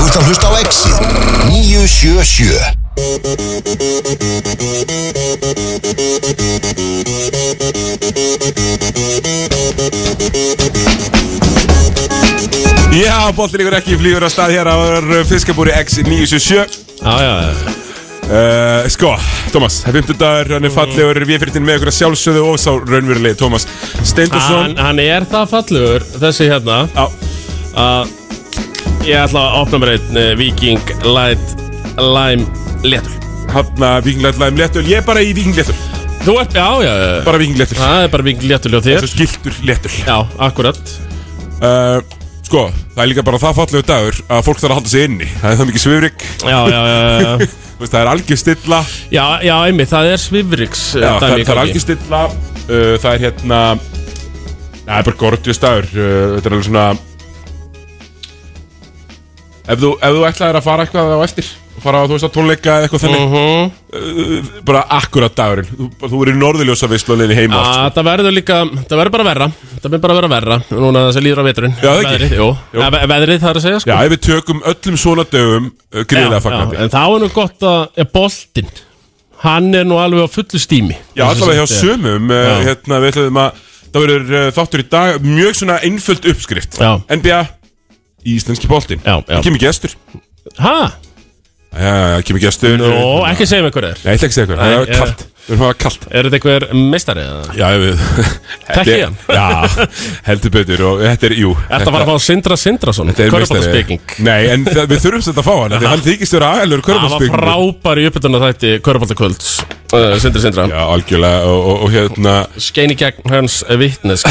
ert að hlusta á Exit 977 Já, boltin ykkur ekki flýgur á stað hér á fiskabúri X977 Já, já, já. uh, Sko, Tómas, það er 50 dagur, hann er fallegur, við fyrir með ykkur að sjálfsögðu og sá raunverulegi Tómas Hann, Steindorsson hann er það fallegur, þessi hérna Já, að ég ætla að opna mér einn eh, Viking Light Lime Léttul hann að vikinglætlaðum léttul, ég er bara í vikingléttul, Þú ert, já, já, já. bara vikingléttul það er bara Viking Léttul hjá Þessu þér skiltur léttul Já, akkurat uh, Sko, það er líka bara það fallegu dagur að fólk þarf að halda sig inni Það er það mikið svifrik, Já, já, já, já, já. þú veist, það er algjör stilla já, já einmitt, það er eh, Svifriks Já, það, það er algjör stilla uh, Það er hérna, það er bara gortjus dagur uh, Þetta er alveg svona Ef þú, ef þú ætlaðir að fara eitthvað á eftir og fara á, þú veist, að tónleika eða eitthvað þannig Mhm. uh, bara akkurat dagurinn þú, þú eru í norðiljósa veistluninni heima allt. Að, það verður líka, það verður bara verra Það verður bara verra verra Núna þessi líður á veturinn Já, það ekki. Veðrið, jú. Jú. Nei, ve- Veðrið það er að segja, sko Já, ef við tökum öllum svona dögum uh, gríðilega fagnandi Já, En þá er nú gott að er boltinn Hann er nú alveg á fullu stími allavega hjá sumum uh, Já. hérna, við ætlaðum að það verður uh, þáttur í dag mjög svona einföld uppskrift Já. NBA í Íslenski boltinn Já, já. Það kemur gestur Hæ? Já, já, já, kemur gestur Nú, ekki segja mig hver er Nei, ég ætla ekki að segja eitthvað, það Nei, er ég- kallt Við erum að hafa kallt Er þetta einhver meistari eða? Já, við Þekki Þetta er- hann? Já, heldur betur og þetta er, jú Þetta var að fá Sindra Sindrason þetta er meistari. Körfaldarspeking Nei, en það, við þurfum þetta að fá hann Því hann þykist vera aðeilur Það var körfarspeking frábær í uppbytuna þætti Körfaldakvölds uh, Sindri Sindra Já, algjörlega og, og, og hérna Skein í gegn hans vitnes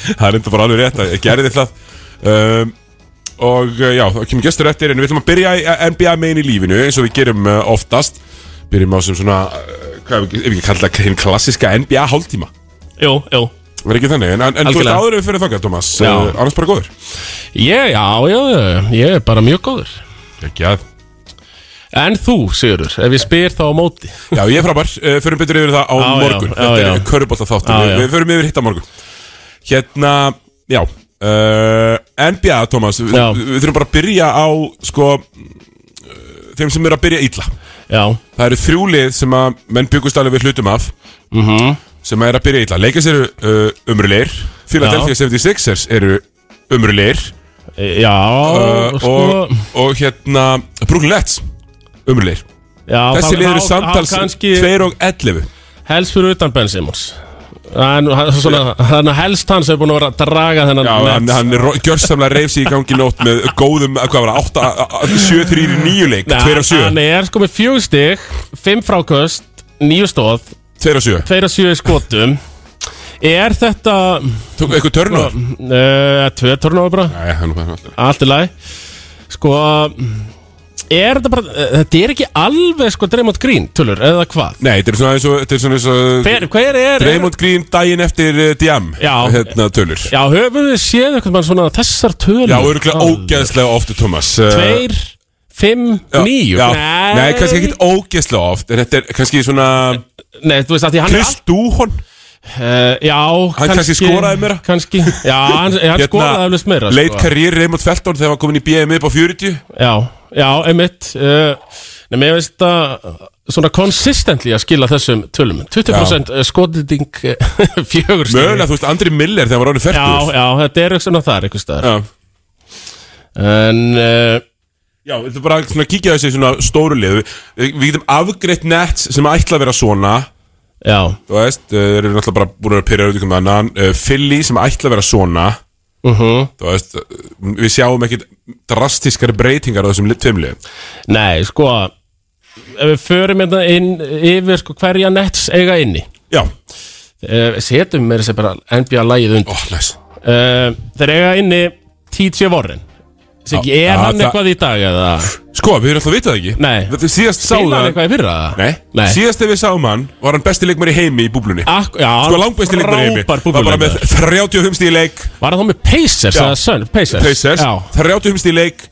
Það er enda bara alveg rétt að ég gerði það um, Og uh, já, þá kemur gestur eftir En við ætlum að byrja í uh, NBA megin í lífinu Eins og við gerum uh, oftast Byrjum á sem svona uh, Hvað ef við ekki kalla það hinn klassiska NBA hálftíma Jú, jú Það er ekki þannig, en, en, en þú ert Algjörlega. áður ef við fyrir þangað, Thomas Já. uh, Annars bara góður Ég, já, já, já, ég er bara mjög góður Ekki að En þú, Sigurður, ef ég spyr þá á móti Já, ég er frábær, uh, förum betur yfir það á já, morgun já, Þetta er já. körubólta þáttur, Já, við, já. við förum yfir hitt á morgun Hérna, já uh, NBA, Thomas, við, Já. við þurfum bara að byrja á sko, uh, þeim sem eru að byrja illa Já, Það eru þrjúlið sem að menn byggust alveg við hlutum af Mhm. sem eru að byrja illa Leikast eru uh, umrulegir Philadelphia 76ers eru umrulegir e- já, uh, sko og, og hérna Brooklyn Nets umrulegir já, Þessi þá- lið eru þá- samtals þá kannski 2 og 11 Helst fyrir utan Ben Simmons Þannig að helst hans hefur búin að vera að draga þennan Já, hann, net. hann ro- gjörsamlega reif sig í gangi í nótt með góðum, hvað var það, 7-3-9 leik, Nei, 2-7 Hann er sko með fjögur stig, fimm fráköst, níu stóð, 2-7, tveir að sjö í skotum Er þetta tók eitthvað törnur uh, Tvö törnáður bara, Nei, hann var alltaf allt í lagi Sko Er þetta bara, eh, þetta er ekki alveg sko Dreymond Green, tölur, eða hvað Nei, þetta er svona eins og, þetta er svona eins og Hver, hver er, er Raymond Green daginn eftir uh, DM Já. Hérna tölur Já, höfum við séð einhvern veginn svona þessar tölur Já, örgulega ógeðslega ofta, Thomas Uh, Tveir, fimm, já, níu já. Nei. kannski ekkit ógeðslega oft En þetta er kannski svona Nei, þú veist að því hann Chris Dúhon uh, Já, Hann kannski skoraði meira. Hérna, Kannski, já, hann, hann skoraði eflust meira sko. Leit karriér Raymond Felton þegar hann var komin í BM upp á 40 Já, já, einmitt uh, Nei, mér veist þetta svona konsistently að skila þessum tölum 20% já. skotiting eh, fjögur stig. Mögulega, þú veist, Andri Miller þegar hann var ánum Já, 40 já, þetta er eitthvað þar einhvers staðar Já. En uh, Já, við ætlum bara að svona kíkja á þessi svona stóru lið Við, við getum afgreitt nets sem ætla að vera svona já, Þú veist, eh, þeir eru náttúrulega bara búin að pyrra út ykkur með annan Eh, Philly sem ætla að vera svona mhm Þú veist, eh, við sjáum ekkit drastiskari breytingar á þessum tveimlið Nei, sko Ef við förum hérna inn yfir sko, hverja nets eiga inni Já, uh, Setum með þessi bara NBA-lægið undir ó, næs uh, Þeir eiga inni TJ Warren Sik, Já, Er hann það- eitthvað í dag eða? Sko, við erum alltaf að vita það ekki Nei. Þetta síðast Sáðu sáum hann hann eitthvað í fyrra? Nei. Nei. síðast ef við sáum hann var hann besti leikmar í heimi í búblunni Ak já, Sko, langbesti leikmar í heimi Frábær Var bara með búbulöndar 35 stíð leik Var hann þá með Pacers Já. eða Sun? Pacers Pacers Já, 35 stíð leik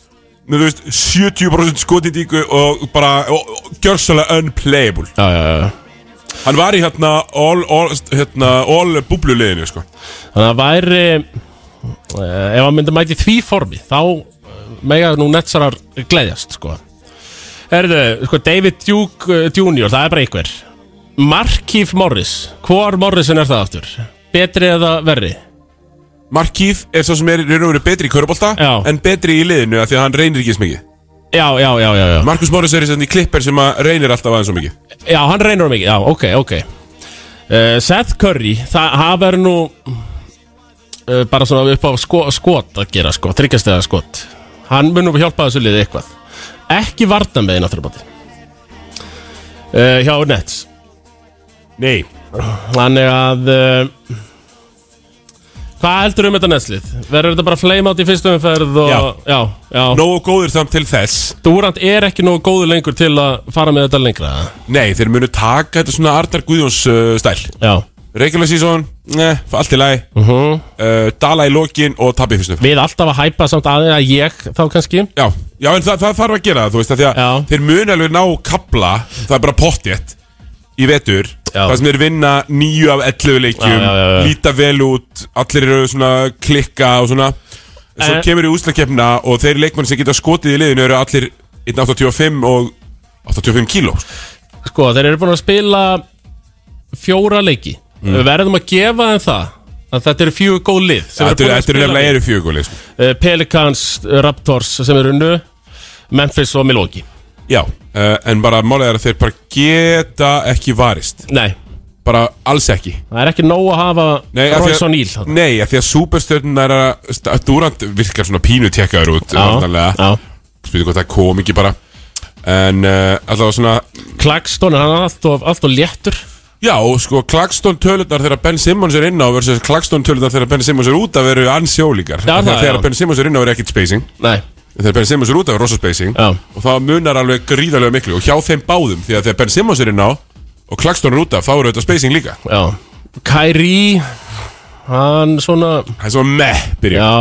með, þú veist, 70% skotindíku og bara og, og, gjörsalega unplayable já, já, já Hann var í hérna all, all, hérna, all búbluliðinu sko. eh, Þannig að væri uh, Ef hann myndi mæti því formi Þá uh, mega nú netsarar gleðjast sko. Herðu, sko, David Duke eh, Jr. það er bara einhver Markif Morris, hvor Morrisin er það aftur? Betri eða verri? Markíð er svo sem er í raun og veru betri í körubólta Já. En betri í liðinu af því að hann reynir ekki eins mikið Já, já, já, já, já. Markus Morris er í þessi klipper sem að reynir alltaf aðeins og mikið já hann reynir um mikið, já, ok, ok uh, Seth Curry, það það verður nú uh, bara svona upp á sko, skot að gera sko, tryggjast eða skot hann mun nú hjálpa þessu liði eitthvað ekki varna með einn afturbátti uh, hjá Nets Nei Þannig að uh, Hvað heldur um þetta næstlið? Verður þetta bara flame out í fyrstu umferð og, Já, já, Nógu góður samt til þess Durant er ekki nógu góður lengur til að fara með þetta lengra Nei, þeir munu taka þetta svona Arnar Guðjóns uh, stæl Já Regular season, ne, allt í lagi uh uh, Dala í lokin og tapir fyrstum Við alltaf að hæpa samt aðeins að ég þá kannski Já, já en það, það þarf að gera það, þú veist að því að Já. þeir munu alveg ná kapla, það er bara pottjett í vetur, Já. það sem þeir vinna nýju af 11 leikjum, Já, já, já, já. líta vel út, allir eru svona klikka og svona, en svo Eh. kemur í úslakefna og þeir leikmenn sem geta skotið í liðinu eru allir 185 og 85 kíló. Sko, þeir eru búin að spila fjóra leiki Mm. Við verðum að gefa þeim það að þetta eru fjögur góð lið sem Þetta eru búin að þetta eru spila nefnilega eru fjöguleg, sko. við. Eh, Pelicans, eh, Raptors sem eru nu Memphis og Milwaukee Já, uh, en bara málið er að þeir bara geta ekki varist, Nei, bara alls ekki. það er ekki nóg að hafa Nei, af því Royce að- O'Neal þarna. Nei, af því að superstjörnunar að Durant virkar svona pínu tekkaður út já. Spyrir hvort það kom ekki bara En uh, allavega svona Klagston, hann er allt of, allt of léttur Já, og sko, Klagstón tölunar þegar Ben Simmons er inn á versus Klagstón tölunar þegar Ben Simmons er út að veru ansjólíkar Já, það, Þegar já. Ben Simmons er inn á er ekkit spacing Nei En Þegar Ben Simmons er út að veru rosa spacing Já. Og það munar alveg gríðarlega miklu Og hjá þeim báðum, því að þegar Ben Simmons er inn á Og Klagstón er út að fá eru þetta spacing líka Já Kairi Hann svona Það er svo meh, byrja Já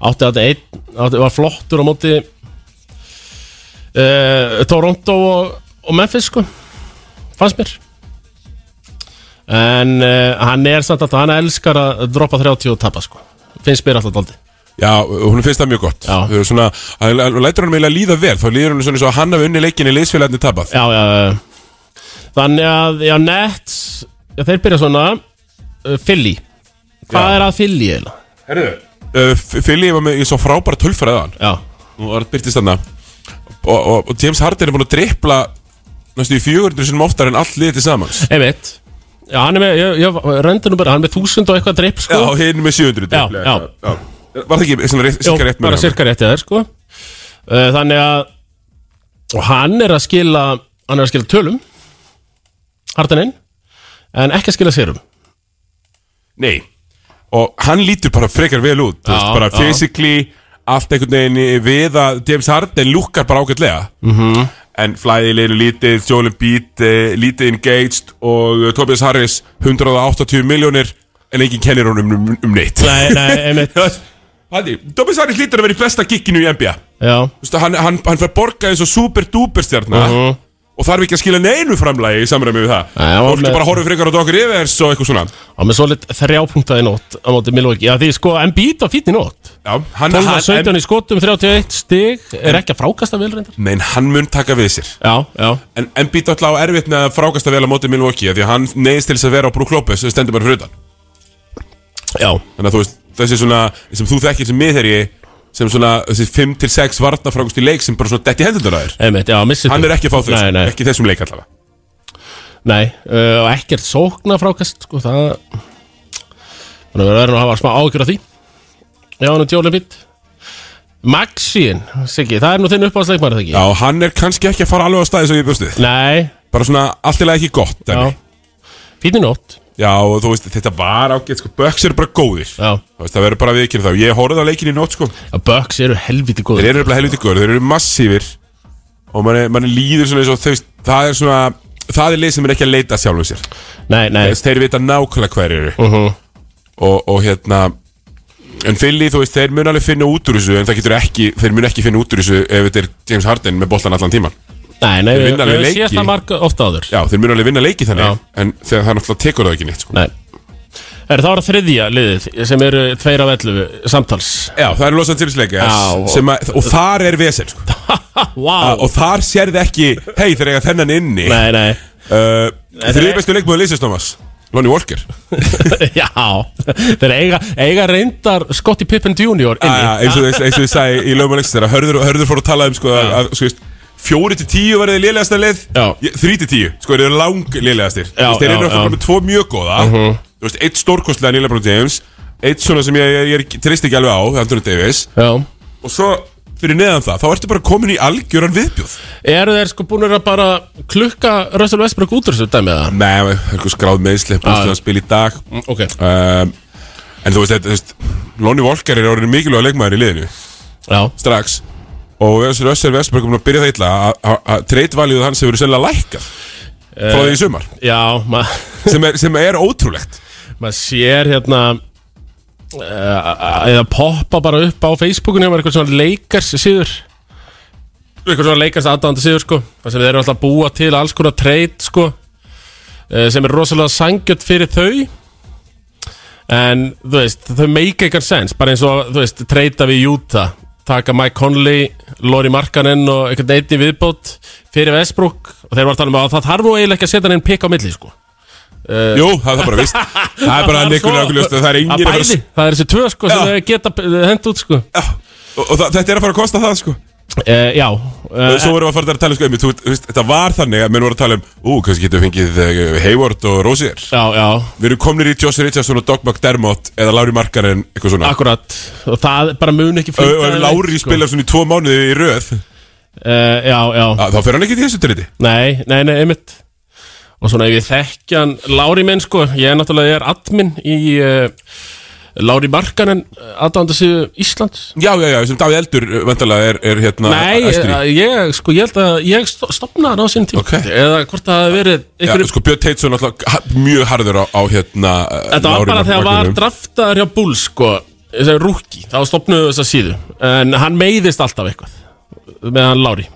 Átti þetta einn Átti var flottur á móti uh, Toronto og, og Memphis sko Fannst mér En uh, hann er samt alltaf Hann elskar að droppa 30 og tapa sko Finnst mér alltaf daldi Já, hún finnst það mjög gott Já. Þau eru svona, hann hann lætur hann meila líða vel Þá líður hann svona eins og hann hafi unni leikinni leysfélagni tapað Já, já, já, já Þannig að, já, Nets já, Þeir byrja svona uh, Philly Hvað Já. er að Philly eiginlega? Herru uh, Fili var með, ég svo frábæra tölfræðan Já, Hún var byrtist þarna og, og, og James Harden er búin að drippla Næstu í 400 sinum oftar en allt liðið til samans einmitt Já, hann er með, ég, ég rendi nú bara Hann er með þúsund og eitthvað dreip, Já, sko hinn með 700 Já, dribbla, já. já Var það ekki svona rétt, cirka rétt bara með sirka rétt í þær, sko uh, Þannig að Og hann er að skila Hann er að skila tölum Hardaninn En ekki að skila sérum Nei Og hann lítur bara frekar vel út þú Já, veist, Bara já. physically Allt einhvern veginn í- við að James Harden lúkkar bara ágætlega -hmm. Mhm. En flæði leiru lítið Jólin Beat eh, lítið engaged Og eh, Tobias Harris 180 miljónir En enginn kennir honum um, um neitt Nei, nei, einmitt Hætti, Tobias Harris lítur að vera í besta gikkinu í NBA Já, Þú veist, Hann, hann, hann fær borga eins og super duper stjarnar Mhm. Og þarf ekki að skila neinu framlægi í samræmi við það Nei, hann var Fólk er með- bara að horfa frekar á Dokker Rivers og eitthvað svona á með svolít þrjápunktaði nótt á móti Milwaukee, já því sko, en býta fínni nótt Já, hann, 12 hann, af 17 í skotum, 31 stig er ekki að frákasta vel reyndar Nein, hann mun taka við sér Já, já, En Embiid alltaf á erfitt með að frákasta vel á móti Milwaukee af Því að hann neyðist til þess að vera á Brook Lopez sem stendur bara fyrir utan já Þannig að þú veist, þessi svona sem þú þekkir sem miðherji sem svona þessi 5-6 varna frákast í leik sem bara svona detti hendur á þér Einmitt, já, missið Hann er ekki að fá þess, Nei, nei, ekki í þessum leik allavega nei uh, og ekkert sókna frákast sko, það þannig að við verðum að hafa smá ágjur af því Já, hann er tjólið mitt Maxín, Siggi, það er nú þinn uppáðsleikmar það ekki? Já, hann er kannski ekki að fara alveg á staði sem ég bjóst við Nei, Bara svona allt í lagi ekki gott já dæmi. Fínni nótt, Já, og þú veist, þetta var ágætt, sko, Bucks eru bara góðir já Þú veist, það verður bara viðkynna þá Ég horfði á leikin í nótt, sko að Bucks eru helviti góður Þeir eru nefnilega helviti góður, þeir eru massífir Og manni, manni líður svona eins og þau Það er svona, það er lið sem er ekki að leita sjálfum sér Nei, nei, Þess, Þeir vita nákvæmlega hver eru uh -huh. og, og hérna En Philly, þú veist, þeir mun alveg finna út úr þessu En það getur ekki, þeir mun ekki finna út úr þessu Ef þetta er James Harden með boltan allan tíman nei, nei Þeir við vinna alveg við séð leiki. það marga ofta áður Já, þeir mun alveg vinna leiki þannig Já. En þegar það náttúrulega tekur það ekki neitt, sko Nei Er það var þriðja liðið sem eru tveir af 11 samtals Já, það er Los Angeles Lakers Já, og- sem að, og þar er vesel sko. Vá og þar sérði ekki, hei þegar eiga þennan inni uh, Nei, nei Þrjú bestu leikmöðu leysist, Thomas Lonnie Walker Já Þeir eiga, eiga reyndar Scottie Pippen Jr. inni Ah, eins og eins- eins og ég sagði í lögum og leiksins þeirra hörður, hörður fór að tala um sko, að, að, sko, veist, fjóri til tíu verði lélegasta leið Já. Ég- þrí til tíu, sko þeir eru lang lélegastir Já, þeir já, eru já. náttúrulega með tvo mjög góða uh -huh. veist, eitt stórkostlega Neil Lebron James eitt svona sem ég, ég, ég treyst ekki alveg á Anthony Davis Já og svo fyrir neðan það, þá ertu bara komin í algjöran viðbjóð Eru þeir sko búinir að bara klukka Russell Westbrook út úr þessu dæmi eða? með eitthvað skráð meðsli, Já, bústu já. að spila í dag Ok um, en þú veist, þetta, þú veist Lonnie Walker er orðin mikilvæg leikmaður í liðinu Já strax og Össur Vestberg um að byrja það illa að- að- að treytvaljuð hans hefur sennilega lækkað frá því í sumar Já, maður sem er, sem er ótrúlegt ma sér hérna eh, eða poppa bara upp á Facebookinu eða eitthvað svona leikars síður eitthvað svona leikars aðdáðandi síður sko þar sem þeir eru alltaf að búa til alls konar treyt sko eh, sem er rosalega sangjöld fyrir þau en þú veist þau make eitthvað sense bara eins og þú veist treyta við Utah taka Mike Conley, Lori Markanen og eitthvað neitt í viðbót fyrir Westbrook og þeir var að tala um að það þarf nú eiginlega ekki að setja hann pikk á milli sko Jú, það er það bara vist Það er bara neikunlega okkur ljóst að það er Að enginn að bæði, vera það er þessi tvö sko sem Já. þau geta hend út sko Já, og, og það, þetta er að fara að kosta það sko uh, Já, og uh, svo vorum við að fara að tala sko um þú veist, þetta var þannig að menn voru að tala um ú, kannski getum við fengið eh, Hayward og Rosier já, já, við erum komnir í Josh Richardson og Doc McDermott eða Lári Markaren, eitthvað svona akkurat Og það bara mun ekki og ef Lári sko. spilar svona í tvo mánuði í röð uh, Já, já, að, þá fer hann ekki í þessu triti nei, nei, nei, einmitt Og svona ef ég þekki hann Lári minn sko, ég er náttúrulega, ég er admin í uh, Lári Markanen aðdánda sig Íslands Já, já, já, sem Davíð Eldur vandalega er, er hérna Nei, æstur í. eh, ég, sko, ég held að ég sto- stofnaði hann á sínum tíma Ok. Eða hvort það hafi verið Já, einhverjum sko Björn Teitsson alltaf ha- mjög harður á, á hérna eh, Þetta var Lári bara þegar var Magnúsinum. draftaður hjá Bulls sko, þessi rúki, þá stopnuðu þessa síðu en hann meiðist alltaf eitthvað með hann Lári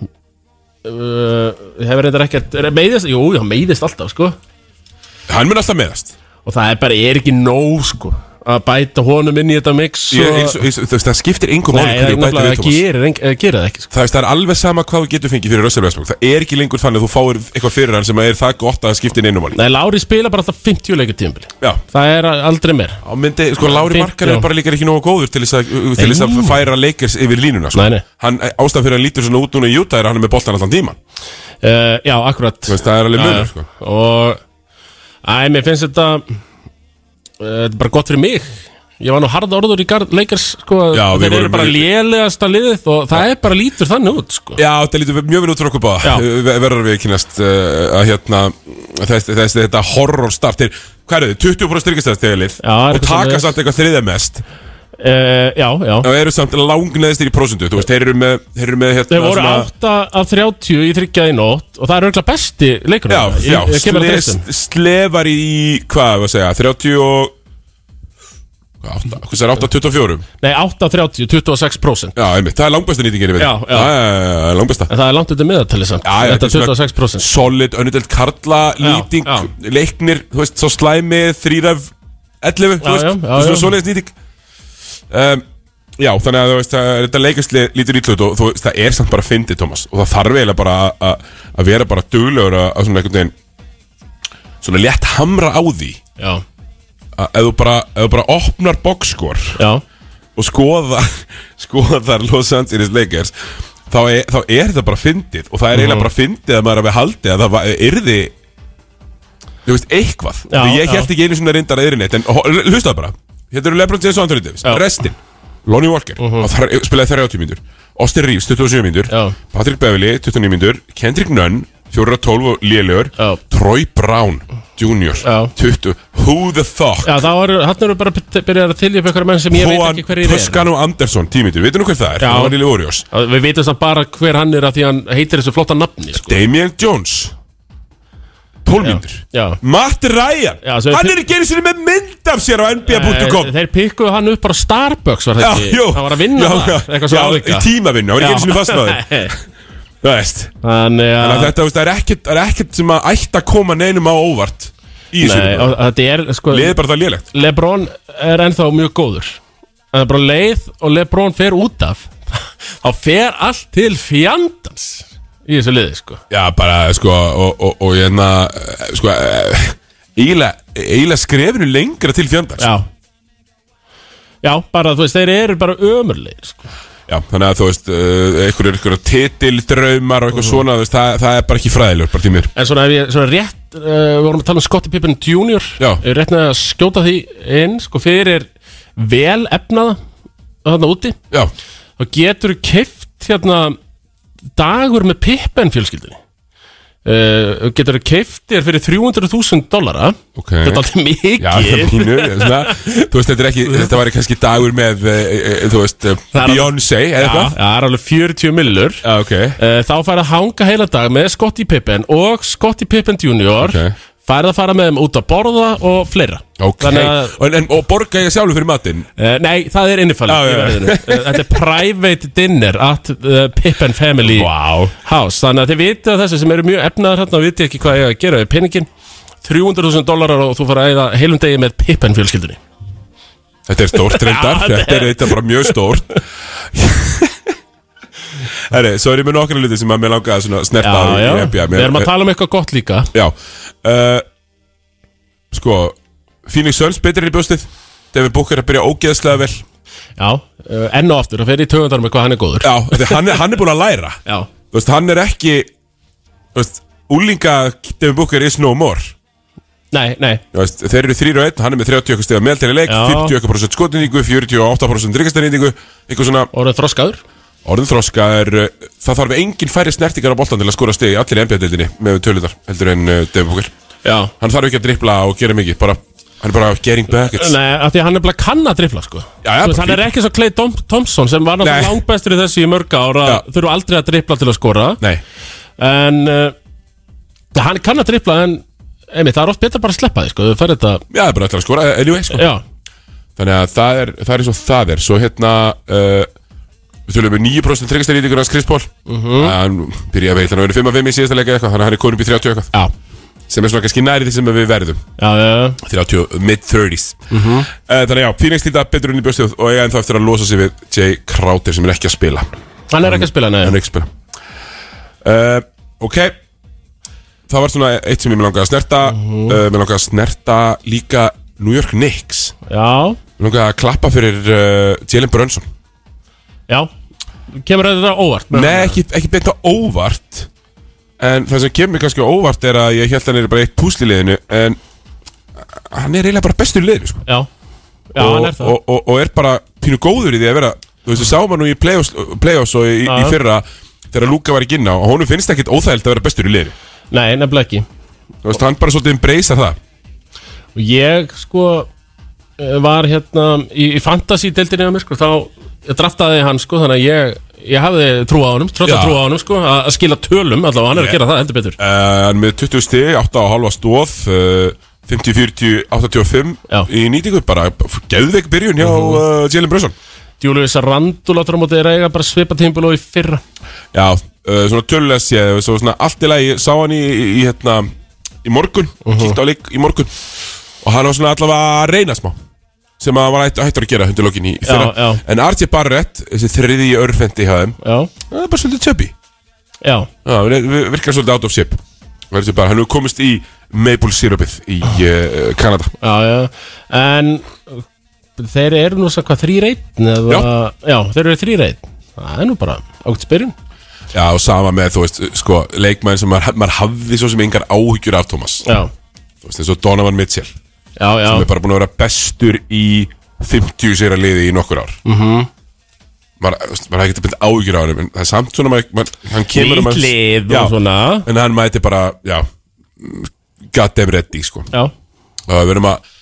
uh, hefur reyndar ekkert er- meiðist, jú, hann meiðist alltaf sko og Hann mun alltaf meðast það er bara, er ekki nóg sko að bæta honum inn í þetta mix Ég- og... eins og- eins og- Þú veist, það skiptir engum máli Nei, það hverju er þú bætir nefnilega við að Thomas gera, gera það ekki sko. Það veist, það er alveg sama hvað þú getur fengið fyrir Russell Westbrook Það er ekki lengur þannig að þú fáir eitthvað fyrir hann sem er það gott að það skiptir neinum máli Nei, Lári spila bara alltaf 50 leikir tímbili Já, Það er aldrei meir á myndi, sko Lári Fínt, Markar já. er bara líka ekki nógu góður til þess að, til þess að Nei. færa leikers yfir línuna sko. Nei, nei. Hann, ástæðan fyrir að hann lítur svona út núna í Utah er að hann er með boltan allan tíman uh, Já, akkurat Þú veist, það er alveg munur sko. Já, Og Æ, mér finnst þetta eh, Þetta er bara gott fyrir mig Ég var nú harða orður í garð, leikars sko, að Já, við Þeir eru vorum bara mjög- lélegasta liðið Og það er bara lítur þannig út sko. Já, þetta lítur mjög vel út frá okkur báða Já. Ve- Verðar við kynast uh, að hérna þess, þess, þetta horror start til, Hvað er þið? 20% styrkistæðastegilið Já, Og er eitthvað taka svoleiðis. samt eitthvað þriðja mest Eh, uh, Já, já Og eru samt langneðistir í prosentu Þú veist, þeir eru með, þeir eru með hérna, Þeir voru 8 af 30 í þryggjaði nótt Og það er örgulega besti leikur Já, já, sle, slefar í Hvað, var að segja, 30 og Hvað, 8, hvað segir 8, 24 Nei, 8 af 30, 26% Já, einmitt, það er langbesta nýtingin yfir Já, já. já, já langbesta En það er langt undir meðatali samt Já, já, Þetta þetta er svona- 26% Solid, önnudelt Karla, Já, lýting, já. leiknir, þú veist, svo slæmi, þrýraf, 11, Já, þú veist, já, já, þú veist, já. svoleiðis nýting. Um, já, þannig að þú veist, það, þetta leikastli lítur ítlut og þú veist, það er samt bara fyndið, Thomas, og það þarf eiginlega bara að- að að vera bara duglegur að að svona einhvern veginn, svona létt hamra á því, Já, að ef þú bara, ef þú bara opnar boxskor já, og skoða skoðar Los Angeles Lakers þá er, þá er þetta bara fyndið og það er Mhm. eiginlega bara fyndið að maður hafi haldið að það var, yrði þú veist, eitthvað Já, Því ég já. held ekki einu svona reyndar að yrði neitt en ho- l- hlustaðu bara, hérna eru Lebron James og Anthony Davis Já. Mhm. restin, Lonnie Walker uh -huh. spilaði 30 mínútur, Austin Reeves 27 mínútur, Já. Patrick Beverly 29 mínútur, Kendrick Nunn 4-12 og lélegur, Já. Troy Brown Junior, Já. 20 who the fuck já þá eru, hann eru bara byrjað að tilja upp einhverja menn sem ég veit Juan ekki hverjir eru. Toscano Andersson, tímyndur, veitum nú hver það er? Já. Já. Hann var lílega Orjós. Að Við veitum samt bara hver hann er að því hann heitir þessu flotta nafni sko. Damian Jones, 12 myndur. Já Matt Ryan, Já, svo- hann er ekki einu sinni með mynd af sér á Þeir, nba.com. Eh, þeir pikkuðu hann upp bara á Starbucks var Já, það ekki jú. Hann var að vinna já, það já, Eitthvað svo já, álíka í tímavinnu, hann var ekki einu sinni fastnaður. Þannig Það veist. að Þetta, þú veist, það er ekkert, það er ekkert sem að ætti að koma neinum á óvart. í þessu Nei, Nei, og þetta er sko Liðið bara það lélegt Lebron er ennþá mjög góður En það er bara leið og Lebron fer út af Þá fer allt til fjandans Í þessu liði sko Já, bara, sko, og, og, og hérna, eh, sko, eh, eiginlega, eiginlega skrefinu lengra til fjandans. Já. Já Já, bara þú veist, þeir eru bara ömurlegir sko. þannig að þú veist, eh, einhverjur, einhverjur titildraumar og Mhm. eitthvað svona, þú veist, það, það er bara ekki fræðilegur, bara tímir. En svona, ef ég, svona rétt uh, Við vorum að tala um Scottie Pippen Jr. Já. Ég er rétt með að skjóta því inn sko, Fyrir vel efnaða Þarna úti Já, Þá getur keift hérna Dagur með Pippen fjölskyldinni uh, Getur keift þér fyrir 300.000 dollara ok. Þetta er alltaf Já, það er mikið pínu, svona, þú veist, þetta er ekki, þetta væri kannski dagur með, eh, eh, þú veist, eh, Mhm. Það er alveg- Beyoncé eða Já, eitthvað. það er alveg 40 millur Já, ok. Eh, Þá fær að hanga heila dag með Scottie Pippen og Scottie Pippen Junior Ok. fær að fara með þeim út að borða og fleira Ok, Þannig að, og, en, og borga ég sjálfur fyrir matinn? uh, Nei, það er innifalið Já, í já, já. verðinu. Eh, Þetta er private dinner at the Pippen family Vá. house Þannig að þið vitið að þessu sem eru mjög efnaðar hérna og vitið ekki hvað ég að gera við peningin 300.000 dólarar og þú fær að eða heilum degi með Pippen fjölskyldunni Þetta er stórt reyndar, Já, þetta er eitthvað bara mjög stórt Herri, svo er ég með nokkra hluti sem að mér langaði svona að snerta á Já, í- já, í NBA. við erum að tala um eitthvað gott líka Já, uh, sko, Phoenix Suns betur í bjóstið David Booker er að byrja ógeðslega vel Já, Já, eh, enn og aftur, það fer í tögundar með hvað hann er góður því hann er, hann er búin að læra Já, Þú veist, hann er ekki, þú veist, úlinga David Booker is no more nei, nei, Þú veist, Þeir eru 3 og 1, hann er með 30 okkur stiga meðaltæri leik, Já. 40 okkur prosent skotnýtingu, 48% ríkastarnýtingu, eitthvað svona orðið þroskaður Orðin þroska er, uh, það þarf engin færri snertingar á boltan til að skora stig í allir NBA-deildinni með tölutar heldur en uh, David Booker. Já, Hann þarf ekki að dripla og gera mikið, bara, hann er bara getting buckets. Nei, af því að hann er bara kann að drifla sko Já, já, Þú veist, bara Hann er fínt. ekki svo Clay Thom- Thompson sem var náttúrulega Nei. langbæstur í þessu í mörg ára Já. Þurfa aldrei að drifla til að skora Nei. En uh, hann kann að drifla en einmitt, það er oft betra bara að sleppa því sko Þau fær þetta, Já, það er bara allir að skora, anyway, sko. já, Þannig að það er, það er eins og það er. Svo hérna, uh, við tölum við 9% tryggastarýtingur hans Chris Paul. Uh -huh. Hann byrjaði að veita, hann verið 5 af 5 í síðasta leika eitthvað, þannig að hann er konum í 30 eitthvað. já, Sem er svona kannski næri því sem við verðum. já, já, já. 30, mid-30s uh, Þannig að já, Phoenix líta betur inn í bjóstið og eiga ennþá eftir að losa sig við Jay Crowder sem er ekki að spila Hann er ekki að spila, nei hann er ekki að spila uh, Ok Það var svona eitt sem ég mér langaði að snerta uh, Mér langaði að snerta líka New York Knicks Já, Mér langaði að klappa fyrir uh, Jalen Brunson já Kemur þetta óvart með Nei, hann? ekki, ekki beint á óvart En það sem kemur mér kannski á óvart er að ég held hann er bara eitt púsliliðinu En hann er eiginlega bara bestur í liðinu sko. Já, já, og, hann er það og, og, og er bara pínu góður í því að vera þú veist, við sáum hann nú í playoffs, playoffs og í, í Já. fyrra þegar Luka var ekki inn á og honum finnst ekkit óþægild að vera bestur í liði Nei, nefnilega ekki þú veist, hann bara svolítið breysar það Og ég sko eh, var hérna í, í fantasy-deildinni á mér sko, þá draftaði ég hann sko, þannig að ég, ég hafði trú á honum, trótt Já. að trú á honum sko, að að skila tölum allavega, hann er að gera það heldur betur. uh, með 20 stig, 8 og halva stóð uh, 50-40, 85 Já. í nýtingu, bara geðveik byrjun hjá uh, Jalen Brunson Július Randúl áttur á móti er eiga bara svipa tímbil og í fyrra. já, uh, svona tölulega séð svo svona allt í lagi, sá hann í, í, í hérna, í morgun, kíkt á leik í morgun og hann var svona allavega að reyna smá sem að hann var hætt- hættur að gera hundur lokin í fyrra já. en RJ Barrett, þessi þriði örfendi hjá þeim, Já, það er bara svolítið tjöpi já, já, hann er- við- virkar svolítið out of shape RJ Barrett, hann hefur komist í maple syrupið í uh, Kanada já, já, en þeir eru nú svo hvað þrýreitn eða, já. þeir eru þrýreitn, það er nú bara ákveðt spyrjun. já, og sama með, þú veist, sko, leikmæðin sem maður, maður hafði svo sem engar áhyggjur af Thomas, Já, þú veist, eins og Donovan Mitchell já, já, sem er bara búin að vera bestur í 50 sér að liði í nokkur ár mm Mhm. -hmm. maður þú veist, maður hefði ekkert að byrja áhyggjur á hann en það er samt svona maður, maður, hann kemur og nýtt maður- lið já, og svona, en hann mæti bara já, goddamn ready sko. já, og við erum að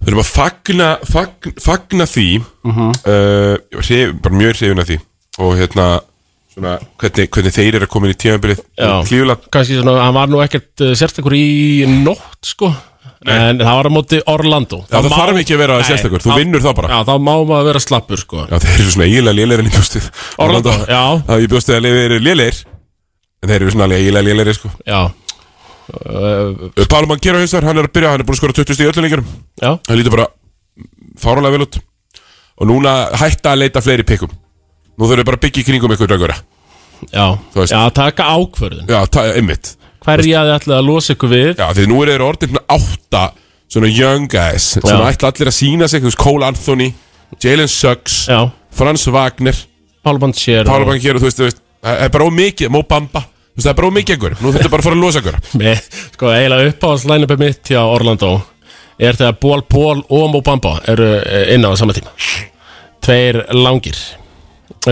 við erum að fagna fagna, fagna því mm -hmm. bara mjög hrifin af því og hérna svona, hvernig, hvernig þeir eru að koma inn í tímanbyrðið Já. klífulega kannski svona, hann var nú ekkert uh, sérstakur í nótt sko En það var á móti Orlando Já, það má- þarf ekki að vera Nei, sérstakur, þú þá- vinnur þá bara Já, þá má maður vera slappur sko Já, þeir eru svona eiginlega lélegir en ég bjóstið Orlando, já. Já, ég bjóstið að þeir eru lélegir En þeir eru svona eiginlega lélegir, sko Já uh, Pálum hann gera haustar, hann er að byrja, hann er búin að skora 20 stíð í öllu leikjum Já, Það lítur bara fáralega vel út Og núna hætta að leita fleiri pikkum Nú þurfum við bara að byggja í kringum ykkur draugura já, Þú veist. já, taka ákvörðun Já, ta- einmitt Hverja þið ætlaði að losa ykkur við Já, því nú eru þeir orðin svona átta Svona young guys Svona Já. ætla allir að sína sig, þú veist, Cole Anthony Jalen Suggs, Já, Frans Wagner Pálmann sér Pála Bank hér og þú veist, þú veist Það er bara ómikið, Mó Bamba Þú veist, það er bara ómikið einhver Nú þetta bara að fara að losa einhver Með, sko, eiginlega uppáhaldslænupið mitt hjá Orlando er þegar Ból Ból og Mobamba eru eh, inn á sama tíma Tveir langir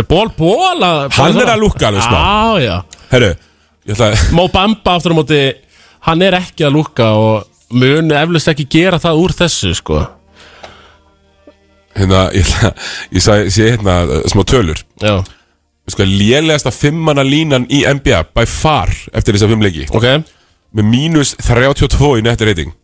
Ból Ból að- Hann er að lúkka alveg smá Já, já Herru, ég ætla að Mobamba aftur á móti hann er ekki að lúkka og mun eflust ekki gera það úr þessu, sko Hérna, ég ætla að Ég sagði, sé hérna uh, smá tölur Já, Sko, lélegasta fimmana línan í NBA By far, eftir þess að fimm leiki ok Með mínus 32 í nettir reyting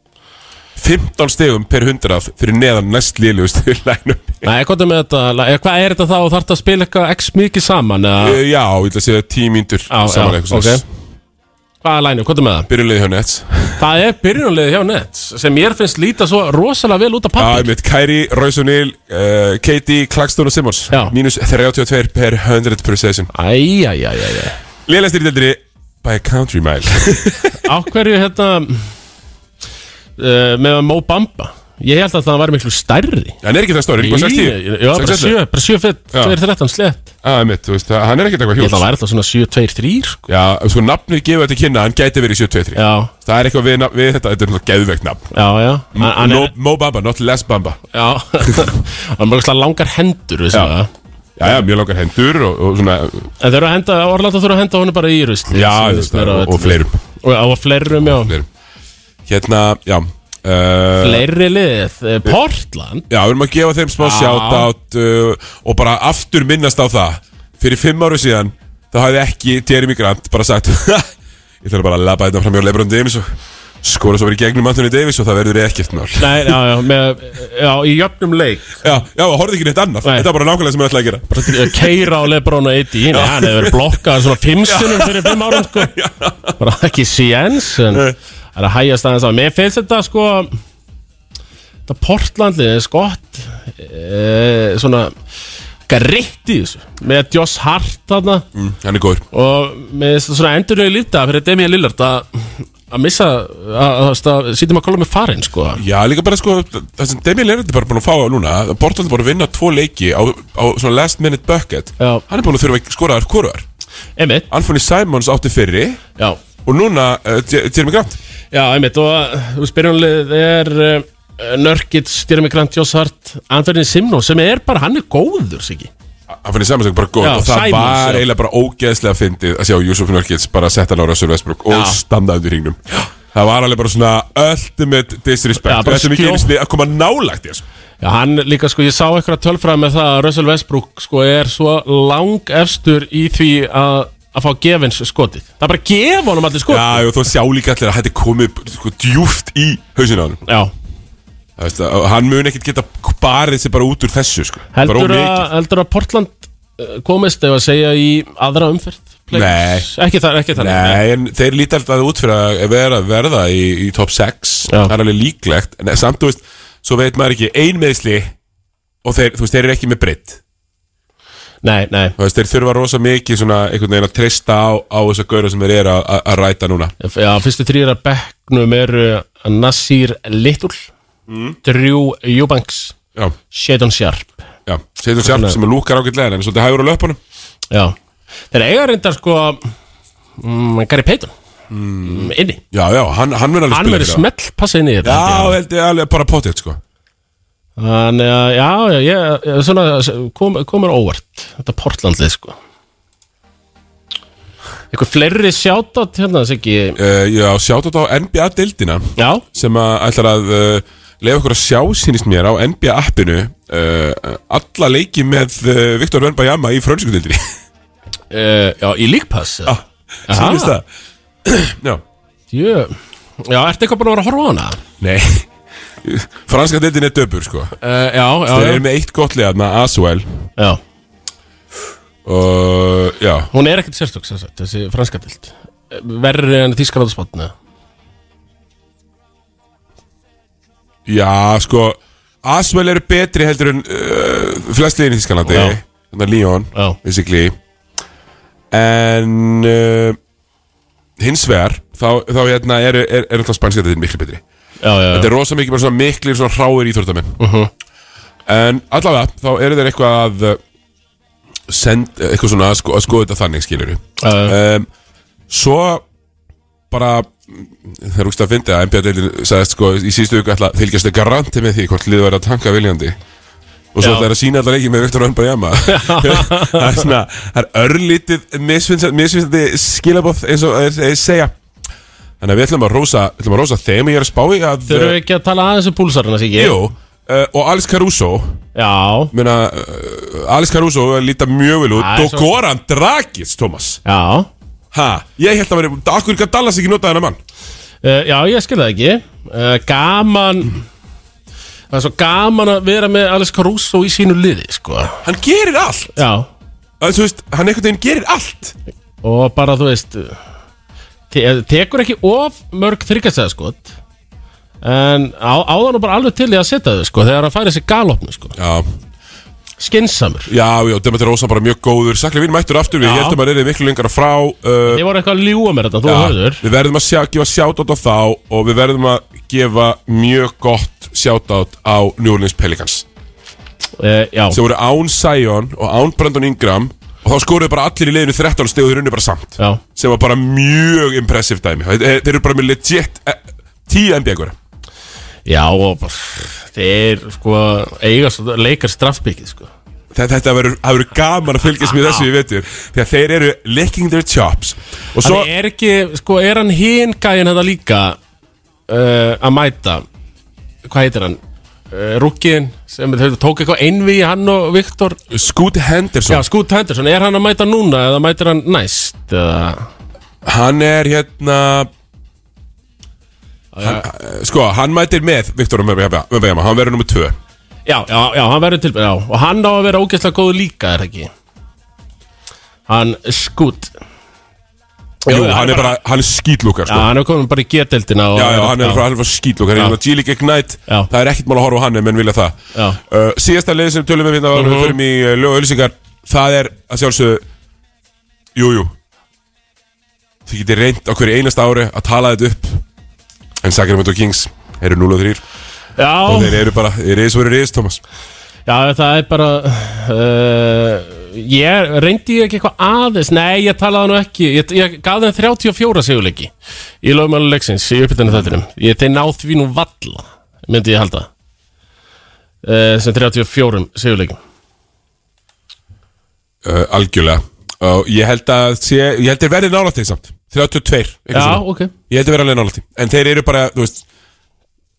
15 stegum per 100 Fyrir neðan næst lélegustu lænum Nei, hvað er með þetta, eh, hvað er þetta þá þarf þetta að spila eitthvað x mikið saman eða, Eh, Já, ég ætla að segja 10 mínútur Já, Saman já, eitthvað okay. ok. hvað er lænum, hvað er með það? Byrjulegði hjá Nets Það er byrjunarliðið hjá Nets sem ég finnst líta svo rosalega vel út af Já, pappir ég veit, Kairi, Rausunil, uh, Katie, Klagstón og Simmons Já. Mínus 32 per 100 per session Æjæjæjæjæ Lélæstir í deildri By a country mile Á hverju hérna uh, með Mo Bamba Ég held að það var miklu stærri Hann er ekki það stóri, hann er Í- bara 60 Já, bara 67. 7, bara 7 fett, Já. 2, 13 slett Já, ég veit, Ah, þú veist, það- hann er ekki eitthvað Ég held að hjúls það væri alltaf svona 7, 2, 3 sko. Já, sko, nafnir gefa þetta kynna, hann gæti verið 723 Já, Það er eitthvað við, nafn- við þetta, þetta er náttúrulega geðveikt nafn já, já Hann- hann no, er- Mo Bamba, not less Bamba Já, hann er mjög slag langar hendur Já Já. það. Já, já, mjög langar hendur og, og svona En þeir eru að henda, Orlando þurfa að henda honum bara í rusli Já, þú veist, og, og fleirum, Og, og fleirum, já fleirum Hérna, já uh, Fleiri lið, eh, Portland Já, við erum að gefa þeim smá Já. shoutout uh, og bara aftur minnast á það fyrir fimm áru síðan þá hafði ekki Jeremy Grant bara sagt ég ætla bara að labba þetta fram hjá Lebron Davis og skora svo verið gegnum Anthony Davis og það verður ekkert mál Já, Nei, já, já, með, já, í jöfnum leik já, horfði ekki neitt annað Nei. Þetta var bara nákvæmlega sem ég ætlaði að gera keira á Lebron og Eddie Nei, hann hefur verið blokkað svona fimmstunum fyrir fimm árum sko. bara ekki séns en það er að hægjast aðeins á mér finnst þetta sko þetta Portlandið er skott e, svona gritt í þessu með Josh Hart þarna mm, Hann er góður og með þess- svona endurinu líta fyrir Demian Lillard að að missa að, að, að sýtum að kolla með farin sko Já, líka bara sko, það sem Demi Lerner er bara búin að fá núna Bortland er búin að vinna tvo leiki á, á svona last minute bucket Já. Hann er búin að þurfa að skora þar hvoruar einmitt, Anthony Simons átti fyrri já og núna uh, Je- Jeremy Grant Já, einmitt og uh, þú spyrjumlið er uh, Nörgitt, Styrmi Grant, Joss Hart Anthony Simnón sem er bara, hann er góður Siggi. hann fann í samansöng bara góð Já, og það Simons, var já. eiginlega bara ógeðslega fyndið að sjá Júsuf Nörgits bara setja hann á Russell Westbrook og Já. standa undir hringnum það var alveg bara svona ultimate disrespect Já, og bara þetta er mikið skjó- einu sinni að koma nálægt þér Já, hann líka sko, ég sá eitthvað tölfræð með það að Russell Westbrook sko er svo lang efstur í því að að fá gefins skotið Það er bara að gefa honum allir skotið já og þú sjá líka allir að þetta er komið sko, djúft í hausinu á hann Já. veist, að, hann mun ekkert geta barið sig bara út úr þessu sko. Heldur, bara að, heldur að Portland eh, komist ef að segja í aðra umferð Playoffs? Ekki það, ekki það Nei, en þeir líti alltaf út fyrir að vera, verða í, í top 6 Já. Það er alveg líklegt En samt, þú veist, svo veit maður ekki einmeðsli Og þeir, þú veist, þeir eru ekki með breytt nei, nei. Þú veist, þeir þurfa rosa mikið svona einhvern veginn að treysta á, á þessa gauðra sem þeir eru að- að að ræta núna. Já, fyrstu þrýra bekknum eru Nasir Littul Mm. Drew Eubanks Já, Shadon Sharp já. Seytum sjálf sem er lúkar ágætlega en er svolítið hægur á löpunum. Já, þeir eiga reyndar sko mm, Gary Payton mm. inni, Já, já, hann, hann verður alveg hann spila verður fyrir það. smell passa inn í þetta Já, held ég alveg bara potið, sko. Þannig að, já, já, ég, ég svona, kom, komur óvart Þetta Portlandlið sko Eitthvað fleiri sjátat hérna, þess ekki Uh, já, sjátt á NBA-deildina Já, sem að ætlar að uh, leiða okkur að sjá sínist mér á NBA-appinu uh, alla leiki með uh, Viktor Vönbajama í frönskudeildinni. uh, já, í líkpass Já, Sýnist það? já. Jö. já ertu eitthvað búin að vera að horfa á hana? Nei. Franska deildin er döpur, sko. Uh, já, já, Þeir já, eru með eitt gott liðað með Aswell. já. og já, Hún er ekkert sérstök, sem sagt, þessi franska dild Verri en þýskarátspotna Já, sko Aswell eru betri heldur en uh, flestliðin í Þískalandi Já. Þannig að Leon, Já. basically En uh, hins vegar þá, þá hérna eru er, er alltaf spænska þetta miklu betri já, já, Þetta er rosa mikið bara svona miklir svona hráir íþórtamenn Mhm. En allavega, þá eru þeir eitthvað að uh, send, eitthvað svona að, sko, að skoða þetta þannig skilur já, já, um, Svo bara það er úrst að fyndi að NBA-deildin sagðist sko í síðustu viku ætla að fylgjast þau garanti með því hvort liðið væri að tanka viljandi og svo Já. ætla þeir að sína allar ekki með Viktor Wembanyama það er svona það er örlítið misvinsandi skilabóð eins og þeir þeir segja þannig að við ætlum að rosa, ætlum að rosa þeim ég er að spá í að Þurfum við ekki að tala aðeins um púlsarinn, þessi ekki? Jú, uh, og Alice Caruso Já, mena, uh, Alice Caruso er að líta mjög vel út Það er og svo- Goran Dragic, Thomas já ha, ég held að vera, akkur gaf Dallas ekki notað hennar mann Uh, já, ég skil það ekki uh, Gaman Það er svo gaman að vera með Alice Caruso í sínu liði, sko hann gerir allt Já, að, þú veist, hann einhvern veginn gerir allt og bara, þú veist te eh, Tekur ekki of mörg þryggastæða, sko En á, áðan og bara alveg til í að setja þau, sko Þegar hann færi þessi galopnu, sko já, Skinsamur já, já, Demetri Rosa bara mjög góður saklega við mættur aftur, við Já. heldum að reyðið miklu lengra frá uh, Þið voru eitthvað að ljúga mér þetta, þú já, hörður við verðum að sjá, gefa sjátátt á þá og við verðum að gefa mjög gott sjátátt á New Orleans Pelicans uh, Já, sem voru án Sion og án Brandon Ingram og þá skoruðu bara allir í leiðinu 13 steg og þeir unnu bara samt já, sem var bara mjög impressive dæmi Þe- þeir eru bara með legit eh, 10 NBA-gura já og bara Þeir, sko, eiga, svo- leikar straffbyggið, sko þetta, þetta verður það verður gaman að fylgjast með þessu í vetur því að þeir eru licking their chops og svo Svo... er ekki, sko, er hann hinn gæinn þetta líka uh, að mæta hvað heitir hann? Uh, Rúkin sem þau tók eitthvað einvi í hann og Viktor Scoot Henderson Já, Scoot Henderson, er hann að mæta núna eða mætir hann næst? Eða... hann er hérna hann, sko, hann mætir með Viktor Mömbæjama, hann verður nummer 2 Já, já, já, hann verður tilbæð, já og hann á að vera ógeðslega góður líka, er það ekki? Hann Scoot Jú, hann er bara, hann er skýtlúkar Já, sko. hann er komin bara í geteldina Já, já, hann er frá alveg skýtlokar Já. Þannig að G-League Ignite, Já. það er ekkert mál að horfa á hann ef menn vilja það Já. Mhm. uh, Síðasta leið sem við tölum við hérna áður en Við förum í uh, lög og öllisingar Það er að sjálfsögðu Jú, jú Þið getið reynt á hverju einasta ári að tala þetta upp En Sacramento Kings eru 0 og 3 Já, Og þeir eru bara, þeir eru svo eru reis, Thomas Já, það er bara uh, Ég reyndi ég ekki eitthvað aðeins Nei, ég talaði nú ekki Ég, ég gaf þeim 34 sigurleiki Í lögmálu leiksins, í uppbytunni þættinum Ég þeir náð því nú valla Myndi ég halda uh, Sem 34 sigurleikum uh, Algjörlega Og ég held að sé, ég held þeir verði nálægt þeir samt 32 eitthvað Já, svona. ok Ég held að vera alveg nálægt því En þeir eru bara, þú veist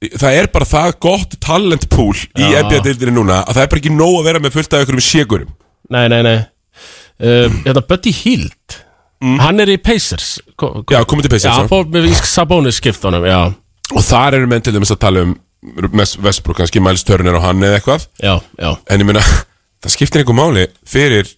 Það er bara það gott talent pool Í Já. NBA-deildinni núna Að það er bara ekki nóg að vera með fullt af ykkur um sjegurum Nei, nei, nei uh, Þetta Buddy Hield Hann er í Pacers ko, ko, Mm. Já, komið til Já, Pacers hann já. fór með Sabonis skipt honum Já, Og þar eru menn til dæmis að tala um Mes- Westbrook, kannski Miles Turner og hann eða eitthvað já, já En ég meina, það skiptir einhver máli Fyrir,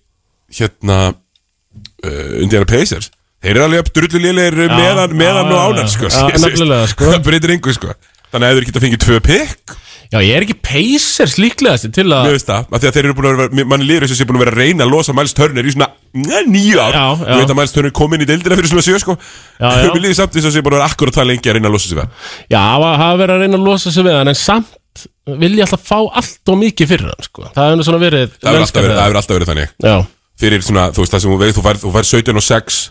hérna uh, Indiana Pacers Þeir eru alveg drullu lélegir meðan, já, meðan og já, ánar sko, já, Þú veist, nefnilega, sko. Það breytir engu sko Þannig að ef þeir geta fengið tvö pikk Já, ég er ekki Pacers líklegasti til að Mér veist það, af því að þeir eru búin að vera mann líður þessu sem er búin að vera að reyna að losa Miles Turner í svona njá, níu ár Já, já. Þú veit að Miles Turner kom inn í deildina fyrir svona sjö sko Já, já. Mér líður samt þess að þessu er búin að vera akkurat það lengi að reyna að losa sér það Já, hafa, hafa verið að reyna að losa sig við hann en samt vil ég alltaf fá allt og mikið fyrir hann sko. það hefur nú svona verið Það hefur alltaf, með verið- það hefur alltaf verið þannig Já, Fyrir svona, þú veist það sem þú veist, þú fær, þú fær 17 og 6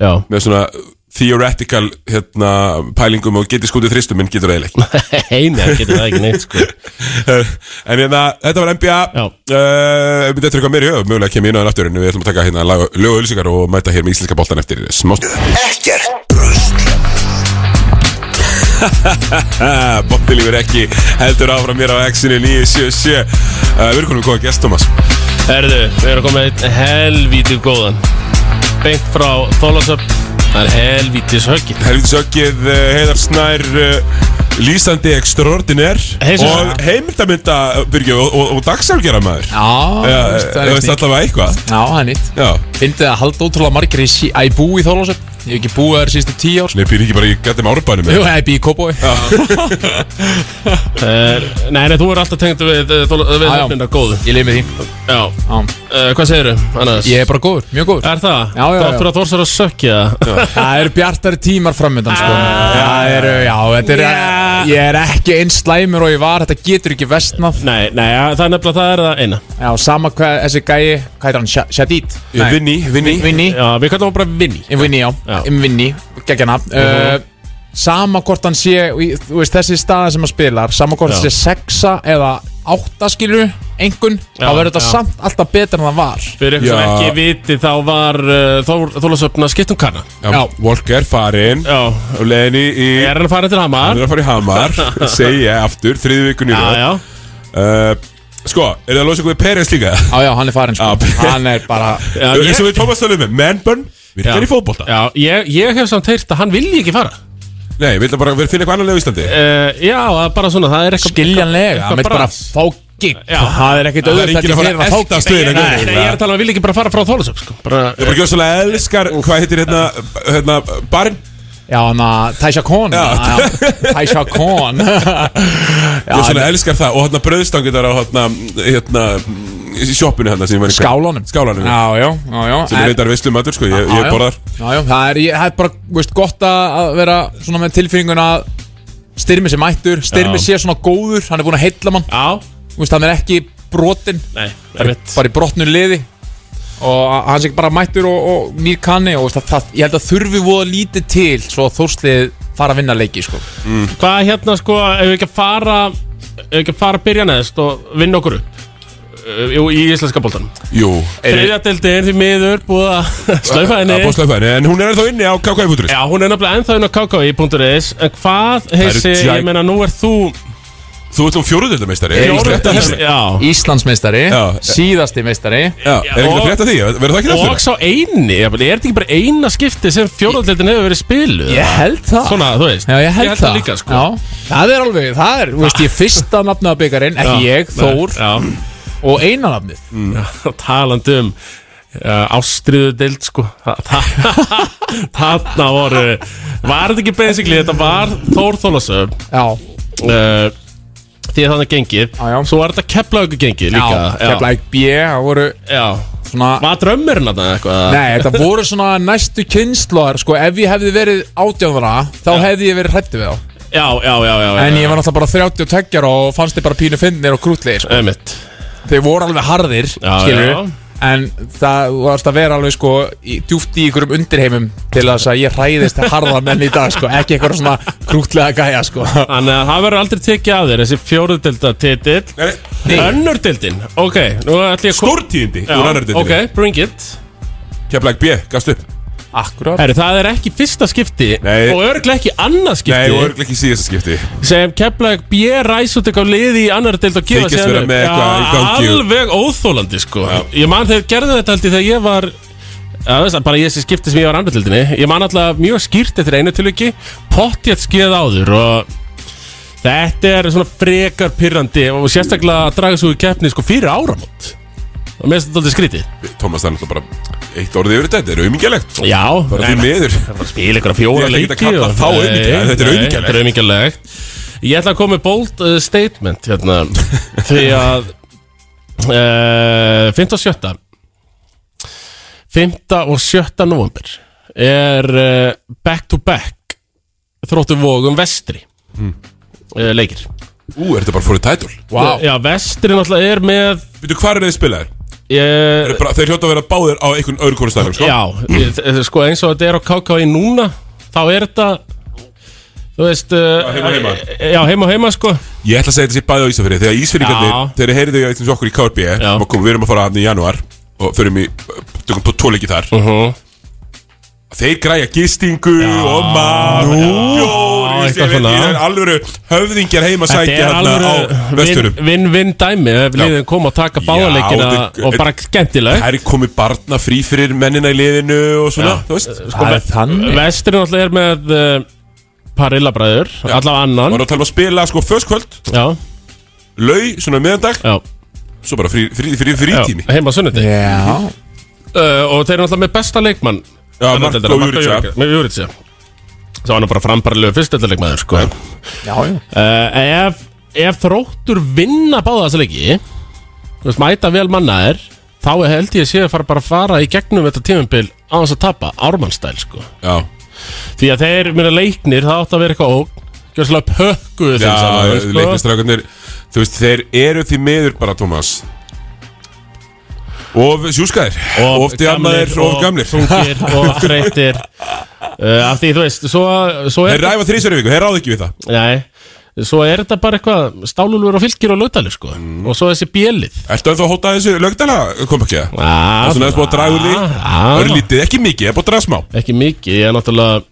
já, Með svona theoretical hérna, pælingum og getið skútið þristum minn getur það eiginlega ekki heini, hann getur það ekki neitt sko. En hérna, þetta var NBA Já. uh, Við þetta er eitthvað meir í höf Mögulega kem ég inn á þann aftur En við ætlum að taka hérna lag- lög og ölsingar Og mæta hér með íslenska boltan eftir smást Ekkert brust Bottilífur Eh, ekki heldur áfram mér á X-inu 977 uh, Við erum konum góða gest, Thomas Herðu, við erum komið eitt helvítið góðan Beint frá Þólasöp Það er helvítis höggið Helvítið sökkið uh, Heiðar Snær uh, Lýsandi extraordinær Hey, svo- Og heimildamynda, uh, Birgir, og, og, og dagsafgjara maður Já, eh, þú Já, veist, það það er veist nýtt allavega eitthvað Já, það er nýtt Já, Fyndið að halda ótrúlega margir í, sí- að í bú í þólasöp Ég hef ekki búið þar síðustu tíu ár sko. Nei, býr ekki bara í gættum árbænum Jú, eða? það er bíði kópói uh, Nei, nei, þú er alltaf tengd við, eh, þol- við Já, já. höfnina góðu Ég leið með því Já, Já. uh, hvað segirðu annars? Ég er bara góður, mjög góður Er það? Já, já, já. Þáttur að Þórsar að sökja Það eru bjartari tímar framöndan sko. Það eru, já, þetta er Yeah. Ég er ekki eins slæmur og ég var Þetta getur ekki vestnað Nei, nei, eh, það er nefnilega það er það eina Já, sama hvað þessi gæi Hvað heitir hann? Sha- Shadid? Ég Vinni, vinni Vinni Já, við kallum hann bara Vinni Vinni, já Já. Vinni, geggjana uh, Sama hvort hann sé í- Þú veist, þessi staðan sem hann spilar Sama hvort Já. hann sé sexa eða átta skilur Engun Já, Þá verður þetta já. samt alltaf betur en það var Fyrir ykkur sem Já. ekki viti þá var uh, Þór, Þólasöfn að skipta um kanna Já, Walker farin Já, og leiðin í, í er hann að fara til hann Hamar er að fara í Hamar segi ég aftur, þriði vikun í Já, já, röð Sko, er það að losa ykkur við Peres líka? Já, já, hann er farin sko Já. Hann er bara já, Það er eins ég, og við Thomas tölum með Manburn Já. virkar í fótbolta já ég, ég hef samt heyrt að hann vilji ekki fara Nei, við ætlum bara að finna eitthvað annar leið í Íslandi uh, Já, það er bara svona, það er eitthvað Skiljanlega eitthvað Hann vil bara brans. fá gig Já. Það er ekkit Það er auðvitað enginn að fara fyrir að fá elda gig. stöðina Nei, nei, ég er að tala um að vilja ekki bara fara frá Þólasöfn sko. bara, Ég bara gjössalega elskar, hvað heitir hérna, hérna, barinn? Já, hann að Taisha Khan Taisha Khan Gjössalega elskar það og hérna bröðstangir þar á hérna, hérna, í sjoppinu hérna sem ég var í Skálanum Skálanum, Já, já, já, já sem er reyndar veistlum öllur, sko, ég, Já, ég já. borðar Já, já, það er, ég, það er bara, veist, gott að að vera svona með tilfinninguna að styrmi sé mættur, styrmi sé svona góður hann er búin að heilla mann, Já, veist, hann er ekki brotinn, nei, það er mitt bara í brotnu liði og að- hann sé bara mættur og, og nýr kanni og veist, að, það, ég held að þurfi voða lítið til svo að þórslið fara að vinna leiki sko. Hvað hérna sko, ef við ekki að fara ef við ekki að fara að byrja neðst og vinna okkur upp uh, í í íslenska boltanum Jú, Þriðja deildi er því miður búið að slaufa henni að bóðslöfæðinu, en hún er ennþá inni á KK.is Já, hún er nefnilega ennþá inn á kki.is En hvað, heisi, eru ég jag- meina nú er þú Þú ert um fjóruðöldameistari Ég- Er ekki frétt af Ísland. því? Já, Íslandsmeistari, Já. síðasti meistari Já, er ekki Og- frétt af því? Verður það ekki næstur? og sá eini jafnvel, Er þetta ekki bara eina skipti sem fjóðaldeildin hefur verið spiluð? ég held það Svona, þú veist Já, ég held, það líka, sko Já, það er alveg, það er, þú veist, ég fyrsta nafnið að byggarinn, ekki Já, ég, nei, Þór Já, og eina nafnið Já, talandi um uh, ástriðu deild sko Þa- þa- þarna voru var þetta ekki basically þetta var Þór Þólasöf Já, uh, því að þannig gengið Já, já. svo var þetta keplaugu gengið líka já, Keflæk Hérna, B, það voru já. svona var drömmurinn þarna eitthvað Nei, þetta voru svona næstu kynnslóðar sko, ef ég hefði verið átjáðara þá hefði ég verið hrætti við þá já, já, já, já, já en ég var náttúrulega bara 30 og teggjar og fannst þið bara pínu finnir og krútlegir sko. Einmitt. þeir voru alveg harðir, Já, skilur já. en það þú varst að vera alveg sko í, djúpt í ykkurum undirheimum til þess að ég hræðist harða menn í dag sko, ekki eitthvað svona krútlega gæja sko þannig að það verður aldrei tekið af þér þessi fjóruð deilda titill Nei, Nei. önnur deildin ok nú ætlum ég að Stórtíðindi Já, úr annar ok, dildinni bring it Keflæk B, gafst upp Akkurat Heru, það er ekki fyrsta skipti Nei. og örglega ekki annað skipti Nei, og örgulega ekki í síðasta skipti sem Keflavík B ræs út eitthvað liði í annar deild og gefa Þykist vera upp. með Já, eitthvað í gangi og- alveg óþólandi sko ég man þegar gerðu þetta held ég þegar ég var Já, veist, það, bara ég sé skipti sem ég var annar deildinni ég man alltaf mjög skýrt eftir einu tilviki pottjætt skeið áður og þetta er svona frekar pyrrandi og sérstaklega að draga svo í keppni sko fyrir áramót og mér finnst þetta alltaf skrítið Thomas, það er náttúrulega bara eitt orðið yfir þetta Þetta er aumingjulegt Já, Bara nei, því nei. miður Það er bara að spila ykkur að fjóra Ég ætla leiki ekki að kalla og- þá Nei, aumingjulegt, þetta er nei, aumingjulegt. Þetta er aumingjulegt Ég ætla að koma með bold uh, statement hérna Því að uh, 5. og 7. 5. og 7. november er uh, back to back þróttu vogum vestri uh, leikir Eh, Ú, er þetta bara fórið tætul Vá. Já, vestri náttúrulega er með Býtu, hvar er þeir spilaðir? uh, Þeir bara- Þeir hljóta að vera báðir á einhvern öðru konu staðnum, sko? Já, ég- þ- sko eins og þetta er á KKI núna Þá er þetta Þú veist Já, heima og heima. Já, heima og heima sko Ég ætla að segja þetta sér bæði á Ísafirði Þegar Ísfyrringarnir, Já. þeir heyrðu í eins og okkur í KRB Já. um að koma- Við erum að fara hann í januar Og förum í, tökum på tóleiki þar uh -huh. Þeir græja gistingu og mat Já, Bjór, eitthvað svona. Ísafirði Alvöru höfðingjar heima Þetta sækja er hérna á alveg vesturum vinn-vinn dæmi Ef liðin kom að taka báðaleikina þetta- Og bara skemmtileg Það er komið barna frí fyrir mennina í liðinu og svona, þú veist sko, Það er þannig. Vesturinn alltaf er með uh, Parillabræður, allavega annan Var að tala um að spila sko fyrst kvöld, Já, lau, svona meðandag já, Svo bara frí, frí, frí, já frítími Heima á sunnundi Já Eh, uh, Og þeir eru alltaf með besta leikmann Já, Annar Marko deildina, Marko Jurica. Jurica. Með Júritsa Það var nú bara frambarlegu fyrstöldarleikmaður sko. uh, Já, já Eh, ef, ef þróttur vinna báða þessa leiki þú veist, mæta vel mannaðir þá held ég að sé að fara bara að fara í gegnum þetta tímumbil á þess að tapa ármannstæl sko. Já, því að þeir mjög leiknir það átt að vera eitthvað ógn gjörslega pökkuðu þeim já saman, sko. leiknistrákunir Þú veist, þeir eru því miður bara, Tómas Of sjúskaðir Of djamaðir, of gamlir þungir og þreytir uh, af því þú veist svo, svo Þeir er, ræfa þrísverju viku, þeir ráð ekki við það nei, svo er þetta bara eitthvað stálulur og fylgir og lautalir sko Mm. og svo þessi bjelið Ertu ennþá að hóta þessu lögdala, kom ekki það? ah, Það er svona aðeins búið að draga úr því Örlítið, ekki mikið, það er búið að draga smá ekki mikið, ég er náttúrulega uh,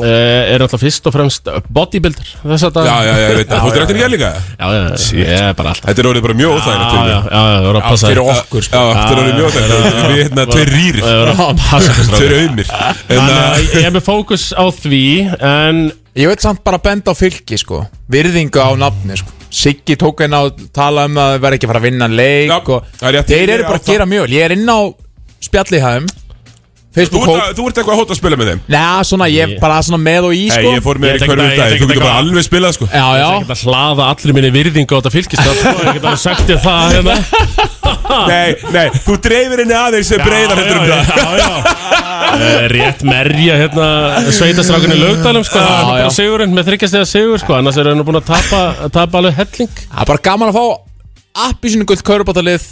er náttúrulega fyrst og fremst bodybuilder þess að Já, já, já, ég veit það, þú veist rættin ekki líka já, já, ég er bara alltaf Þetta er orðið bara mjög já, óþægilegt já, fyrir já, mig. já, það er að passa Fyrir okkur, sko Já, þetta er orðið mjög óþægilegt Við hérna tveir rýrir, það er að passa okkur, strákar. tveir auðmir En Þannig að, að ég er með fókus á því en Ég veit samt bara að benda á fylki, sko Virðingu á nafni, sko Siggi tók einn á að tala um að vera ekki að fara að vinna leik Já, og það er rétt. Þeir Ég er eru bara á að gera mjög vel. Ég er inn á spjallihæðum þú Facebook ert hóp að- þú ert eitthvað að hóta að spila með þeim Næ, svona, ég Ég- bara svona með og í, Nei, sko ég fór Ég með þér í tek hverju þetta- dag ég tek Þú getur þetta- bara alveg spilað, sko Já, já ég get að hlaða allir minni virðingu á þetta fylgistaf sko, ég get að sagt þér það hérna Nei, nei, þú dreifir henni aðeins sem breiðar heldur um Já, það já, já, já. Eh, Rétt merja hérna sveitastrákunni lögdælum sko, já, já. bara sigurinn með þryggjast eða sigur sko, annars er hann búin að tapa, tapa alveg helling Það er bara gaman að fá appisinu gullt kaurubátalið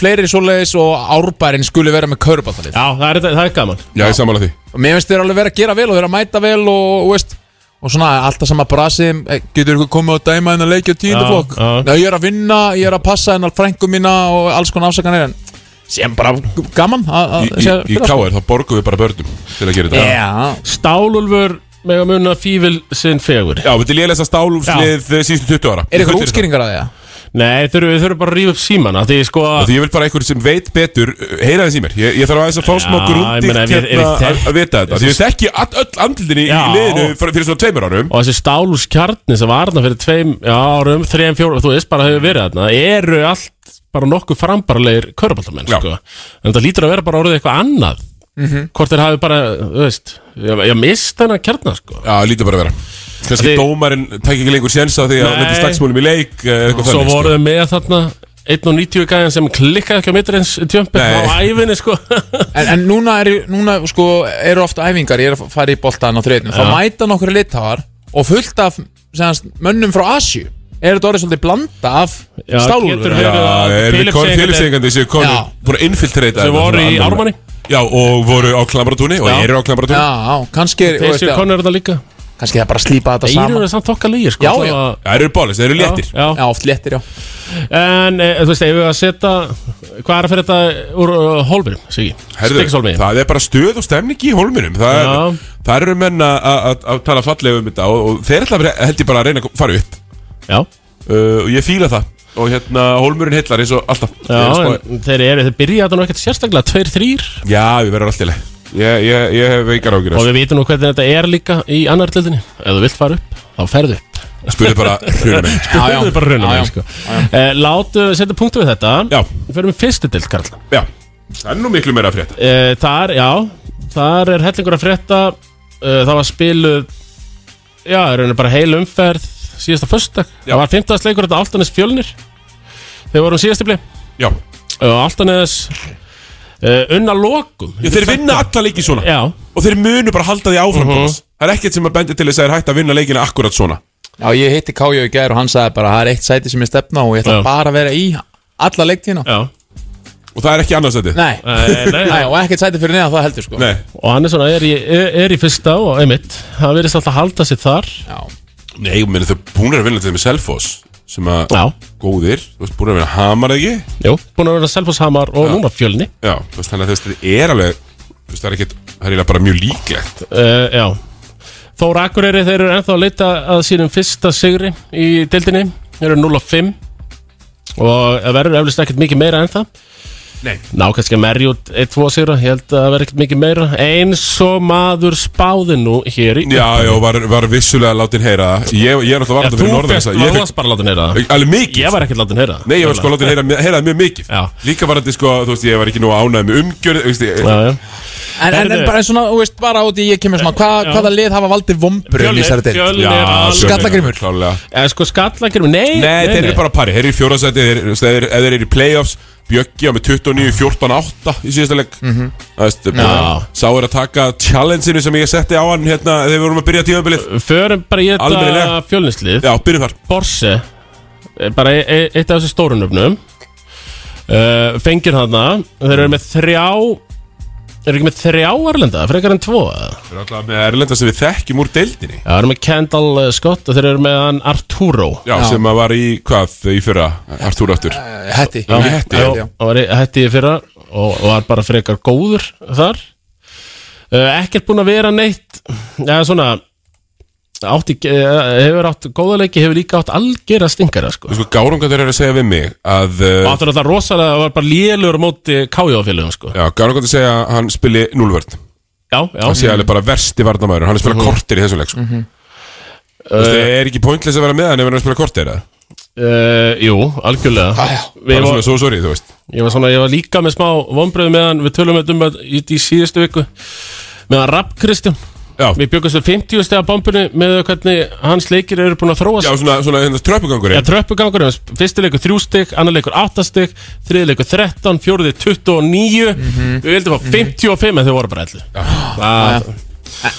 fleiri svoleiðis og árbærin skuli vera með kaurubátalið Já, það er, það er gaman Já, ég samanlega því og mér finnst þeir alveg vera að gera vel og þeir að mæta vel og, og veist og svona alltaf sama brasi eh, getur ykkur komið og dæma hennar leikja og Já, tíundaflokk já. Nei, ég er að vinna, ég er að passa hennar frængu mína og alls konar afsakanir en sem bara gaman að að Í- Í, sjá- í káar, þá borgum við bara börnum til að gera þetta Já, Stálulfur með að muna fífil sinn fegur Já, þetta er lélæsta stálúfslið eh, síðustu 20 ára er ykkur Fullyrði það. útskýringar að það? Nei, þurfum við þurfum bara að rífa upp símana Því sko Af Því ég vil bara einhver sem veit betur uh, Heyra þess í mér Ég, ég þarf aðeins að fá smá Já, ég grúti meina, ef ég- ef ég hérna að þekk- að vita þetta Því ég þekki all, öll andlindin í, í Já. liðinu fyrir, fyrir svona tveimur árum og þessi stálúskjarni sem var þarna fyrir tveim já, árum, þreim, fjórum, þú veist bara hefur verið þarna eru allt bara nokkuð frambarlegir körubaltamenn Já. sko. en það lítur að vera bara orðið eitthvað annað hvort þeir hafi bara, þú veist ég, ég mist þennan kjarnar sko. Já, lítið bara að vera Kannski Því- dómarinn tæk ekki lengur séns á því að Nei. lendi slagsmúlum í leik eh, eitthvað svo þannig, sko. voru þau með þarna 1.90 gæðan sem klikkaði ekki á mitrins tjömpi Nei. á æfinni sko En, en núna, er, núna sko, eru ofta æfingar, ég er að fara í boltan á þriðinu, þá mæta nokkur litáar og fullt af segans, mönnum frá Asju. Er þetta orðið svolítið blanda af Já, getur stálúlur? verið. Já, Já, Fyrir að- erum við Philips kon- segir Philips-eigandi sem kom Já. búin að infiltreita Sem þetta voru svona í almennilega. Ármanni. Já, og voru á Klambratúni og Já. eru á Klambratúni já, kannski er, þú veist, þessi já, konur er þetta líka kannski það er bara að slípa þetta þeir saman. eru samt okkar lígir sko Já, þó já. að- Það eru bólis, það eru já, léttir já. Já, oft léttir, já. en e, þú veist, ef við að setja hvað er að fyrir þetta úr uh, hólminum, Sigi? Herðu, Stikshólmi það er bara stöð og stemning í hólminum Það, er, Já. það eru menn að- að að tala fallega um þetta og, og þeir ætla að vera- held ég bara að reyna að fara upp Já, uh, og ég fíla það og hérna hólmurinn heillar eins og alltaf já Ég er að spá- en þeir eru, þeir byrja þetta nú ekkert sérstaklega, tveir, þrýr já við verðum alltaf leið ég, ég, ég hef veikar ágjur og við vitum nú hvernig þetta er líka í annar tildinni ef þú vilt fara upp, þá ferðu upp spurði bara hrjuna mig Já, já. Þetta er bara raunum Já, já. sko. Eh, Látu, setja punktu við þetta Já. Við fyrir með fyrstu dild, Karl já það er nú miklu meira að frétta eh, Þar, já, þar er hellingur að frétta eh, Það var spiluð Já, í rauninni bara heil umferð Síðasta föstudag Já. Það var 15. leikur þetta Altanes fjölnir Þeir vorum síðast í blei já og Altanes uh, unna lokum Já, þeir vinna alla leiki svona Já, og þeir munu bara halda því áfram uh það er ekkert sem að bendi til þess að þeir hægt að vinna leikina akkurat svona Já, ég hitti Kájó í gær og hann sagði bara, það er eitt sæti sem ég stefna á og ég ætla Já. bara að vera í alla leiktíðina. já og það er ekki annars þetta Nei, Nei, nei. nei, og ekkert sæti fyrir neðan það heldur, sko. Nei. Og hann er svona, er í, er, er í fyrsta og einmitt Hann verðist alltaf að halda sér þar Já, Nei, ég meina þau búin að vinna til þeim með Selfoss sem að Já, góðir, þú veist, búin að vinna hamar eða ekki jú, búin að vera Selfosshamar og núna fjölni Já, þú veist, þannig að þú veist, þetta er alveg þú veist, það er ekkert, það er eiginlega bara mjög líklegt uh, Já Þór Akureyri, þeir eru ennþá að leita að sínum fyrsta sigri í deildinni Þeir eru 0 og 5 Og það verður eflust ekkert mikið meira en það Nei. Ná kannski að merja út 1-2 sigra Ég held að það verður ekkert mikið meira Eins og maður spáði nú hér í Já, já, var, var vissulega látin heyra það. ég, ég er náttúrulega Já, varandi Þú fyrir norðan fyrst, þess að þú ég varst bara látin heyra það fekk alveg mikið Ég var ekkert látin heyra Nei, ég var sko látin heyra, heyra það mjög mikið Já. Líka varandi sko, þú veist, ég var ekki nú ánægð með umgjörð þú veist, ég, Já, já En, en, en Herðu. bara svona, þú veist, bara út í ég kemur svona hva, Já. Hvaða lið hafa valdið vombrun í Fjölnir, þessari deild? Fjölnir, alveg- Skallagrímur. Klálega Eða sko skallagrimur, nei Nei, þeir eru bara á pari, þeir eru í fjórðarsæti þeir- þú veist, Þeir ef þeir eru í playoffs Bjöggi á með 29, 14, 8 í síðasta leik Það veist, bara- Sá er að taka challenge-inu sem ég setti á hann hérna þegar við vorum að byrja tímabilið Förum bara í þetta Almennilega. fjölnislið Já, byrjum þar Borse bara e- e- eitt af þessu stórunöfnum uh, fengir hana þeir eru með þrjá þeir eru ekki með þrjá Erlenda, frekar en tvo eða? Þeir eru alltaf með Erlenda sem við þekkjum úr deildinni Já, þeir eru með Kendall eh, Scott og þeir eru með hann Arturo Já, Já. sem að var í, hvað, í fyrra Artúr áttur Eh, Hetti Já, Hetti, já. Já, hann var í- hætti í fyrra og, og var bara frekar góður þar uh, ekkert búin að vera neitt eða svona átti, eh, hefur átt góða leiki hefur líka átt algjör að stingara sko. Sko, gárungar þeir eru að segja við mig að og uh, áttur alltaf rosalega var bara lélur á móti kájáfélugum sko. Já, gárungar þeir segja að hann spili núlvörn já, já, Það sé alveg bara versti varnamæður Hann er að Mhm. spila kortir í þessum leik sko. Þú veist, Eh, Það er ekki pointless að vera með hann ef hann er að spila kortir eða? Uh, jú, algjörlega Ah, já. Við Bara var, svona, svo sorry, þú veist ég, var svona, ég var líka með smá vonbröðu meðan Við tölum þetta um að í, í síðustu viku Meðan Rapp Kristján Já, Við byggumst við 50 stega bombunni Með hvernig hans leikir eru búin að þróast já svona, svona hérna, Já, tröppugangurinn tröppugangur, hans fyrsti leikur 3 stygg, annar leikur 8 stygg, þriði leikur 13, fjóruði 29, við vildum fá 55 en þau voru bara 11. Það,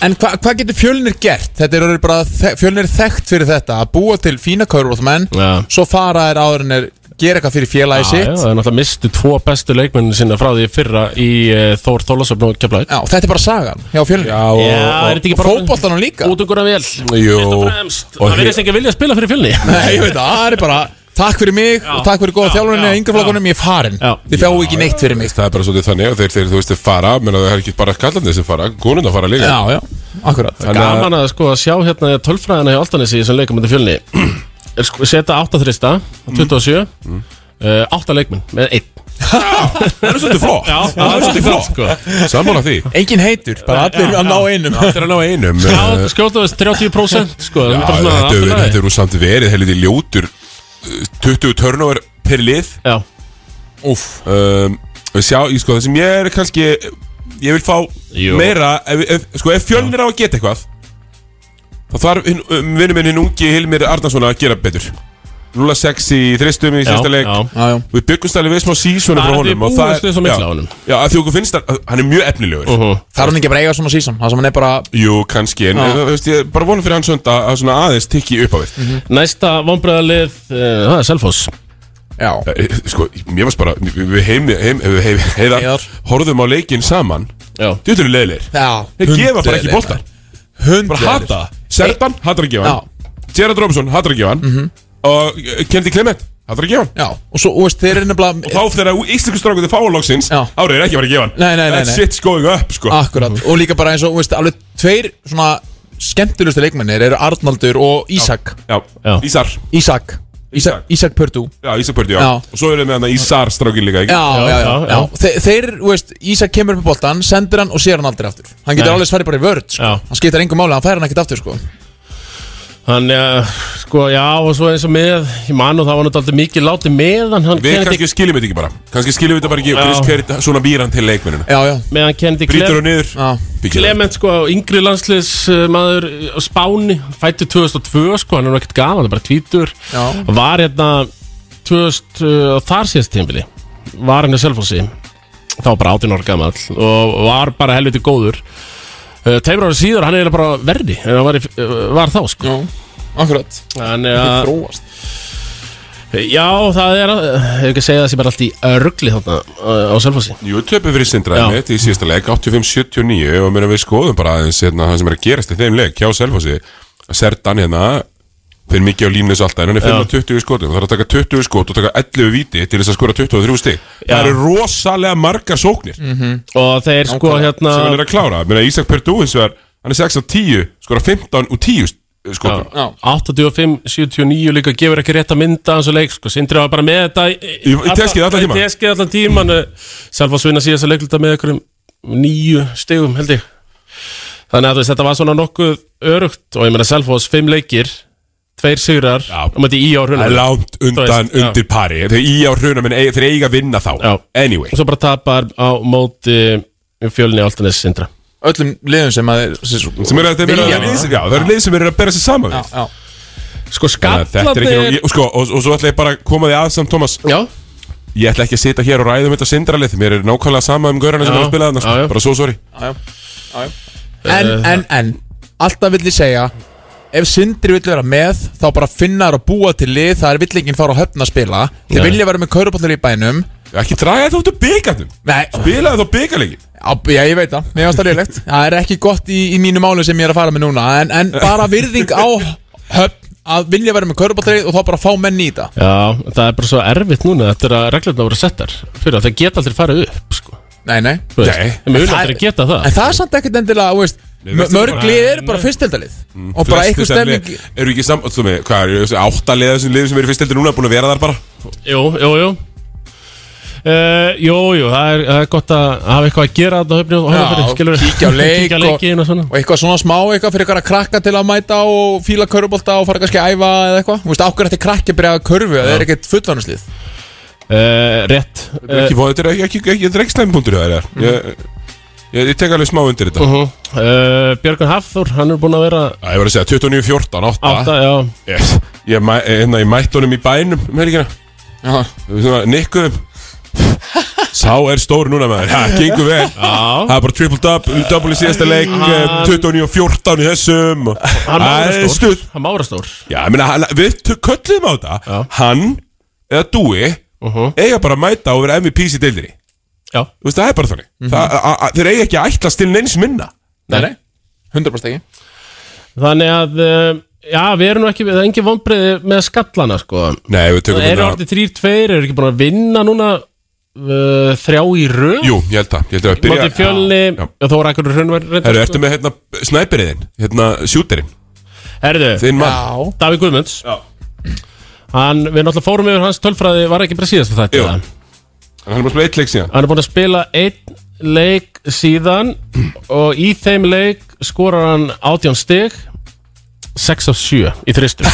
En hva, hvað getur fjölnir gert? Þetta er orðið bara, þe- fjölnir er þekkt fyrir þetta Að búa til fína kaurúðmenn Já. Svo fara þeir áður en er gera eitthvað fyrir félagi Já, já, sitt það er náttúrulega mistu tvo bestu leikmennin sinna frá því í fyrra í uh, Þór Þólasöfn og Keflæk. Já, þetta er bara sagan hjá fjölnir Já, og, Já, er og, þetta ekki Og bara fótboltanum líka Út okkur að vel Jú. Fyrst og fremst Og Það verðist ekki vilja að spila fyrir fjölni Nei, ég veit það, það er bara Takk fyrir mig og takk fyrir góða já, þjálfurinn já, eða yngreflokkunum, ég er farin Já. Þið fáu ekki neitt fyrir mig sko. það er bara svolítið þannig og þeir, þeir, þú veist, þeir fara menn að það er ekki bara kallandi sem fara, konuna fara líka Já, já, akkurat Þannig að- Gaman að sko að sjá hérna tölfræðina í Altanesi sem leikum undir fjölni er sko seta 8 þrista 27 mm. uh, 8 leikmenn með 1 Það er svolítið flott Það er svolítið flott sko Sammála því Engin heitur, bara allir að ná einum Það er að ná einum eh, Já, skjóta þess 30% sko Já, já, bara þetta svona hefur aftur þetta aðeins hefur nú samt verið helviti ljótur eh, 20 turnover per lið Já, Úf, um, Sjá, ég sko, það sem ég er kannski Ég vil fá Jú. meira ef, ef, Sko, ef fjölnir á að geta eitthvað Þá þarf hinn- um, vinnur minn hinn ungi Hilmir Arnarsson að gera betur 0-6 í þristum í já, síðasta leik já já, já Við byggumst alveg við smá sísonu Það frá er honum því og búumst við svo miklu já, á honum. Já, af því okkur finnst að hann er mjög efnilegur Mhm. Þarf hann ekki bara að eiga svona sísón, það sem hann er bara Jú, kannski, en Já. þú veist, ég er bara vonum fyrir hans hund að að svona aðeins tikki upp á við Mhm. Næsta vonbröðalið uh, Það er Selfoss Já, Eh, Sko, mér varst bara, við heim, heim, heim, heim heiðar, Heiðar. horfðum á leikinn saman Já Djútur leiðilegir já Þeir gefa bara ekki bolta Bara hata Sertan, hatar að gefa Já. Mhm. hann Gerard Robinson, hatar að gefa hann Og eh, Kennedy Clement, hatar að gefa hann Já, og svo, og veist, þeir eru nefnilega Þá þegar íslensku strákuði fáalóksins Eh. Já. Árið er ekki að vera að gefa hann Nei, nei, nei, That nei. shit's going up, sko Akkurat, og líka bara eins og, veist, alveg tveir svona skemmtilegustu leikmennir eru Arnaldur og Ísak Já, Já. Ísar Ísak Ísak, Ísak Pördú Já, Ísar Pördi, já. Já. Og svo erum við hann Ísar strákin líka, ekki? Já, já, já, já, já, já. Þe, Þeir, þú veist, Ísak kemur upp í boltan, sendir hann og sér hann aldrei aftur Hann getur Nei. alveg svarið bara í vörð, sko Já. Hann skiptar engum máli, hann fær hann ekkert aftur, sko Þannig að, sko, já, og svo eins og með Ég man og það var náttúrulega mikið látið meðan hann Við Kennedy- kannski skiljum þetta ekki bara Kannski skiljum þetta bara ekki Chris Perry, svona býran til leikmennina Já, já, meðan Kennedy Brýtur Clem hann niður já, byggir hann. Clement sko, yngri landsliðs uh, maður á Spáni, fættu 2002 sko, hann er nú ekkert gaman, hann er bara tvítur Já. var hérna 2000, uh, þar síðast tímbili var hann í Selfossi þá var bara 18 ára gamall og var bara helviti góður uh, teimur ára síður, hann er eiginlega bara verði en hann var, í, uh, var þá sko já Akkurat, Þannig að, þróast já, það er að, hefur ekki að segja það sem er allt í ruggli þarna uh, á Selfossi Jú, töpu fyrir Já. sindræðið í síðasta leik 85-79 og meina við skoðum bara aðeins hérna, það sem er að gerast í þeim leik hjá Selfossi Sertan hérna fyrir mikið á línu þessu alltaf en hann er Já. fyrir með 20 skotum það er að taka 20 skot og taka 11 viti til þess að skora 23 stig Já. Mhm. það eru rosalega margar sóknir og þeir sko hérna sem hann er að klára meina Ísak Perdú hins vegar hann er 6 af 10 skora 15 og 10 st- skotum 85-79 líka gefur ekki rétt að mynda hans og leik sko, Sindri var bara með þetta Í- í teskið allan tímann. í teskið allan tíman Selfoss vinna síðast að leikluta með einhverjum nýju stegum held ég þannig að þú veist, þetta var svona nokkuð örugt og ég meina Selfoss fimm leikir tveir sigrar Já. og mætti í ár það er hruna langt undan Þú veist, já. undir pari þegar í á hruna menn eig- þeir eiga að vinna þá Já. anyway og svo bara tapar á móti fjölni áltanis sindra öllum liðum sem að þeir- sem, sem eru að þetta vera Vilja. lið sem- já, það eru lið sem eru að bera sér saman já, við já. Sko Þannig að þetta er ekki, og, skallarnir ég- og, sko, og, og svo ætla ég bara að koma því að samt Thomas Já, Ég ætla ekki að sitja hér og ræða um þetta sindralið Mér er nákvæmlega sama um gaurana sem Já, er að spila þarna já, sko. já. Bara svo sorry Já, já. Já, já. en, en, en alltaf vill ég segja ef Sindri vill vera með þá bara finna þær að búa til lið það er villingin fara á höfn að spila Já. þeir vilja vera með kauruballur í bænum Ekki draga þetta út úr byggarnum Nei, Bilaði þá byggarleikin á, já, ég veit það, mér varst það liðlegt það er ekki gott í, í mínu máli sem ég er að fara með núna en, en bara virðing á höfn að vilja vera með kauruballur og þá bara fá menn í þetta Já, það er bara svo erfitt núna Þetta er að reglurna voru settar Fyrir að það geta aldrei farið upp sko. Nei, nei Þú veist, Nei. En við En viljum það- aldrei geta það En það er samt ekkert endilega, þú veist, Nei, veistu mörg bara- Mm. lið eru bara fyrstildalið Og bara einhver stemming Eru ekki saman, þú með, hvað er, áttaliða þessum liðum sem eru fyrstildur núna Búin að vera þar bara Jú, jú, jú Uh, jú, jú, það er, það er gott að hafa eitthvað að gera þetta höfni og Já, kíkja á Kíkja leik á og- leikin og svona og eitthvað svona smá eitthvað fyrir eitthvað að krakka til að mæta og fíla körubólta og fara kannski að æfa eða eitthvað Þú veist, ákveður þetta krakki að byrja að körfu það er ekkert fullanarslið uh, Rétt uh, Ekki, Þetta er ekki, ekki, ekki, þetta er ekki slæmpunktur hjá þér Mm. eða? Ég, ég, ég tek alveg smá undir þetta uh, Björgun Hafþór, hann er búinn að vera Æ, Ég var að segja 29-14, 8 átta, já, yes. Ég, mæ, hérna, ég mætt honum í bænum um helgina Já, Við svona nikkuðum Sá er stór núna maður Það gengur vel Já. Það er bara triple double, double í síðasta leik eh, 29 og 14 í þessum og- hann má Það vera er stór stuð Hann má vera stór Já, ég meina, hann- við tök- kölluðum á þetta Já. Hann eða Dúi eiga bara að mæta og vera MVPs í deildinni Já, Þú veist, það er bara þannig Mhm. það, a, a, Þeir eiga ekki að ætla til neins minna nei, nei, 100% ekki þannig að uh, Já, við erum nú ekki, það er engin vonbreiði með skallana sko Nei, við tökum Það eru hérna orðið þrýr, tveir, eru ekki búin að vinna núna uh, þrjá í röð Jú, ég held það, ég held það að Mátti byrja fjölni, Já. já þó er ekkur hrunvar Herru, ertu með hérna snæperiðin, hérna sjúterinn Herðu, Þinn mann Já, Davík Guðmunds Já. Hann, við náttúrulega fórum yfir hans tölfræði var ekki bara síðast að Jú. þetta Hann er bara að spila eitt leik síðan Hann er búin að spila einn leik síðan og í þeim leik skorar hann átján stig 6 af 7 í þristum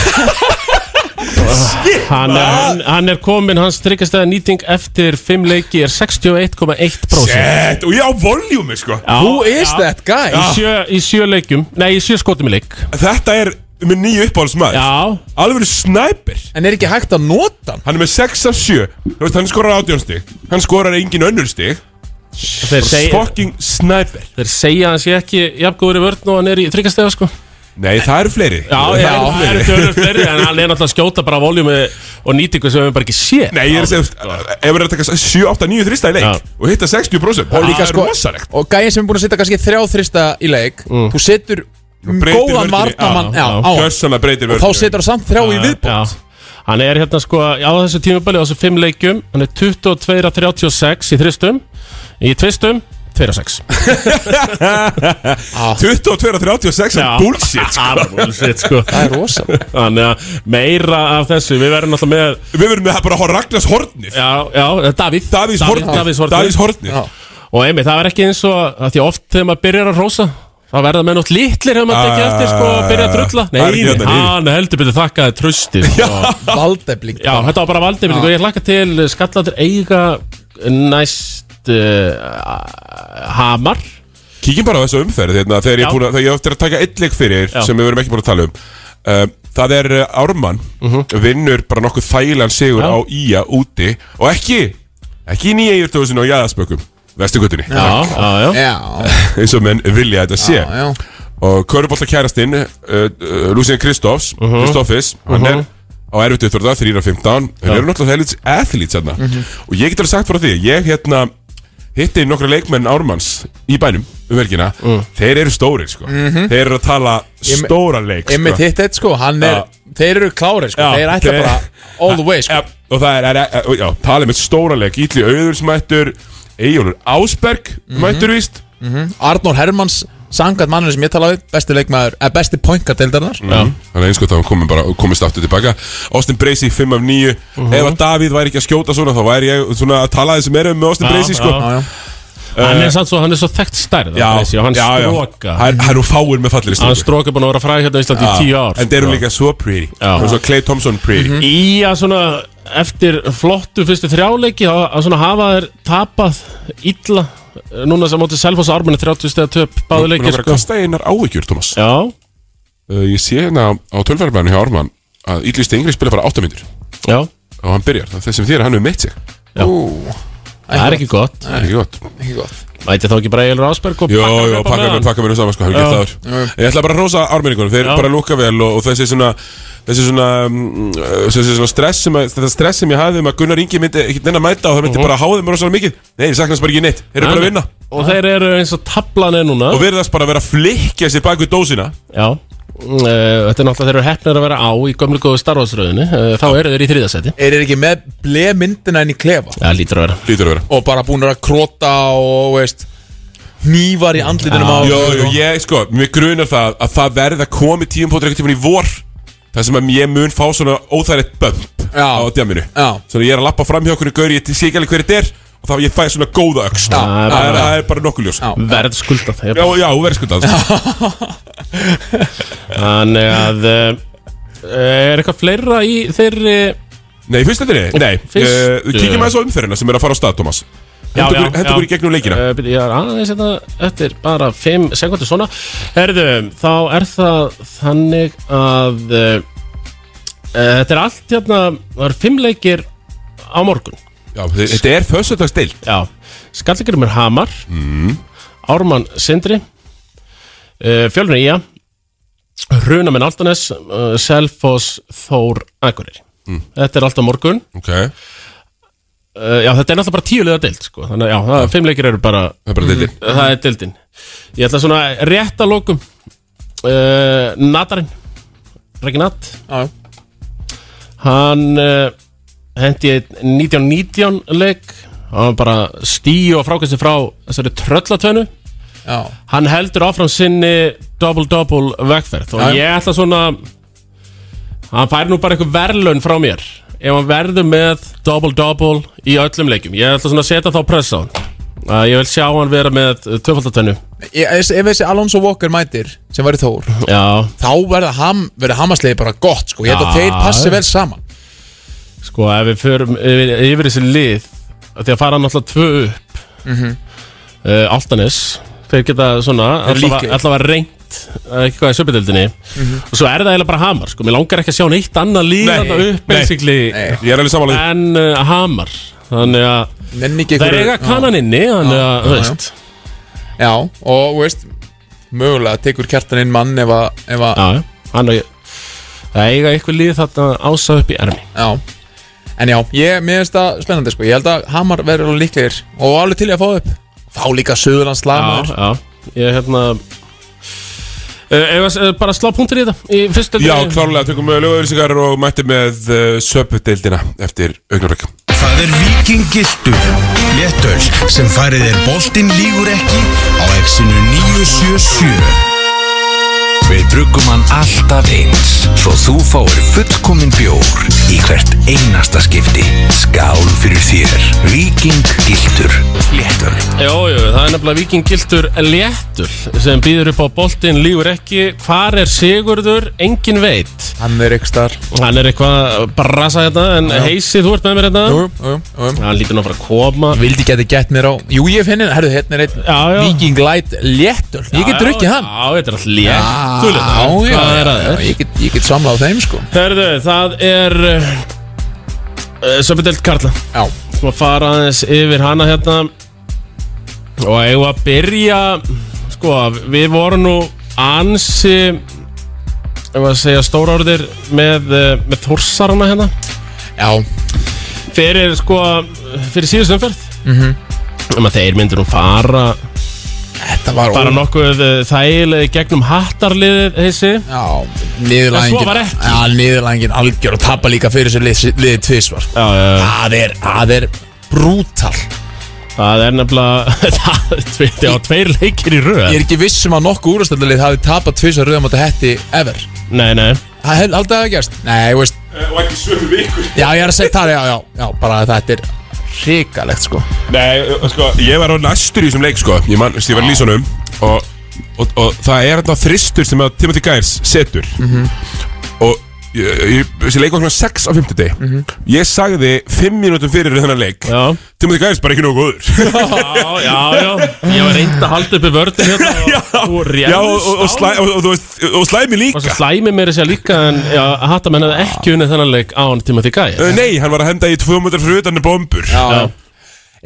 hann, er, hann, hann er komin hans tryggastæða nýting eftir 5 leiki er 61,1% Shit, og ég á voljúmi sko who is that guy? Í sjö, í sjö leikum, nei í sjö skotum í leik Þetta er með nýju uppáhaldsmaður Já, Alveg snæper En er ekki hægt að nota hann? Hann er með 6 af 7 Þú veist, hann skorar 18 stig Hann skorar engin önnur stig þeir segja, Fucking snæper þeir segja að hann sé ekki jafngóður í vörn og hann er í tryggastæða sko Nei, það eru fleiri Já, það já, eru það eru tölur fleiri en hann er náttúrulega að skjóta bara voljumi og nýtingu sem við bara ekki sé Nei, ég er að segja, þú veist, ef við erum að taka 7, 8, 9 þrista í leik Já. Og hitta 60% Það líka er sko- rosalegt Mm. Og gæin sem er búin að setja kannski þrjá þrista í leik Þú setur breytir vörninni, góðan varnamann um já, Já, já. á hann Gjössanlega breytir Þá vörðinu setur hann samt þrjá í viðbútt Já, hann er hérna sko á þessu tímabæli á þessu fimm leikjum hann er 22 að 36 í þristum í tvistum 2 að 6 22, 36, Já. bullshit sko. Bullshit sko Það er rosa Þannig að meira af þessu við verðum alltaf með Við verum með bara að horfa Ragnars hornið já, já, Davíð Davís hornið Davís Hortni Davís hornið Já. og einmitt það er ekki eins og að því oft þegar maður byrjar að rósa Það verða með nátt litlir hefur maður tekið Ah, eftir sko að byrja að drulla það er Nei, ekki hérna, nei. hann heldur betur þakkaði tröstið Já, Valdefling Já, þetta var bara valdið og ég hlakka til skallatur eiga næst uh, hamar Kíkjum bara á þessu umferð hérna, þegar ég, Já. er búinn að, þegar ég eftir að taka eitt leik fyrir Já. sem við verum ekki búin að tala um uh, Það er uh, Ármann vinnur bara nokkuð þægilegan sigur Já. á Ía úti og ekki ekki í nýja yfirtöðusinu á Jæðaspökum Vesturgötunni, Já, já, Eh, já, Já, eins og menn vilja þetta sé já, já. og Körubolta kærastinn uh, uh, Lucien Kristoffs, Kristoffis hann er á erfitt upptörða 3.15 þeir eru náttúrulega helvits athletes hérna og ég getur sagt frá því, ég hérna hitti nokkra leikmenn Ármanns í bænum um helgina, þeir eru stórir sko. þeir eru að tala me- stóra leik sko. Einmitt hitt eitt sko, hann er Þeir eru klári sko, Já, þeir ætla þeir- bara all the way sko Ja, og það er, er, er já, talið með stóra leik Ítli Auður sem mættur Eyjólfur Ásberg mættur víst Arnór Hermanns sangat mannur sem ég talaði besti leikmaður, eða besti poinka deildarnar Þannig að einskott að hann komi bara, komist aftur tilbaka Austin Bracey 5 af 9 Mhm. Ef að Davíð væri ekki að skjóta svona Þá væri ég svona að tala þessi meira um með Austin Já, Bracey sko. Eh, já. já. Hann er samt svo, hann er svo þekkt stærð Já, þessi, og hann já, já. stróka Hann hann er nú fáir með fallir í Hann stróka búin að vera fræg hérna á Íslandi í tíu ár En þeir eru líka svo pretty Já. Mhm. Og svo Clay Thompson pretty Í að svona eftir flottu fyrstu þrjáleiki að að svona hafa þeir tapað illa Eh, Núna sem mótið Selfoss og Ármenni 30 stegar töp báðu Mér leikir langar að sko. kasta einar áhyggjur, Thomas Já, uh, Ég sé hérna á, á tölværbæðinu hjá Ármann að Ídli Stengri spila bara 8 myndir já, og hann byrjar, það er þess sem þér, hann hefur meitt sig Ú, það er ekki gott Það er ekki gott ekki gott Mæti þá ekki bara Eilur Ásberg og Jó, pakka jó, upp á pakka meðan? mér, pakka mér um saman, sko, hefur gett Já. það áður Ég ætla bara að rosa ármenningunum, þeir Já. bara lúka vel og, og þessi svona þessi svona, mm, þessi svona stress sem, að, þetta stress sem ég hafði um að Gunnar Ingi myndi ekki neina mæta og það myndi bara háði mér rosalega mikið Nei, ég saknast bara ekki neitt, þeir eru bara að vinna Og þeir eru eins og tablan er núna og verðast bara að vera að flikja sér bak við dósina Já Uh, þetta er náttúrulega þeir eru hefnir að vera á í gömlu góðu starfásröðinu uh, þá eru þeir í þriðasæti Er þeir ekki með ble myndina inn í klefa Já, lítur að vera Lítur að vera og bara búin að króta og veist nývar í andlitunum Já. á Jó, jó, ég, sko, mér grunar það að það verði að komi tíumpótur eitthvað tíman í vor Það sem að ég mun fá svona óþægilegt bömp Já. á djaminu Já. Svona ég er að lappa fram hjá okkur í gauri, ég sé ekki alveg hverju þetta er Og þá ég fæ svona góða öxt Já. Það er- það er bara nokkuð ljós Já, verð skulda þeir já, verður skuldað sko. Þannig að uh, er eitthvað fleira í þeirri Nei, fyrst þetta er Nei, Fyrstu. eh, við kíkjum aðeins á umferðina sem er að fara á stað, Thomas Já, Hentu já, okkur- hentu já. okkur í gegnum leikina uh, byrja, Ég er aðeins þetta eftir bara 5 sekundir svona Herðu, þá er það þannig að uh, uh, þetta er allt hérna það eru 5 leikir á morgun Já, þi- Þetta er föstudagsdeild Já, Skallingurumur Hamar Mm. Ármann Sindri uh, Fjölnir Ía Runamenn Altanes uh, Selfoss Þór Akurir Mm. Þetta er allt á morgun Ok, það uh, Já, þetta er náttúrulega bara tíulega deild sko. Þannig að já, það, fimm leikir eru bara er bara deildin Mm. Það er deildin Ég ætla svona rétt að lókum uh, Natarinn Reginat Já. Hann uh, hendi einn 19-19 leik Hann var bara stíu og frákvæmstu frá þessari tröllatönu Já. Hann heldur áfram sinni double-double vegferð og Já, já. ég ætla svona Hann fær nú bara eitthvað verðlaun frá mér ef hann verður með double-double í öllum leikjum Ég ætla svona að setja þá press á hann að ég vil sjá hann vera með tvöfaldatönu Ég- Ef ef þessi Alonso Walker mætir sem var í Þór Já, þá verða ham, verða hamasliði bara gott sko. ég held að Já. þeir passi vel saman sko ef við förum yfir, yfir þessi lið að því að fara náttúrulega tvö upp mm Altanes þeir geta svona líklegir. allavega allavega reynt eh, eitthvað í söpudildinni og svo er það eiginlega bara Hamar sko, mér langar ekki að sjá neitt annað lið Nei, þarna upp nei, basically nei. Ég er alveg Eh. samanlega en uh, Hamar þannig að Nenni ekki þeir einhverju- eiga kanan inni þannig að, þú já, já. veist Já, Já, og þú veist mögulega tekur kjartan inn mann ef að, ef að já, já, hann og ég það eiga eitthvað lið þarna ása upp í ermi Já En já, ég, mér finnst það spennandi sko Ég held að Hamar verður alveg líklegir Og alveg til í að fá upp Fá líka Suðurlands Já, lagmaður já, ég hérna Uh, eða uh, bara slá punktur í þetta í fyrstu Já, klárlega, tökum við lögauðlýsingar og mættum með uh, söpdeildina eftir augnarbrekka Það er vikingiltur Léttöl sem færið er boltinn lígur ekki á exinu 977 Við bruggum hann alltaf eins svo þú fáir fullkomin bjór í hvert einasta skipti Skál fyrir þér Vikingiltur Léttöl Jó, jú, það er nefnilega vikingiltur léttur sem býður upp á boltinn, lífur ekki hvar er Sigurður, engin veit Hann er ykkur starf hann er eitthvað að brasa þetta en heisi, þú ert með mér þetta Jú, jú, jú hann lítur nú að fara að koma Vildi geti gett mér á Jú, ég finn hérna, herðu, hérna er einn Já, já. Viking Light léttöl Ég get Já, drukkið hann Já, þetta er alltaf létt Þú veit það, já, hvað er að já, þér? Ég get, ég get samlað á þeim sko Herðu, það er uh, Söpindelt Karla Já, Svo að fara aðeins yfir hana hérna Og eigum að byrja Sko, við vorum nú ansi Ef að segja stóra orðir Með, eh, með þórsarana hérna já, Fyrir sko, fyrir síðustu umferð um að þeir myndir nú fara þetta var Bara ó- nokkuð eh, þægileg Gegnum hattarliðið heisi Já, En svo var niðurlægingin ekki. Já, niðurlægingin algjör og tapa líka fyrir sér liðið lið tvisvar Já, já, já Það er, það er brútal Það er nefnilega Það er tve- já, tveir leikir í röð Ég er ekki viss um að nokkuð úrastöldarlið hafi tapað tvisvar rauðum á hetti ever Nei, nei Það held aldrei að hafa gerst Nei, þú veist Og ekki sömu vikur Já, ég er að segja það, já, já, já Bara að þetta er hrikalegt, sko Nei, uh, sko, ég var á næstur í þessum leik, sko Ég man, ég var lísunum og, og, og það er þetta þristur sem að Timothy Giles setur Og ég- ég- þessi leik var svona 6 á 50 deg Ég sagði 5 mínútum fyrir þennan leik Já. Timothy Gæðis bara ekki nógu góður Já, já, já Ég var reynd að halda uppi vörðin hérna og- Já, og já og, og, réðst á slæ, og, og, þú veist, og slæmi Og líka svo slæmi mér þess að líka en já, hatta menn hefði ekki unnið þennan leik án Timothy Guy Uh, Nei, hann var að henda í 200 fyrir utan bombur Já,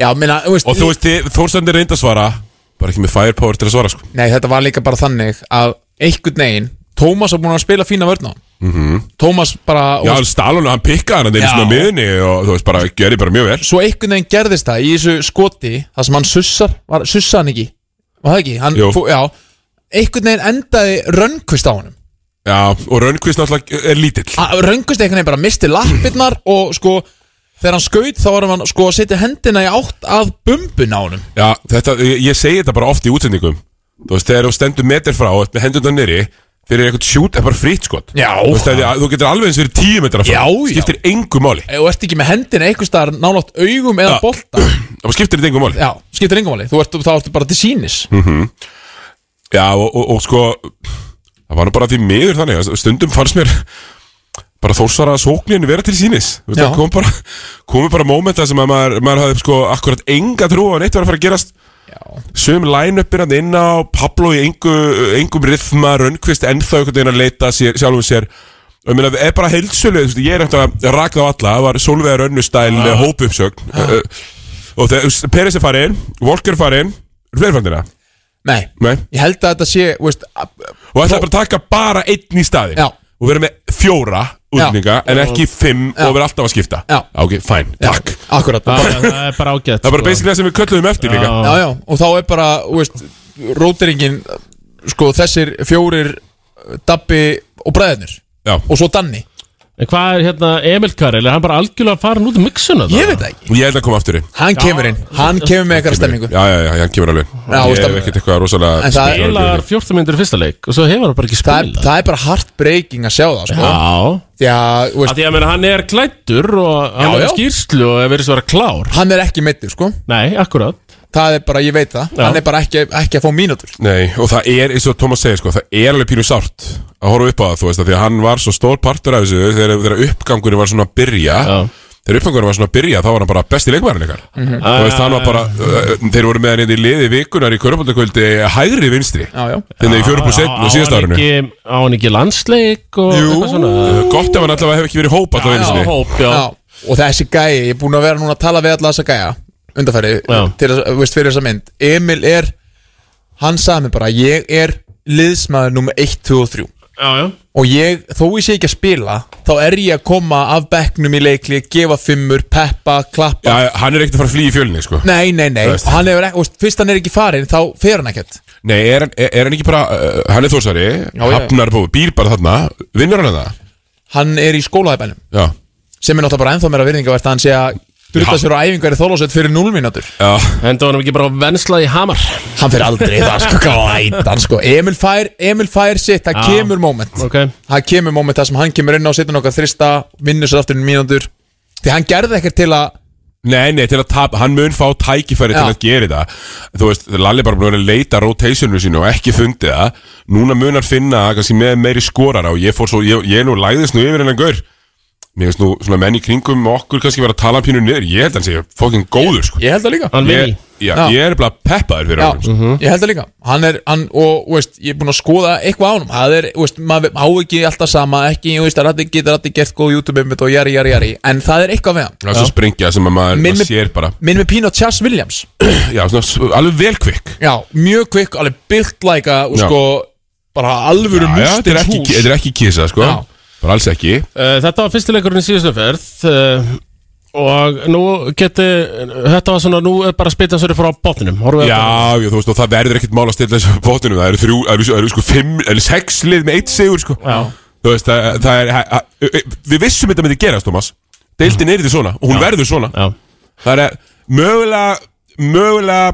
já minna, þú veist, Og þú veist, Þórstændir reyndi að svara Bara ekki með firepower til að svara sko Nei, þetta var líka bara þannig að einhvern veginn, Tómas var búin að spila fína vörna mm -hmm. Tómas bara Mhm. Já, og hann stál hann, hann pikkaði hann einu Já. svona miðunni og þú veist, bara gerði bara mjög vel Svo einhvern veginn gerðist það í þessu skoti Það sem hann sussar, var, sussa hann ekki Var það ekki? Hann, Jú. já, einhvern veginn endaði rönnkvist á honum Já, og Rönnqvist náttúrulega er lítill Hann- Rönnkvist einhvern veginn bara misti lappirnar Og sko, þegar hann skaut Þá var hann sko að setja hendina í átt að bumbun á honum Já, þetta, ég, ég segi þetta bara oft í útsendingum Þú veist, þegar þú stendur metir frá og ert með hendur það nýri Fyrir eitthvað sjút er bara fritt skot Já. Þú, veist, þegar, þú getur alveg eins fyrir tíu metra frá Já, já. Skiptir engu máli Ef þú ert ekki með hendina einhvers staðar nálátt augum eða Já. bolta Það bara skiptir þetta engu máli Já, skiptir engum máli Þú ert, þá ertu bara til sínis Hm. Já, og, og, og sko Það var nú bara því miður þannig að Stundum fannst mér bara þórsvara sóknin vera til sínis Þú veist, Já. það kom bara, komi bara mómenta sem að maður, maður hafði sko akkurat enga trú á neitt var að fara að gerast Já. Sum line-upir hann inn á Pablo í engu, engum rithma Rönnqvist ennþá einhvern veginn að leita sér, sjálfum sér og ég meina, það er bara heilsölu þú veist, ég er eftir að raka á alla það var Solveig Rönnustæl með hópuppsögn uh, og þegar Peres er farin Volker er farin, fleirfandina Nei, Nei. ég held að þetta sé þú veist, að- og ætlaði bara að taka bara einn í staðin Já. og vera með fjóra útlendinga en ekki fimm og vera alltaf að skipta Já. ok, fæn, takk Akkurat Það það er bara ágætt sko. það er bara basically það sem við kölluðum eftir líka Já, já, og þá er bara, þú veist, róteringin Sko, þessir fjórir uh, Dabbi og bræðinir Já. Og svo Danni En hvað er hérna Emil Karel, er hann bara algjörlega farin út um mixuna það? Ég veit það ekki og ég held að koma aftur í Hann kemur inn, hann kemur með eitthvað stemmingu já, já, já, já, hann kemur alveg veist ég það- hef ekkert eitthvað rosalega En það er- Spilar 14 myndir í fyrsta leik og svo hefur hann bara ekki það er, spilað það er bara heartbreaking að sjá það, sko Já Því að, þú Af veist, Því að meina, hann er klættur og hann já. er skýrslu og er verið svo að vera klár hann er ekki meittur, sko Nei, akkurat Það er bara, ég veit það Já. Hann er bara ekki, ekki að fá mínútur Nei, og það er, eins og Thomas segir sko, það er alveg pínu sárt að horfa upp á það, þú veist, að því að hann var svo stór partur af þessu þegar, þegar uppgangurinn var svona að byrja Já. þegar uppgangurinn var svona að byrja þá var hann bara besti leikmærin ykkar þú veist, hann var bara, uh, þeir voru með hann hérna í liði vikunar í Körbóldakvöldi hægri vinstri Já, já. þannig í 4 pluss 1 Á- og síðast á hann árinu ekki- Á hann ekki landsleik og Jú, eitthvað svona gott ef hann allavega hef ekki verið í hóp allavega einu Já, sinni hóp, já, Já, og þessi gæi, ég er búin að vera núna að tala við alla þessa gæja undarfæri, Já. til að, þú veist, fyrir þessa mynd Emil er, hann sagði mér bara ég er liðsmaður nummer 1, 2 og 3 já, já. og ég, þó ég sé ekki að spila þá er ég að koma af bekknum í leikli gefa fimmur, peppa, klappa Já, hann er ekkert að fara að flýja í fjölni, sko Nei, nei, nei, Þú veist. og hann hefur ekki, þú veist, fyrst hann er ekki farin þá fer hann ekkert Nei, er, hann- er, er hann ekki bara, uh, hann er þórsari já, já. hafnar búið, býr bara þarna, vinnur hann það? Hann er í skólaðibænum, Já, sem er náttúrulega bara ennþá meira virðingavert að hann sé að drutta Já. sér á æfingar í þólásett fyrir 0 mínútur já Enda honum ekki bara venslað í hamar Hann fer aldrei í það sko, glætan sko Emil fær, Emil fær sitt, það Já. kemur moment Ok Það kemur moment það sem hann kemur inn á Sittur nokkað þrista, vinnur sér aftur um mínútur Því hann gerði ekkert til að Nei, nei, til að tapa, hann mun fá tækifæri Já. til að gera það Þú veist, Lalli bara búin að vera að leita rotationu sínu og ekki fundið það Núna mun hann finna það, kannski með meiri skorar á Ég fór svo, ég, ég nú læðist nú yfir hennan gaur Mér veist nú, svona menn í kringum okkur kannski vera að tala pínu niður Ég held hann sé fokkin góður, sko Ég held það líka Hann vinni Ég, já, Já. ég er bara peppaður fyrir Já, hann sko. ég held það líka Hann er, hann, og, þú veist, ég er búinn að skoða eitthvað á honum Það er, þú veist, maður á ekki alltaf sama Ekki, þú veist, það rætti, getur rætti gert góð YouTube-einmitt og jari, jari, jari En það er eitthvað við hann Það er svo springja sem að maður, Minn maður með- sér bara Minn með Pino Chas Williams Já, svona s- alveg vel kvikk Já, mjög kvikk, alveg byrtlæka Og Já. sko, bara alvöru Já, já, þetta er mustins ekki, hús þetta er ekki kisa, sko Já. Bara alls ekki uh, Þetta var fyrstileikurinn í síðustu ferð uh, Og nú geti Þetta var svona, nú er bara spytan sörri frá botninum Horfum Já, já, þú veist, og það verður ekkert mál að stilla þessu bótinu Það eru þrjú, það eru, það eru sko fimm, það eru sex lið með eitt sigur, sko Já. Þú veist, það, það er, að, að, við vissum þetta myndi gerast, Thomas Deildin er þetta svona, og hún verður svona Já, Það er eh, mögulega, mögulega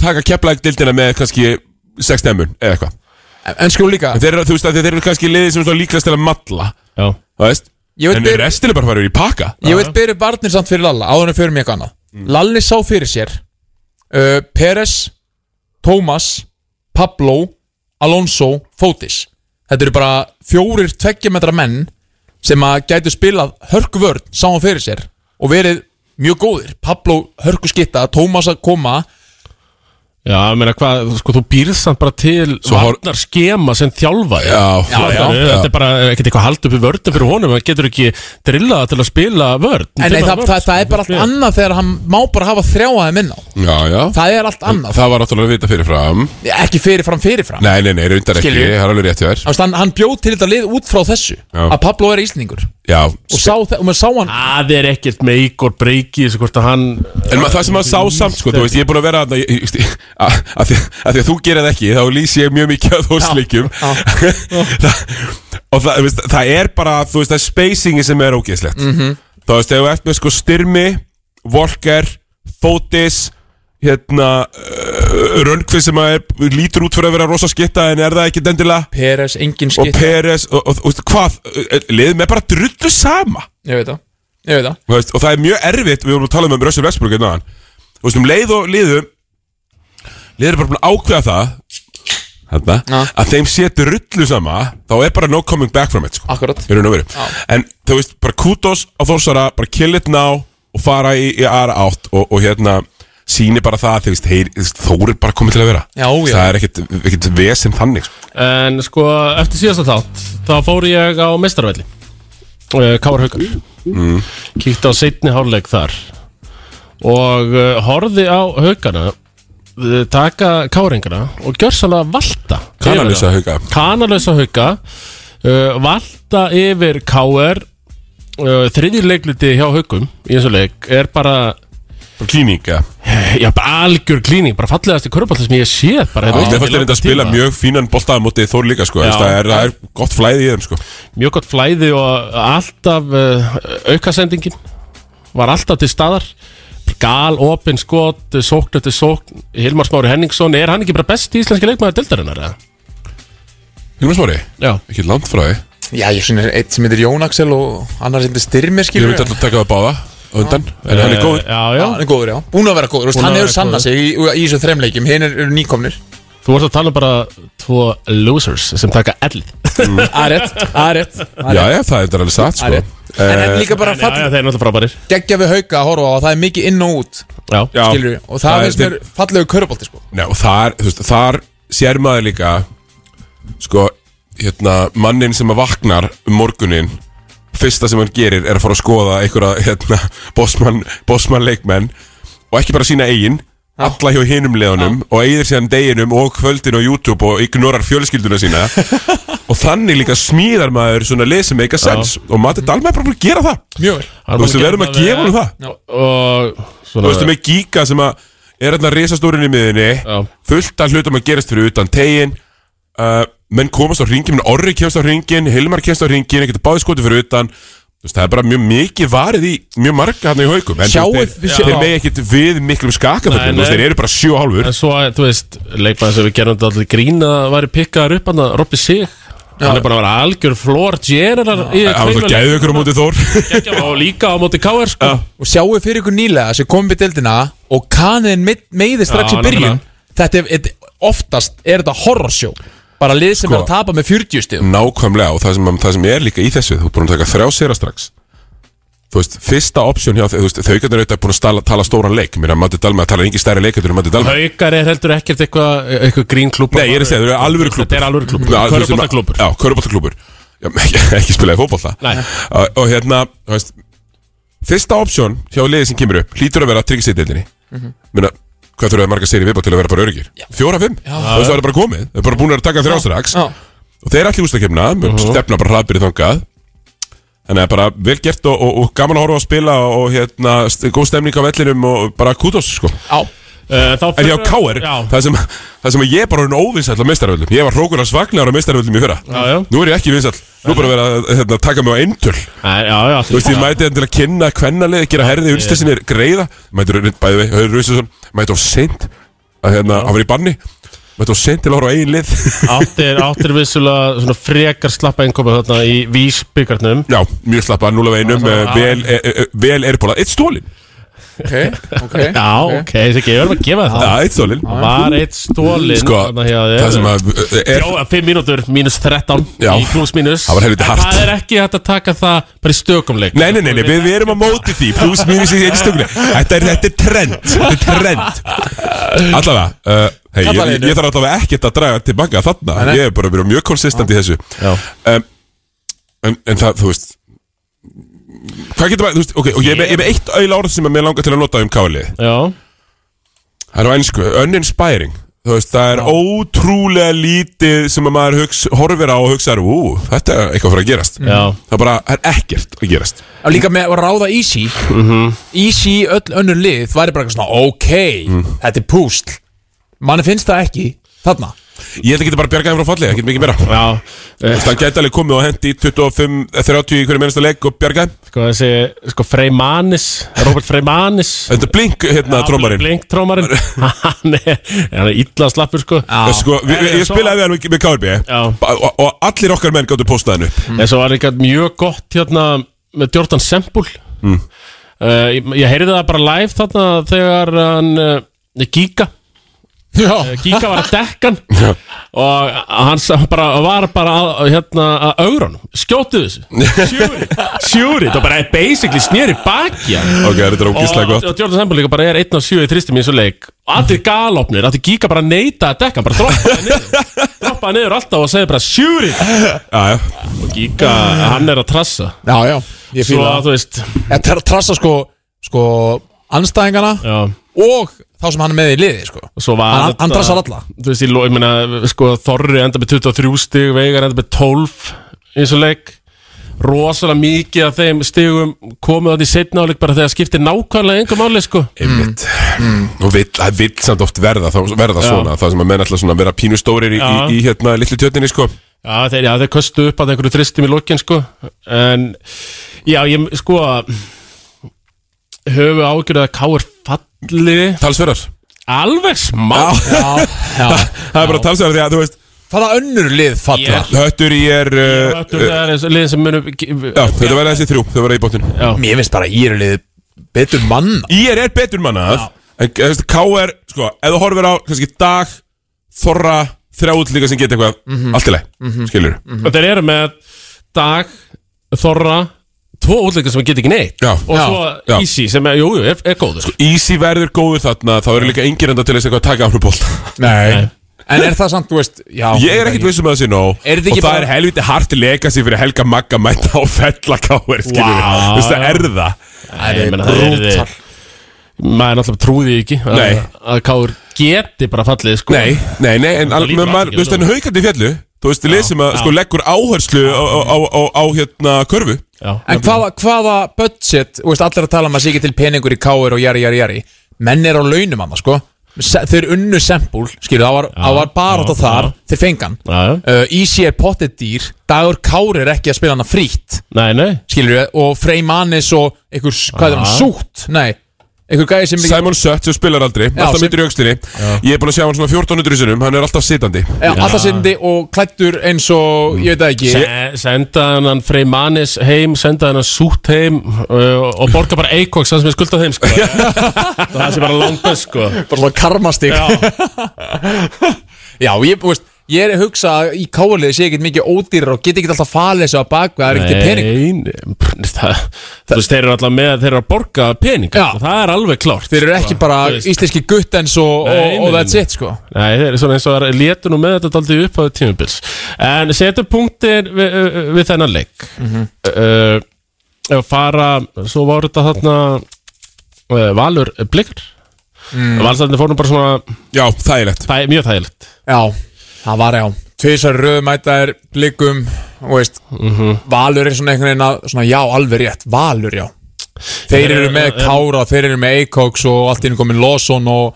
taka keplæk deildina með kannski sex stemmun, eða eitthvað En, en sko líka, En þeir eru, þú veist, að þeir eru kannski liðið sem er svona líklegast til að matla já, Þú veist, Ég veit en betur- restin er bara að fara yfir í pakka Ég vil byrja barnir samt fyrir Lalla áður en fyrir mig eitthvað annað Lalli sá fyrir sér uh, Peres, Tómas Pablo, Alonso, Fótis Þetta eru bara fjórir tveggjametra menn sem að gætu spilað hörkuvörn sáum fyrir sér og verið mjög góðir Pablo hörkuskitta, Tómas að koma Já, ég meina hvað, sko þú býrð samt bara til hor- varnar skema sem þjálfa Já, já, já. Þetta er bara eh, ekkert eitthvað hald upp í vörðin fyrir honum það getur ekki drillað til að spila vörð En nei, það, það, það er bara allt annað þegar hann má bara hafa þrjáaði minna já, já. Það er allt annað, Það var náttúrulega að vita fyrirfram ekki fyrirfram fyrirfram Nei, nei, nei, reyndar ekki, Skilju. það er alveg rétt hjá þér Þú veist, hann, hann bjóð til þetta lið út frá þessu Já. að Pablo er íslendingur og, Já, sá, þe- og maður sá hann Það er ekkert með Ígor Breyki þessu hvort að hann en maður- það sem maður sá samt, sko, þú veist, ég er búin að vera þarna, ég- ég- ég- að að því að því að þú gerir það ekki, þá lýsi ég mjög mikið að þú slikjum Og það, þú veist, það er bara, þú veist, það er spacingi sem er ógeðslegt Þú veist, þegar þú ert með, sko, styrmi, volker, fótis, hérna, uh, röngfið sem að er, lítur út fyrir að vera rosa skitta en er það ekki dendilega Peres, engin og skitt Peres og, og, og hvað, liðið með bara drullu sama Ég veit það, ég veit það Þú veist, og það er mjög erfitt, við vorum að tala um Russell Westbrook einn aðan þú veist, um leið og liðum liðið er bara búin að ákveða það þarna, Ja. að þeim sé drullu sama þá er bara no coming back from it sko. Akkurat. Í raun og veru. en þú veist, bara kudos á Þórsara, bara kill it now og fara í, í aðra átt og, og hérna síni bara það, þú veist, heyr, þú veist, Þór er bara komið til að vera Já, já. það er ekkit, ekkit vesinn þannig sko. En sko, eftir síðasta þátt þá fór ég á mestarvelli Káar Haukar Mm. Kíkti á seinni hálfleik þar og uh, horfði á Haukana eh, taka Káringana og gjörsanlega valta yfir þá. kanalisa hauka kanalösa hauka uh, valta yfir KR uh, þriðjir leikluti hjá haukum í þessu leik er bara klíninga já, bara algjör klíning, bara fallegast í körpallt sem ég sé bara Mér fannst þeir hérna í langan reynda að spila tíma. mjög fínan boltaða mótið Þór líka sko, Já. Þess, það, er, það er gott flæði í þeim sko. mjög gott flæði og alltaf uh, aukasendingin var alltaf til staðar gal, opinn, skot, sókn eftir sókn Hilmar Smári Henningsson, er hann ekki bara best í íslenski leikmaður dildarinnar? eða? Hilmar Smári, Já, ekki langt frá því Já, ég finnir eitt sem heitir Jón Axel og annar sem heitir Styrmir Ég skilur myndi alltaf að taka það báða á undan En hann er góður Já, Já, já, hann er góður, já Búin að vera góður, þú veist, Búinn hann að hefur vera sannað sig í, í þessu þremleikjum Hinn eru nýkomnir þú vorst að tala um bara tvo losers sem taka ellið Aðrétt, aðrétt Já, já, það er alveg satt sko. Aðrétt En hann líka bara Já, fall já, þeir eru náttúrulega frábærir Geggja eh, við hauka að horfa á að það er mikið inn og út Já, Já, Skilur við Og það finnst mér fallegu körubolti sko Nei, og þar, þú veist, þar sér maður líka Sko, hérna, mannin sem að vaknar um morgunin Fyrsta sem hann gerir er að fara að skoða einhverja, hérna, bossmann, bossmann leikmenn Og ekki bara sína eigin Alla hjá hinum leðunum Og eigir síðan deginum og kvöldin á YouTube Og ignorar fjölskylduna sína Og þannig líka smíðar maður svona lið sem meika sens Og maður þetta alveg bara búin að gera það Mjög vel Hann Þú veist, búinn við verðum að gera það gefa honum við- það Og svona Þú veist, með Giga sem að er hérna risastúrin í miðinni Já. fullt af hlutum að gerast fyrir utan tegin uh, menn komast á ringin, menn Orri kemst á ringin Hilmar kemst á ringin, ekkert báði skoti fyrir utan Þú veist, það er bara mjög mikið varið í mjög marga hann í haukum en þú veist, Sjáið- þeir, sjá- þeir megi ekkert við miklum Nei, skakafullum nei. þeir eru bara sjö og hálfur En svo, þú veist, leikmaður sem við gerum þetta allir grín að það væri pikkaður upp hann að Robby Sig Hann er bara að vera algjör flór generar í það var svo gæðu ykkur á móti Þór geggjum Og líka á móti KR sko Og sjáu fyrir ykkur nýlega sem kom við deildina Og kanin meiði strax Já, í byrjun nefnilega. Þetta er et- oftast er þetta horrorsjó Bara lið sem Sko. er að tapa með 40 stíðum nákvæmlega og það sem, það sem er líka í þessu þú er búin að taka þrjá séra strax þú veist, fyrsta option hjá þau þú veist, þau gætu auðvitað búin að stala, tala stóran leik mér að Matti Dalma tala engin stærri leikendur en Matti Dalma Haukar er heldur ekkert eitthvað eitthvað grín klúpa Nei, ég er að segja, þau eru alvöru klúpur Þetta er alvöru klúbbur. Körfuboltaklúbbur. Já, körubóttaklúpur ekki, ekki spilaði fótbolta Nei. Uh, Og hérna, þú veist Fyrsta option hjá liðið sem kemur upp Hlýtur að vera tryggseideldinni mm Mhm. -hmm. Meina, hvað þurfa marga séri viðbá til að vera bara örugir? Fjóra, fimm, þú veist það er bara komið Þau eru bara búin að taka þrjástraks Já. Og þeir allir ústakefna, Mhm. uh -huh. stefna bara hraðbyrði þangað Þannig að bara vel gert og, og, og gaman að horfa að spila og hérna, st- góð stemning á vellinum og bara kudos sko. Á, Eh, En já, K.R. Það sem, það sem að ég er bara orðin óvinsall á mestaröldum Ég var hrókunar svagnar á mestaröldum í fyrra Já, já. Nú er ég ekki vinsall Nú er bara verið að hérna, taka mig á eintöl Þú Já, já, já allir- veist, ég mæti hann til að kynna kvennalið Gera herði unnstissinni greiða Mæti bæði við, Hauður Rúsesson Mæti of seint að hérna, hann var í banni Mæti of seint til að horfa á eigin lið Áttir, áttir vissulega svona frekar slappa einkomu þarna í vísbyggarnum Já, mjög slappa, núlega einum eh, Vel, eh, eh, vel erbólað, eitt stólin ok, ok Já, ok, þessi ekki, ég verðum að gefa þér það Já, eitt stólinn Var eitt stólinn Sko, þarna hjá þér. það sem að eh, er, Já, 5 mínútur, mínus 13 Já. í pluss mínus Það var helviti hart. Það er ekki hægt að taka það bara í stökumleik Nei, nei, nei, nei, við, við erum á móti því Plus, mínus í einstökunni Þetta er, þetta er trend Þetta er trend Allavega uh, hey, ég, ég, ég þarf allavega ekkert að draga tilbaka þarna Nei, nei. Ég er bara að vera mjög konsistent í þessu Já. um, en, en það, þú veist Hvað getur maður, þú veist, ok, og ég er með- ég er með eitt auðla orð sem að mér langar til að nota um kálið Já, Það er á ennsku, uninspiring Þú veist, það er ótrúlega lítið sem að maður hugs, horfir á og hugsar Ú, þetta er eitthvað fyrir að gerast já, Það er bara, það er ekkert að gerast Og líka með að ráða Easy Mhm. Easy, öll önnur lið væri bara eitthvað svona Ok, Mhm. þetta er púsl Manni finnst það ekki Þarna Ég held að geta bara bjargaði frá falli, ekkert mikið meira Þú já Eh, veist, hann gæti alveg komið og hendi í 25, 30 í hverju minnasta leik og bjargaði Sko þessi, sko Freymanis Robert Freymanis Þetta er blink, hérna, trómarinn Blink trómarinn Hann er, hann er illa slappur sko Þú veist, Sko, vi, vi, Já, ég svo- spilaði við hann með KRB Já. og, og, og allir okkar menn gáttu postaðinu En svo var líka mjög gott hérna með Jordan Semple mm. ég, ég heyrði það bara live þarna þegar hann uh, Giga, Já, Giga var að dekkan og hann sa- bara, var bara að, hérna, að augrunum, skjóttu þessu sjúri, sjúri, það bara basically snýri baki hann Ok, þetta er ógislega Mm. Og, gott og Jordan Semple líka bara er 1 á 7 í þristum í þessu leik og allir galopnir, allir Giga bara neita að dekka, hann bara droppaði niður droppaði niður alltaf og segði bara sjúri Já, já, og Giga, hann er að trassa já, já Svo Ég fýla að þú veist Þetta er að trassa sko Sko Anstæðingana Já Og þá sem hann er með í liði sko og Svo var Hann- þetta- hann drassar alla. Þú veist, ég, lo- ég meina Sko, Þorri enda með 23 stig Veigar enda með 12 Í þessu leik Rosalega mikið af þeim stigum Komið þarna í setna áleik Bara þegar skiptir nákvæmlega Engum áleik sko einmitt Mm. Og vill, það vill samt oft verða, þá, verða Mm. Já. svona Það sem að menn alltaf svona vera pínustórir í, í, Já. í hérna litlu tjötinni, sko Já, þeir, já, þeir köstu upp að einhverju tristum í lokin sko En Já, ég sko Höfu ágjörðu að K.R. falli Talsverðar Alveg smá Já, Já, já það er bara talsverðar því að, þú veist Hvaða önnur lið falla? Ég- Höttur í er uh, Þetta er þessi liðin sem munu Já, þetta verða þessi þrjú, þau verða í bóttinu Mér finnst bara ír lið Betur mann IR er betur mannað En þú veist, KR, sko, ef þú horfir á kannski dag, þorra, þrjá útlíka sem geta eitthvað, Mhm. allt í leið mm -hmm. skilur, Og þeir eru með Dag, Þorra Tvo útlíka sem get ekki neitt já, Og Já, svo já. Sko, Easy sem er, jú, jú, er, er góður Easy verður góður þarna, þá eru líka engir enda til þess eitthvað að taka ánum bólt Nei En er það samt, þú veist já, Ég er ekkit vissum að það sé nóg Er Og þetta ekki það bara- er helviti hart legacy fyrir Helga Magga að mæta á fella KR, skilur Vá. Þú veist, það er það Það er brútal. Maður náttúrulega trúði því ekki að- Nei. Að Káur geti bara fallið sko Nei, nei, nei, en Það al- lítur menn maður, allt í þú veist, en haukandi í fjallu Þú veist, lið sem að, já. sko, leggur áherslu á, á, á, á, á hérna, körfu Já, En hvaða, hvaða budget, þú veist, allir að tala um að sé ekki til peningur í káir og jari, jari, jari Menn er á launum hann, sko Se, Þeir unnu sempul, skilur, það var, það var bara þetta já, þar, já. þeir fengan já, já. uh, Easy er pottet dýr, Dagur Kári er ekki að spila hana frítt, Nei, nei skilur Og Frey Manis og einhver, hvað er hann, Sútt? Nei, einhver gæði sem er ekki- Simon Sött sem spilar aldrei, alltaf sem- myndir í aukslinni Ég er búin að sjá hann svona 1400 sinum, hann er alltaf sitandi Já, alltaf sindi og klættur eins og, ég veit það ekki Se- Senda hann Frey Manis heim Senda hann Sút heim uh, Og borga bara Eikoks Það sem er skuldað heim sko Það sem bara langt best sko Bara svona karmastig Já, ég, þú veist Ég er að hugsa að í káliði sé ekkert mikið ódýrar og get ekki alltaf falið þessu að bakvið, það er ekkert pening nei, pr- það, Þú veist, þeir eru alltaf með Þeir eru að borga peninga Já. sko, Það er alveg klárt sko. Þeir eru ekki bara þú veist. íslenski guttens og, Nei, og, og nei, that's nei. it sko Nei, þeir eru svona eins og það létu nú með þetta daldið upp á tímubils En setjum punktir við, við þennan leik mm Mhm. -hmm. uh, Fara, svo var þetta þarna uh, Valur blikar mm. Valsarðinni fórum bara svona Já, þægilegt þæ, Mjög þægilegt Já, það var já Tvisar röðumætaðir, blikum og veist, Mhm. Valur er svona einhvern veginn að, svona, já, alveg rétt, Valur já Þeir eru með Kára þeir eru með Eikoks og allt í einu komin Lawson og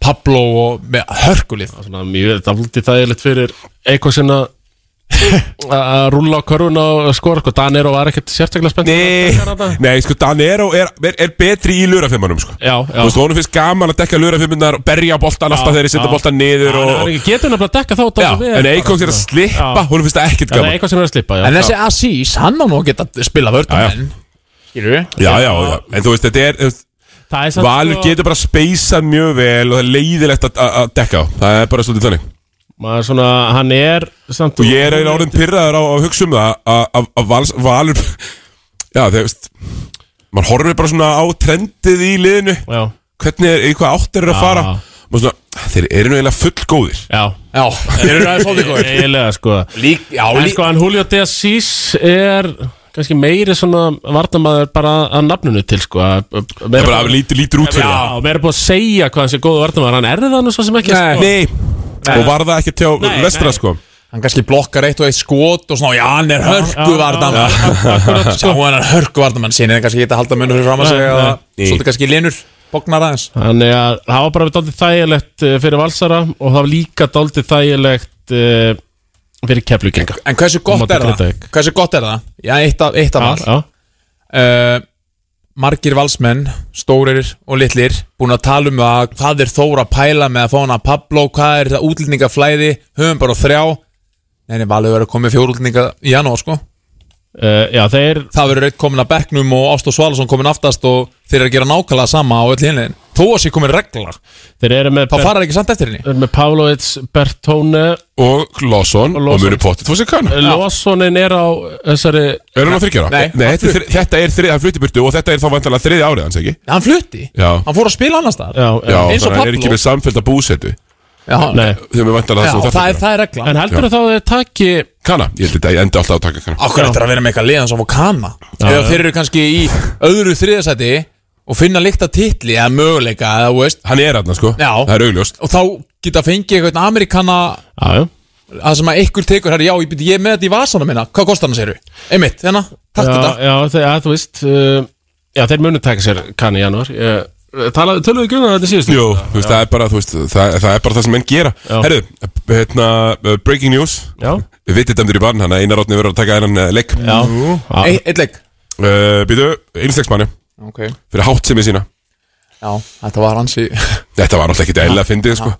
Pablo og með hörkulið svona, Mjög daldið þægilegt fyrir Eitthvað sinna að rúlla á körfuna og skora sko Danero var ekkert sérstaklega spennt Nei, nei sko Danero er, er, er betri í lurafimmunum sko. Já, já Þú veist, honum finnst gaman að dekka lurafimmunar og berja boltan alltaf þegar þeir já. setja boltan niður Hann- og, hann Getur nefnilega að dekka þá Já, dálítið vel en bara, Eikóks er að sko. slippa, Já. honum finnst það ekkert Já, Það er gaman eitthvað sem er að slippa, já En þessi Asís, hann á nú að geta spila vörnum Já, já. en Skilur við? Já, já, já, en þú veist, þetta er þú veist, Það er samt Valur sko- getur bara speysað mjög vel og það er leiðilegt að- að að dekka á Það er bara svolítið þannig Maður svona, hann er samt Og ég er eiginlega orðin pyrraður á að hugsa um það að- að að vals, Valur Já, þegar veist Man horfir bara svona á trendið í liðinu Já, Hvernig er, í hvað átt er að Já. fara Og svona, "Ah, þeir eru nú eiginlega fullgóðir já Já, þeir eru aðeins svolítið góðir Eiginlega sko Lík, já, En lík sko, hann Julio de Assis er kannski meiri svona varnamaður bara að nafninu til sko að- að- Það meira er bara lítur, lítur út fyrir það Já, meira búið að segja hvað hann sé góðu varnamaður Hann er það nú svo sem ekki Nei. sko. Nei Og var það ekki tjá Nei, vestra nei. sko Hann kannski blokkar eitt og eitt skot og svona, já, hann er Sko- hörkuvardamann Sjá, hann er hörkuvardamann sín en kannski geta halda munur fyrir fram að segja Nei, að svolítið kannski linur, bóknar aðeins Þannig að það var bara daldið þægilegt eh, fyrir Valsara og það var líka daldið þægilegt eh, fyrir keflugenga En hversu Á gott móti er það? Grindavík. Hversu gott er það? Já, eitt af, eitt af val Já, uh, margir valsmenn, stórir og litlir, búin að tala um það hvað er Þór að pæla með að fá hana Pablo, hvað er það útlendingaflæði, höfum bara þrjá Nei, nei, valið verður komið fjórútlendinga í janúar, sko uh, já þeir Það verður reitt komin að bekknum og Ástó Svalason komin aftast og þeir eru að gera nákvæmlega sama á öll hinlegin Þó að sé komin regla, Þeir eru með, þá fara þeir ekki samt eftir henni þeir eru með Pavlovits, Bertone Og Lawson og, Og Lawson. og munu potið Þú sé kannu Lósonin er á þessari Er hann á þryggjara? Nei, Nei hann þetta, er, þri- þetta er þrið, hann flutti burtu og þetta er þá vantalega þriði árið hans, ekki? Hann flutti, Já. hann fór að spila annars þar Já, Já, Eins þannig og að hann er ekki Pablo. með samfélta búsetu Nei, Þegar við vantalega Já, það sem það, er, þarf að gera það er regla en heldur þá að þeir taki Kanna, ég held að ég endi alltaf að taka kanna Akkur eftir að vera með eitthvað liðan sem Vokana Eða þeir eru kannski í öðru þriðasæti Og finna líkta titli Eða möguleika eða, þú veist, Hann er aðna, sko, Já. það er augljóst Og þá geta fengið eitthvað Amerikana Já, já að sem að ykkur tekur herri, Já, ég byrja ég er með þetta í vasana minna Hvað kostar hann, segirðu? Einmitt, hérna, takk já, þetta já, þeir, já, þú veist uh, Já, þeir munu taka sér kanni í janúar Ég- Talaðu, Töluðu ekki um það þetta síðust Jú, þú veist, það er bara, þú veist, það, það er bara það sem menn gera Já. Herðu, hérna, uh, breaking news Já, Við vitið dæmdur í barn, hann að Einar Átni verður að taka þennan uh, leik já, Ei- já. Eitt leik uh, Býtu, einslegsmanni, okay. fyrir hátt sem ég sína Já, þetta var hans í Þetta var náttúrulega ekki dæla að fyndið, sko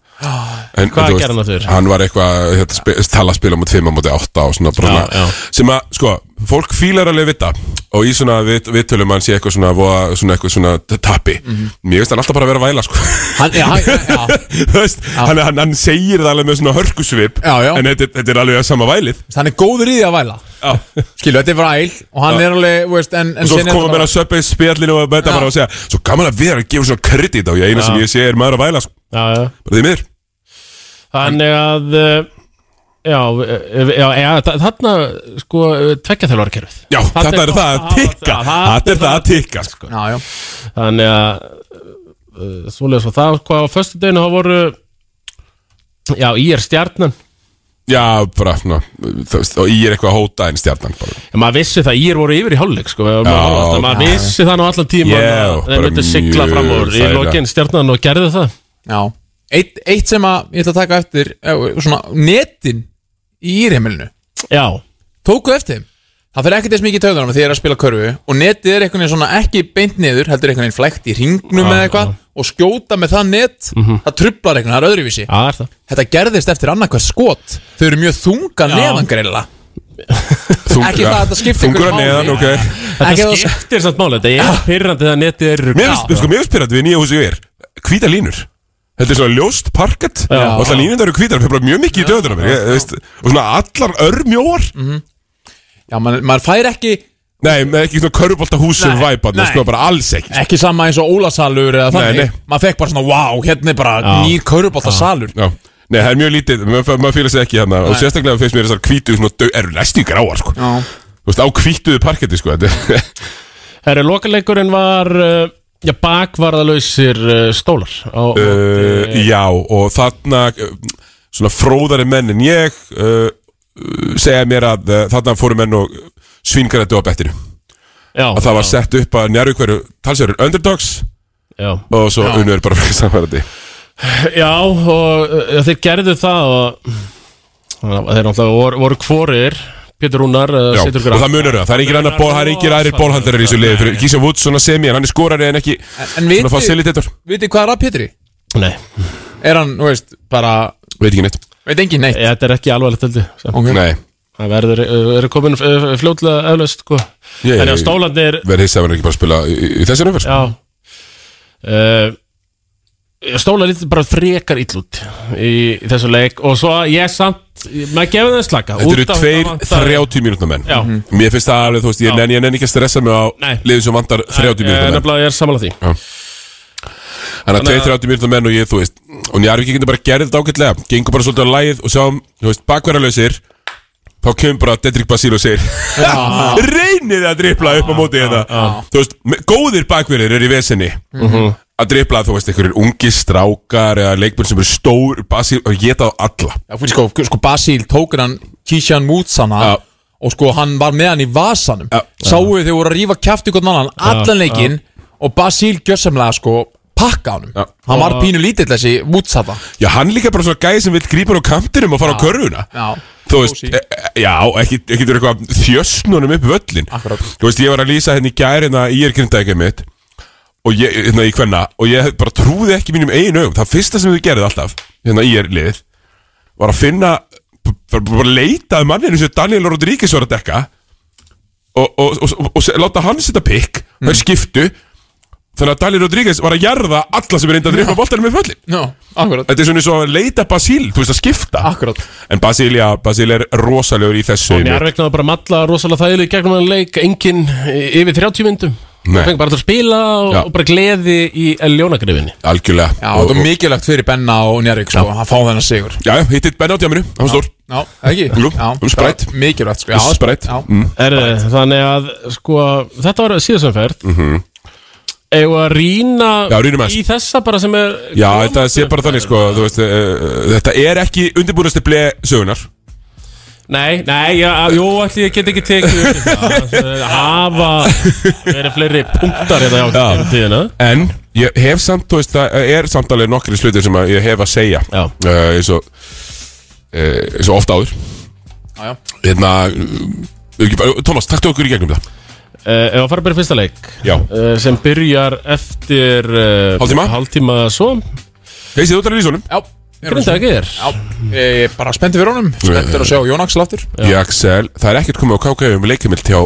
en, Hvað en þú gerði hann aftur? Hann var eitthvað, hérna, spi, tala að spila mot 5 mot 8 og svona bara Já, svona- já. Sem að, sko, fólk fílar alveg vita Og í svona vit, vittölum hann sé eitthvað svona, voða, svona eitthvað svona tappi Mhm. Mér veist hann alltaf bara að vera að væla, sko hann, já, hann, já. Þú veist, hann, hann, hann segir það alveg með svona hörkusvip Já, já. En þetta, þetta er alveg að sama vælið hann er góður í því að væla Já. Skilu, þetta er væl Og hann er alveg, þú veist en, en Svo síðan er koma þetta mér að söpja í spjallinu og þetta Já. bara og segja Svo gaman að vera að gefa svona kredit á Ég eina sem ég sé er maður að væla, sko já, já. Bara því miður Þannig að uh, Já, eh, já, já þa- þarna sko tvekja þjálfarkerfið Já, Þarna þetta er það að tikka Þetta er það að tikka, sko bara- Já, já Þannig að uh, Svolega svo það Hvað á föstu deginu þá voru Já, í er stjarnan Já, bara, ná, þú veist, og ég er eitthvað að hóta en stjarnan bara. En maður vissi það, ég voru yfir í hálfleik sko, maður, maður, maður vissi það nú allan Já, tíma þeir bara myndi sigla mjög fram úr í þægilega. lokin stjarnan og gerðu það Já, eitt, eitt sem að ég ætla að taka eftir eh, svona, netin í írheimilinu Já, tóku eftir þeim það fyrir ekkert eins mikið töðunum þegar ég er að spila körfu og netið er einhvern veginn svona ekki beint niður heldur einhvern veginn flækt í ringnum Já, eða eitthvað og skjóta með það net það trublar einhvern veginn, það er öðruvísi já, það er það þetta gerðist eftir annarkvæð skot þau eru mjög þunga Já. neðangreila Ekki það að þetta skipti Þungur einhverju að máli. neðan, ok Ekki Þetta þú- skiptir samt máli, þetta er pyrrandi þegar netið er Mér finnst, sko, mér finnst pyrrandi við nýja húsi ég er Hvíta línur Þetta er svona ljóst parkett og alltaf línundar eru hvítar, það er bara mjög mikið í döðunum ég, veist, og svona allar örmjóar Mhm. já, maður, maður fær ekki Nei, með ekki svona körfbólta húsum Nei, væpan nei. sko, bara alls ekki sko. ekki sama eins og ólasalur eða Nei, þannig nei. maður fekk bara svona, wow, hérna er bara Já. nýr körubóltasalur Já. Nei, það er mjög lítið, maður mað fýla sig ekki hérna og sérstaklega finnst mér þessar hvítu svona dau, eru næstu gráar, sko Já. Þú veist, á hvítuðu parketti, sko þetta er- Herri, lokaleikurinn var uh, já, bakvarðalausir uh, stólar á, uh, Já, og þarna uh, svona fróðari menn en ég uh, uh, segja mér að uh, þarna fóru menn og svingarættu á bettinu já, að það var sett upp að njárvík hverju talsverður underdogs já. og svo unnur bara fyrir samverðandi já, og uh, þeir gerðu það og þannig að þeir náttúrulega voru, voru kvorir Pétur Rúnar, uh, Já, Sittur og Graf það munur það, það er engin annar ból, það er engin aðrir bólhandarar í þessu liði fyrir Gísa Woods svona semi, en hann er skorari en ekki en svona vitið- facilitator, vitið hvað er að Pétri? Nei, er hann, þú veist, bara veit ekki neitt veit engin neitt eh, þetta er ekki alvarlegt heldur Ok. Nei, Það verður, uh, eru komin uh, fljótlega eflaust sko. Ég- Þannig að stólandir verði hissa að hann er ekki bara að spila í, í þessu nöfnver Já uh, stóla lítið bara frekar ill út í þessu leik og svo ég samt, maður gefur það slaka Þetta eru Út af- tveir það vantar- 30 mínútna menn Já. Mér finnst það alveg, þú veist, ég nenni, ég nenni ekki að stressa mig á Nei. liðum sem vantar 30 Ég er mínútna menn Nefnilega ég er samanlega því Þannig að tveir 30 mínútna menn og ég, þú veist Og Njarvík getur bara gerðið þetta ágætlega Gengur bara svolítið á lægið og sjáum, þú veist, bakverðarlausir Þá kemur bara Dedrick Basíl og segir Reynir að dripla upp á móti þetta Þú veist, me- góðir bakverðir eru í vesenni Að dripla, þú veist, einhverjir ungi strákar Eða leikmenn sem eru stór Basíl og geta á alla Já, fyrir sko, sko Basíl tók hann Kísjan Mútsana Já. og sáu hann var með hann í vasanum Já. sáu við þeir voru að rífa kjæfti hvern annan allan leikinn og Basíl gjössamlega sko pakka honum Já. hann var pínu lítill þessi Mútsata Já, hann líka bara svona gæði sem vill grípa hann á kantinum og fara á körfuna Já. Þú veist, Kósí. e, e- já, ekki, ekki þú eitthvað þjösnunum upp völlin Akkurát. Þú veist, ég var að lýsa hérna í gæri hérna í er grindækja mitt og ég, hérna í hvenna og ég bara trúði ekki mínum einu augum það fyrsta sem þau gerði alltaf, hérna í er lið var að finna b- bara, bara leita að manninu sem Daniel Rodríguez var að dekka og, og, og, og, og, og láta hann setja pikk mm. skiptu þannig að Daniel Rodríguez var að jarða alla sem er reynda að drifa boltanum með völlin Já, akkurat Þetta er svona eins og að leita Basíl, þú veist að skipta Akkurat. En Basíl, já, Basíl er rosalegur í þessu En ég er vegna bara að matla rosalega þægileg í gegnum að leik engin yfir 30 myndum Nei. Það fengi bara allir að spila og, Já. og bara gleði í ljónagrifinni Algjörlega Já, þetta var mikilvægt fyrir Benna og Njarvík sko, að fá þennan sigur Já, já, hittit Ben á tjáminu, hann var stór Já, ekki? Jú, Já, um sprætt. það var Mikilvægt sko, já, Já, Sprætt já. mm. er, Þannig að sko, þetta var síðasumferð mm -hmm. Eða að rýna Mhm. Já, rýnum aðeins. í þessa bara sem er Já, þetta sé bara þannig, sko, þú veist uh, Þetta er ekki undirbúinasti ble sögunar Nei, nei, já, jú, allir ég get ekki tekið undir það Hafa verið fleiri punktar hérna hjá Já. okkur um tíðina En ég hef samt, þú veist, það er samt alveg nokkri slutir sem að ég hef að segja Já. Eh, Eins og eh, Eins og ofta áður Já, já. Hérna eh, ekki bara- Thomas, taktu okkur í gegnum það Uh, ef að fara bara í fyrsta leik Já. Eh, sem byrjar eftir uh, Hálftíma. hálftíma svo Heysið, þú talar í sonum já erum við Grunda svo- ekki þér Já, ég er bara spennti fyrir honum Spenntur að sjá Jón Axel aftur Í Axel, það er ekkert komið á KKV með leikimild hjá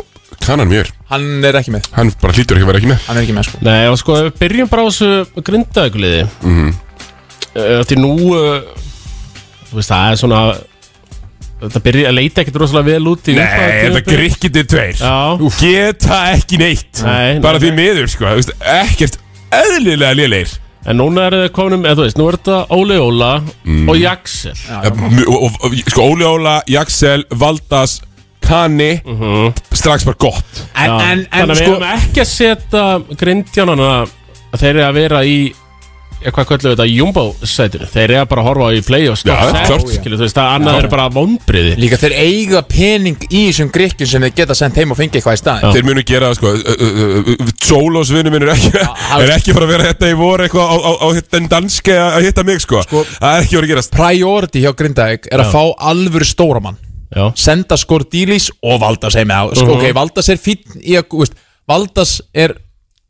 kananum mér Hann er ekki með, Hann bara hlýtur ekki að vera ekki með hann er ekki með sko Nei, og sko, ef við byrjum bara á þessu grindaðugliði mm -hmm. Því nú, uh, þú veist, það er svona Þetta byrja að leita ekkert rosalega vel út í Nei, þetta grikkindir tveir Já. Úff. Geta ekki neitt Nei, Bara nei, því miður, sko þú veist, Ekkert eðlilega lélegir En núna er það kominum, eða þú veist, nú er þetta Óli Óla og Jaxel og, og, og, Sko, Óli Óla, Jaxel, Valdas Kani Mhm. Strax bara gott En, en, en Þannig að við sko erum ekki að setja grindjánana Þeir eru að vera í Já, hvað kallum við þetta, jumbo-sætinu Þeir eru að bara horfa í play og stopp Já, set, klárt. skilur, þú veist, það annað er bara vonbriði Líka þeir eiga pening í þessum grikkjum sem þeir geta sendt heim og fengið eitthvað í staðin Þeir munu gera það, sko Solos vinnu minn er ekki hann- Er ekki fara að vera þetta í voru Eitthvað á, á, á þenn danski að hitta mig, sko Það er ekki voru að gerast Priority hjá Grindavík er að fá alvöru stóramann Já, Senda skor dýlís og Valdas heim Mhm. með sko, Ok, Valdas er fínn í að veist, Valdas er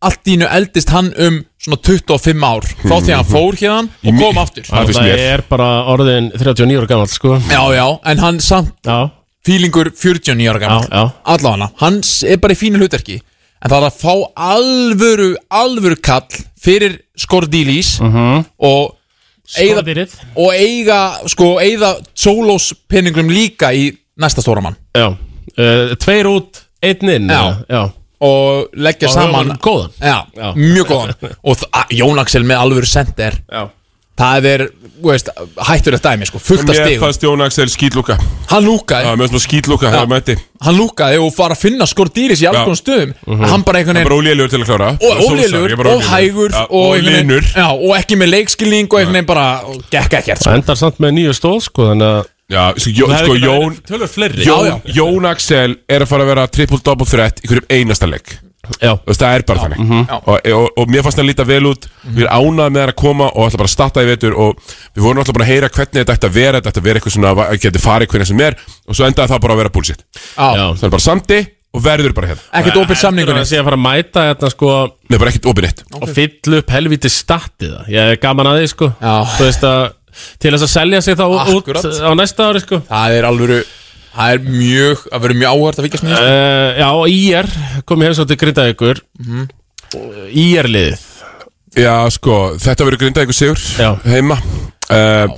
allt í nú eldist hann um svona 25 ár Frá því að hann fór hérna og kom aftur Mhm. Það finnst mér. það er bara orðin 39 ára gammal, sko Já, já, en hann samt Já, fílingur 49 ára gammal Já, já. Allavega, hann er bara í fínu hlutverki En það er að fá alvöru, alvöru kall fyrir skordýlís Mhm. -huh. og eyða- Skordýrið. og eiga, sko, eiga solos peningum líka í næsta stóramann já uh, Tveir út, einn inn Já. já. og leggja Og saman höfum góðan. Já, Já. mjög góðan og þ- að- Jón Axel með alvöru sender já. það er, þú veist, hættulegt dæmi sko, fullt af Mér stigum fannst Jón Axel skýtlúka hann lúkaði, Já, mér fannst maður skýtlúka þegar hann mætti hann lúkaði og fara að finna skordýris í alls Já. konar stöðum Mhm. hann bara einhvern veginn bara ólélugur til að klára og óleilur og hægur ja, og, og einhvern veginn- linur já, og ekki með leikskilning og einhvern veginn bara og gekk ekkert sko. Það endar samt með nýju stóð, sko, þannig að já, sko, Jó- sko Jón Tölur fleiri Jón, Já, Jón Axel er að fara að vera triple double threat í hverjum einasta leik Já, Þú veist, það er bara þannig mhm. og, og, og mér fannst það líta vel út við erum ánað með það að koma og ætla bara að starta í vetur og við vorum alltaf bara að heyra hvernig þetta ætti að vera þetta ætti að vera eitthvað svona að geti farið hvernig sem er og svo endaði það bara að vera bullshit já, já það er bara samdi og verður bara hérna ekkert opið Það samningunni sé að fara að mæta hérna sko Nei, bara ekkert opið neitt og fylla upp helviti statið það Ég er gaman að því sko Já. Þú veist að til þess að selja sig þá Akkurat. út á næsta ári sko það er alveg það er mjög, það verður mjög áhört að fylgjast með Eh, þessu. Mhm. Eh, uh, Já, IR kom í hefnsótt til Grindavíkur mm -hmm. IR liðið Já, sko, þetta verður grindaðingur sigur Já. heima uh,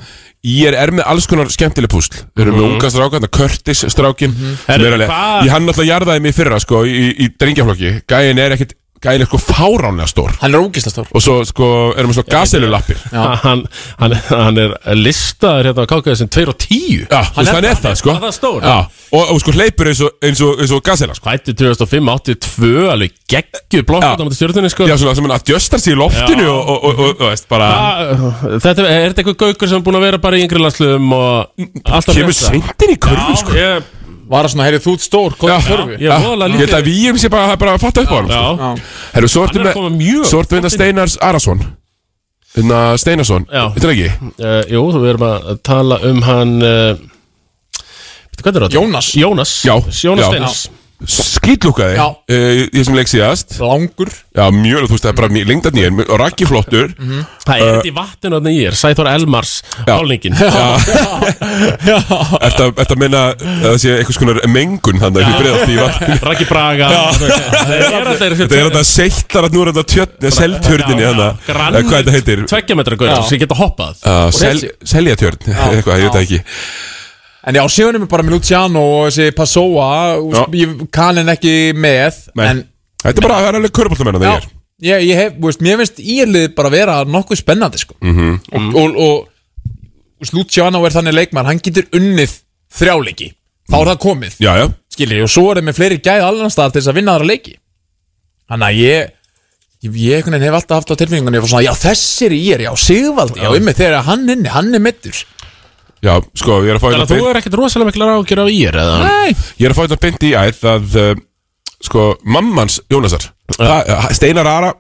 Ég er með alls konar skemmtileg púsl Við erum með unga stráka, þetta Curtis strákin Herru, Herri, alveg, Mhm. hvað- Ég hann alltaf jarðaði mig í fyrra, sko, í, í drengjaflokki Gæin er ekkit, gæin er sko fáránlega stór Hann er ógistastór Og svo, sko, erum við svona gaselulappir hann, hann, hann er listaður hérna á KKS sem 2 og 10 Já, þú veist, er hann er það, það, sko hann er það stór. Já, og, og sko, hleypur eins og, eins og, eins og gasela, sko Fættu 2005, 82, alveg geggju blokk Já. á móti stjórnunni sko Já, svona sem hann adjustar sig í loftinu og, og, og, og, og veist, bara Þa- Ah, Þetta, er þetta eitthvað gaukur sem er búin að vera bara í yngri landsluðum og alltaf Kemur fresta? sveintin í körfu, sko Já, ég, Var það svona, heyrðu þú ert stór, kom í körfu ég er voðalega Ég held lítið að við erum sér bara, það er bara að fatta upp á sko. hann Já, Herru, svo hann ertu er að með koma mjög Svo ertu með þetta Steinars Arason Hérna Steinarsson Já. Þetta er ekki uh, Jú, þú erum að tala um hann uh, Veitu hvað er það? Jónas. Jónas Já, já. Jónas Steins Skýtlúkaði Já. uh, Ég sem leik síðast Langur Já, mjög, þú veist, það er bara lengdat nýjan Og Raggi flottur Það er þetta í vatninu að nýjir Sæþór Elmars Eh. Já. Hálningin Eftir að- eftir að minna Það sé einhvers konar mengun Þannig að breyðast í vatn Raki Braga Það er þetta er Þetta er þetta seittar að nú er þetta tjörn Seltjörninni þannig að Hvað þetta heitir Tveggjametra gauður sem geta hoppað Uh, sel, þessi- seljatjörn, eitthvað, ég veit það ekki En já, síðan er mér bara með Luciano og þessi Passoa Já. Ég kann henn ekki með Nei. En Þetta er bara, það er alveg körbóltamenn að já, það er ég, ég hef, þú veist, mér finnst írlið bara vera nokkuð spennandi sko. Mhm. -hmm. Og, og, og þú veist, Luciano er þannig leikmann Hann getur unnið þrjáleiki Þá er það komið Já, já, skilur ég, og svo er það með fleiri gæði allan staðar til þess að vinna aðra leiki þannig að ég ég, ég einhvern veginn hef alltaf haft á tilfinningunni ég fór svona, já þessir ég er, já Sigvaldi já, um þegar hann inni, hann er mittur já, sko, ég er að fá Þannig hérna að þú beint- er ekkert rosalega mikla rákjur á ír eða nei, Ég er að fá þetta beint í æð að uh, sko, mammans Jónasar það, uh, Steinar Ara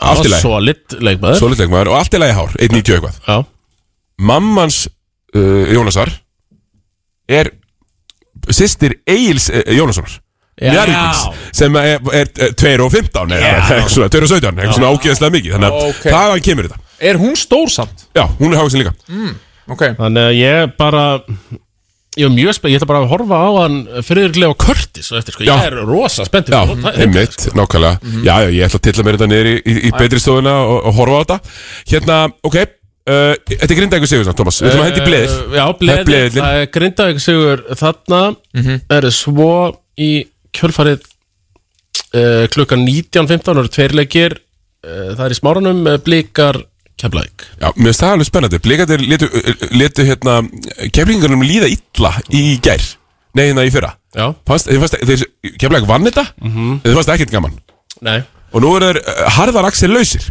allt í lagi, Solid leikmaður solidleikmaður og allt í lagi hár, 1.90 eitthvað Já mammans uh, Jónasar er sýstir Egils uh, Jónassonar Njarvíkings, sem er, er, er 2 og 15 eða eitthvað svona, 2 og 17, eitthvað svona ákjöðslega mikið þannig að Ókei. þaðan kemur þetta er hún stór samt Já, hún er háksin líka ok, Þannig að ég bara Ég er mjög spennt, ég ætla bara að horfa á hann eh, Fyrirlega á Curtis og eftir sko Ég Já. er rosa spennt Já, einmitt, sko. nákvæmlega Mhm. Já, já, ég ætla að tilla mér þetta niður í, í, í betri stóðuna og, og horfa á þetta Hérna, ok uh, Þetta er grinda ykkur sigur samt, Thomas Við ætlum að hendi bleðir Uh, Eh, Já, Það er bleðir bleðillinn. Það er grindavík sigur þarna mm Er svo í kjölfarið uh, Klukkan 19.15 eru tveir leikir uh, Það er í smáranum uh, Blikar Keflæk Já, mér finnst það alveg spennandi Blikandir letu, letu hérna Keflingunum líða illa í gær Nei, hérna í fyrra Já, Mhm. fannst, þeir fannst, þeir, Keflæk vann þetta mm -hmm. Þeir fannst ekkert gaman nei Og nú eru þeir uh, harðar axel lausir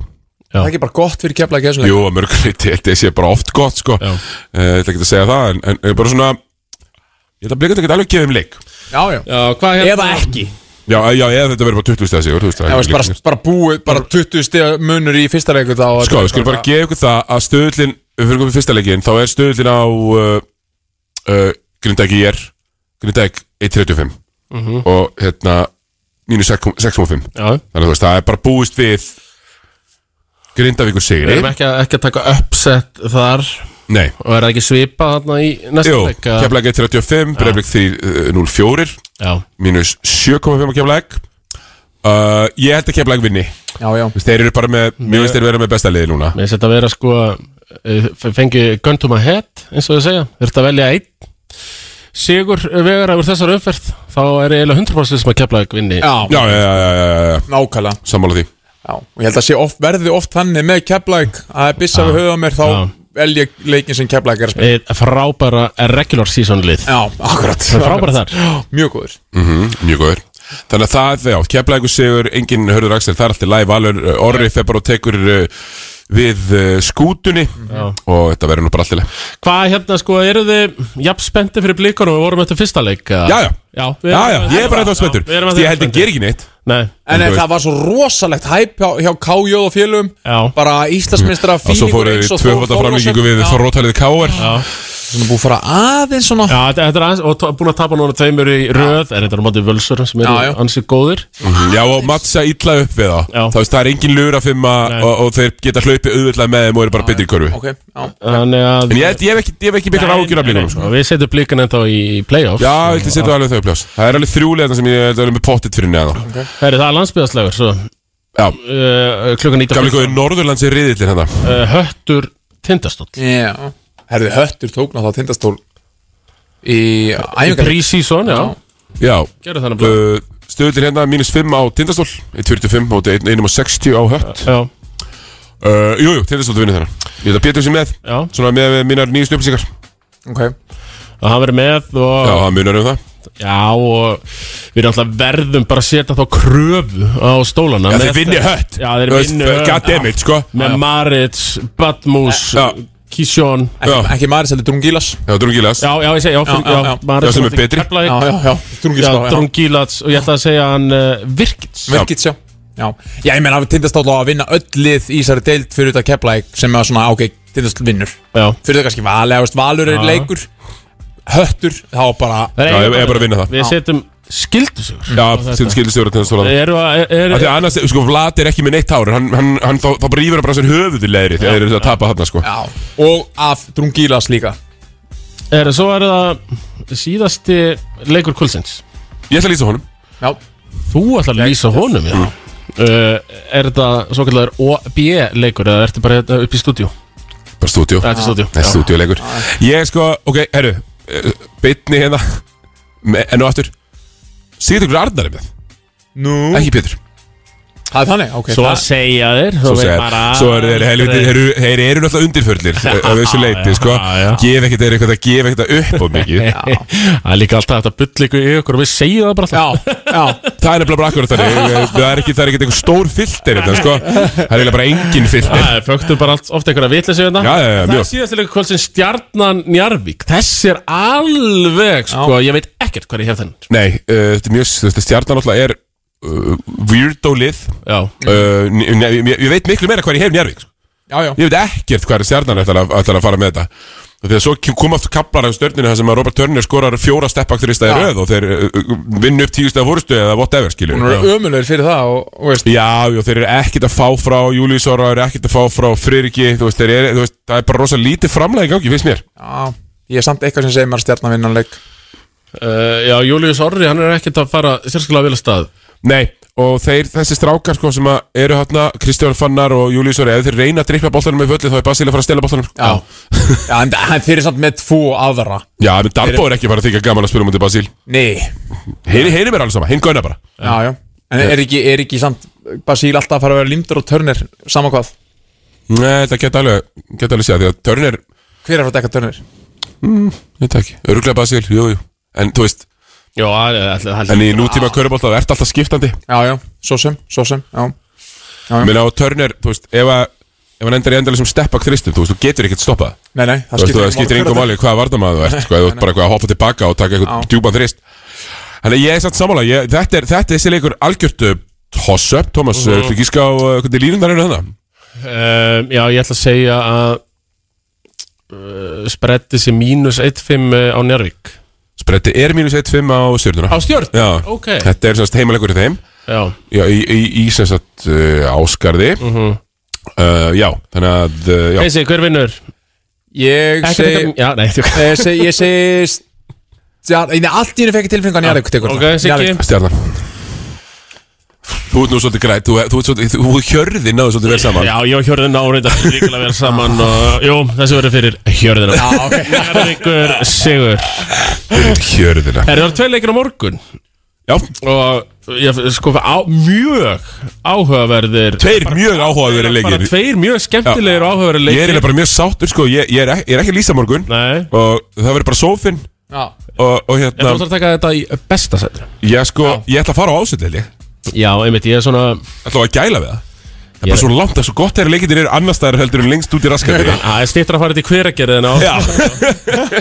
það er ekki bara gott fyrir kefla ekki Jú, að mörguleiti, þetta sé bara oft gott sko. Já. uh, Ég ætla ekki að segja það En, en, en bara svona Ég ætla að blikandir geta alveg gefið um leik já, já, Já, hvað hérna? eða ekki Já, já, eða þetta verður bara 20 stæða sigur þú veist, það er Já, veist, ekki bara, leiknir. bara búið, bara 20 stiga munur í fyrsta leiku þá Sko, við skulum bara gefa ykkur það að stöðlinn Við fyrir komið fyrsta leikin, þá er stöðlinn á uh, uh, Grindæk IR Grindæk 1.35 Og hérna Mínu 6.5 Þannig Já, að þú veist, það er bara búist við Grindavíkur við sigri erum ekki, að- ekki að taka uppsett þar Nei, Og er það ekki svipa þarna í næsta jú, leik? að- keflæk 1.35 Breflik 3.04 Já, uh, Mínus 7.5 keflæk uh, Ég held að keflæk vinni já, já, Þú veist, Þeir eru bara með, mjög veist þeir vera með besta liði núna mér finnst þetta að vera sko eh, f- Fengi gun to my head eins og þau segja Þurft að velja einn Sigur vegar yfir þessar umferð Þá er eiginlega 100% sem að kefla ekki vinni já, Já, já, já, já, já, já. nákvæmlega sammála því Já, og ég held að sé oft, verði oft þannig með Keflæk að bissa við höfum mér þá Já. vel ég leikin sem Keflæk er að spila Eitt Frábæra regular season lið Já, akkurat Það er frábæra þar Mjög góður Mhm, Mjög góður Þannig að það, já, keflægur sigur, enginn hörður Axel, það er alltaf læg valur, uh, orri þegar bara og tekur uh, við uh, skútunni og þetta verður nú bara alltilega Hvað hérna sko, eru þið jafn spendi fyrir blikunum Við vorum eftir fyrsta leik að- Já, já, já við já, erum- já, ég er bara þetta spenntur Já, við erum Því Ég held ég spenntir. ger ekki neitt Nei, En eh, En þú það var svo rosalegt hæp hjá, hjá KJ og félum Já. Bara Íslandsmeistra Og svo fílingur fóru við tvöfaldar framlíkingu við Þorrótalið Káar Svona búið að fara aðeins svona Já, þetta þetta er aðeins, og t- búin að tapa núna tveimur í röð, en þetta er á móti völsur sem eru Já, já. ansið góðir. Mhm. Já, og mattsa illa upp við þá Já. Þá veist, það er engin lura fimma Nei. og, og þeir geta hlaupið auðvitað með þeim og eru bara betri í körfu Ok, já Þannig að... En ég, ég hef ekki, ég hef ekki miklar ágjur af blíkunum sko. Og Við setjum blíkan ennþá í playoff. Já, ég ætli að setja alveg þau í pljás Það er alveg þrjúlega sem ég er alveg með pottit fyrir neðan Herri, það er landsbyðaslegur, svo. Já, uh, klukkan 19 gamli góði Norðurlands er riðillin hérna uh, Höttur tindastóll Já Herðu höttur tókna þá tindastól Í æfingar Prísísson, já, Já, gerðu þannig blöð uh, stöðullin hérna mínus 5 á tindastól 1.45 og 1.60 á hött Já, uh, Jú, jú, tindastól vinnur þennan Ég ætla að Pétur sem með já, Svona með við mínar nýjustu upplýsingar Ok og hann verður með og Já, það munar um það Já, og við erum alltaf verðum bara að setja þá kröfu á stólana Já, með- þeir vinni hött Já, þeir vinni hött. Goddammit, sko Með Maritz, Badmus, Já. Kisjón Ekki, Já. ekki maður selur drungílas Já, drungilegast Já, já, ég segi, já, fyrir, Já, já, já, já. Já, Maritz sem er betri. Já, já, já Já, Drungílas Drón Gílats og ég ætla að segja hann uh, Virkits Virkits, já Já, já ég menna tindastól á að vinna öll lið í þessari deild fyrir þetta keplæk sem er svona, ok, tindastól vinnur Já, Fyrir þetta kannski valið, þú veist, valur er leikur Höttur, þá bara Já, það eiginlega ég- ég bara að vinna það. Við setjum skildusögur Já, til skildistjóra tindastólan Eru að, Af eru því að annars, sko, Vlad er ekki með neitt hár Hann, hann, hann þá, þá bara rýfur hann bara sér höfuð í leðri Þegar þeir eru að tapa þarna, sko Já, og af Drungílas líka Er, svo er það síðasti leikur kvöldsins Ég ætla að lýsa honum Já, Þú ætlar að lýsa honum, já Mm. uh, Er þetta svo kallar OB leikur eða ertu bara hérna upp í stúdíu? Bara stúdíu Þetta er stúdíu Það er stúdíuleikur Ég sko, ok, herru eh, Beinni hérna Me- Enn og aftur Sigurður Arnar er með nú Ekki Pétur Það er þannig, ok Svo það- segja þeir Svo, segja, svo eru þeir helviti Þeir eru- þeir eru náttúrulega undirförlir Af þessu leiti, sko Já, já. Gef ekkert þeir eitthvað Gef ekkert upp á mikið Það er líka alltaf þetta bull ykkur í okkur og við segjum það bara alltaf Já, já, Það er nefnilega bara akkurat þannig Eh, Það er ekki, það er ekki eitthvað stór filter þetta, sko Það er eiginlega bara engin filter Það er fögtum bara allt, ofta einhverja vitleysu hérna Já, já, já, Það mjög. er síðast leikur kvöld sem Stjarnan Njarvík Þessi er alveg, sko, ég veit ekkert hvað ég hef þennan Nei, uh, þetta er mjög þú veist, Stjarnan náttúrulega er uh, Weirdo lið Já, Uh, ne- ne- ég, ég veit miklu meira hvað ég hef Njárvík sko. já, já ég veit ekkert hvað er stjarnan ætlar að, ætlar að fara með þetta og þegar svo kem- koma aftur kaplar af stjörninu þar sem að Robert Turner skorar fjóra steppakturista í Já. röð og þeir uh, uh, vinna upp tíustu af fórstu eða whatever skilur Hún er ömulegur fyrir það og, og veist Já, já, þeir eru ekkert að fá frá Július Ára, þeir eru ekkert að fá frá Fryrki þú veist, þeir eru, þú veist, það er bara rosa lítið framlega í gangi, finnst mér Já, ég er samt eitthvað sem segir maður stjarnan vinnan leik uh, já Július Orri, hann er ekkert að fara sérstaklega vel að stað Nei, og þeir, þessi strákar sko sem að eru hérna, Kristján Fannar og Július Ára, ef þeir reyna að drippa boltanum með völlið þá er Basile að fara að stela boltanum Já, já en hann fyrir samt með tvo aðra Já, menn Darbo er ekki bara að þykja gaman að spila mútið Basíl Nei, Heyri, heyri mér alveg sama, hinn gönna bara já, já En er ekki, er ekki samt Basíl alltaf að fara að vera lindur og törnir Saman hvað, Nei, þetta geta alveg, geta alveg séð Því að Turner, hver er að dekka törnir? þetta Mm, ekki, öruglega Basíl, jú, jú En þú veist, Já, allir en í nútíma körubólta Það ert alltaf skiptandi Já, já, svo sem, svo sem, já Mér á Turner, þú veist, ef að Ef hann endar í endalega sem steppak þristum, þú veist, þú getur ekkert stoppað Nei, Þú nei, það veist, skiptir, það skiptir engum máli hvaða varnamaður þú ert Sko, ef þú ert bara eitthvað að hoppa tilbaka og taka eitthvað djúpan þrist Þannig að ég er satt sammála ég, Þetta er, þetta er þessi leikur algjört uh, Toss-up, Thomas, uh -huh. gíska á uh, hvernig línundar eru þannig um, Já, ég ætla að segja að uh, Spretti sér mínus 1-5 á Njarvík Spretti er mínus 1-5 á stjórnuna Á stjórn? Já, Ok. þetta er semst heimalegur í þeim Já, Já, í, í, í semst uh, áskarði Mhm. uh, Já, þannig að uh, já. þessi, hver vinnur? Ég Ekkert segi eitthvað- Já, nei, þú Ég segi, ég segi Já, nei, allt í henni fekk ég tilfinningu að Njarðvík tekur Ok, það. Siggi Njarðvík. Stjarnan Þú ert nú svolítið grætt Þú, þú, ert svolítið- þú, þú hjörði náðu svolítið vel saman Já, ég og Hjörðin árið að líkala vel saman og jú, þessi verður fyrir Hjörðina Já, ok. Njarðvíkur Sigur Hjörðina Það eru tvei leikir á morgun Já, og ég, sko, á, mjög áhugaverðir tveir mjög áhugaður bara leikir tveir mjög skemmtilegir og áhugaverðir Ég er leikir eiginlega bara mjög sáttur sko. ég, ég, er, ek- ég er ekki að lýsa morgun Nei, Og það verður bara sófinn Já, og, og ég þú ætlar hérna að taka þetta í besta sættur Ég sko, ég ætla að fara á ásöldeli Já, einmitt, ég er svona Ætla að gæla við það Það er Ég- bara svo langt, það er svo gott þegar leikindir eru annars staðar heldur en lengst út í raskandi Það er stýttur að fara þetta í hveragerðin á Já,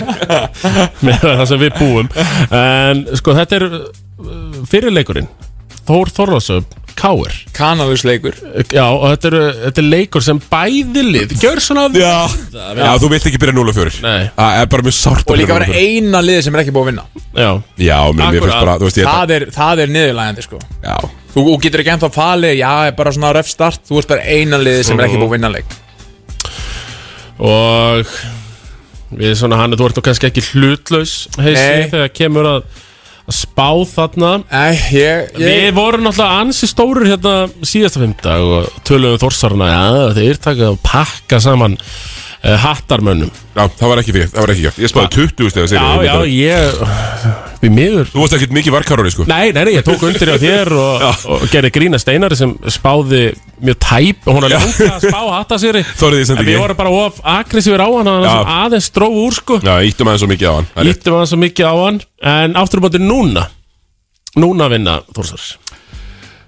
með það sem við búum En sko, þetta er uh, fyrirleikurinn Þór Þorlásöf, Káir kanadusleikur Já, og þetta er, þetta er leikur sem bæði lið Gjör svona Já, já þú vilt ekki byrja 0 og 4 Nei. Það er bara mjög sárt að Og líka byrja 0 vera og 4. eina liði sem er ekki búið að vinna Já, Já, mér, mér finnst Akkurat. bara, þú veist ég Það er, það er niðurlægandi sko Já, Þú þú getur ekki ennþá falið, já, er bara svona röf start Þú ert bara eina liði sem er ekki búið að vinna leik og Við svona hann, þú ert nú kannski ekki hlutlaus heisi, Nei. Þegar kemur að, að spáð þarna Nei, ég, Við ég vorum náttúrulega ansi stórir hérna síðasta fimmdag og töluðum þórsarna að þeir taka og pakka saman uh, hattarmönnum Já, það var ekki fyrir, það var ekki gert Ég spáði 20 stegar Já, sér já, ég Við miður Þú varst ekkert mikið varkarori, sko Nei, nei, nei, ég tók undir á þér og, og gerði grína steinari sem spáði mjög tæp og hún er langt að spá hatta sér Þorði því sem En ekki við vorum bara of aggressífur á hann hann Já. sem aðeins dróð úr sko Já, íttum aðeins svo mikið á hann Það er rétt. Líttum hann svo mikið á hann En afturbóttir núna Núna vinna Þórsar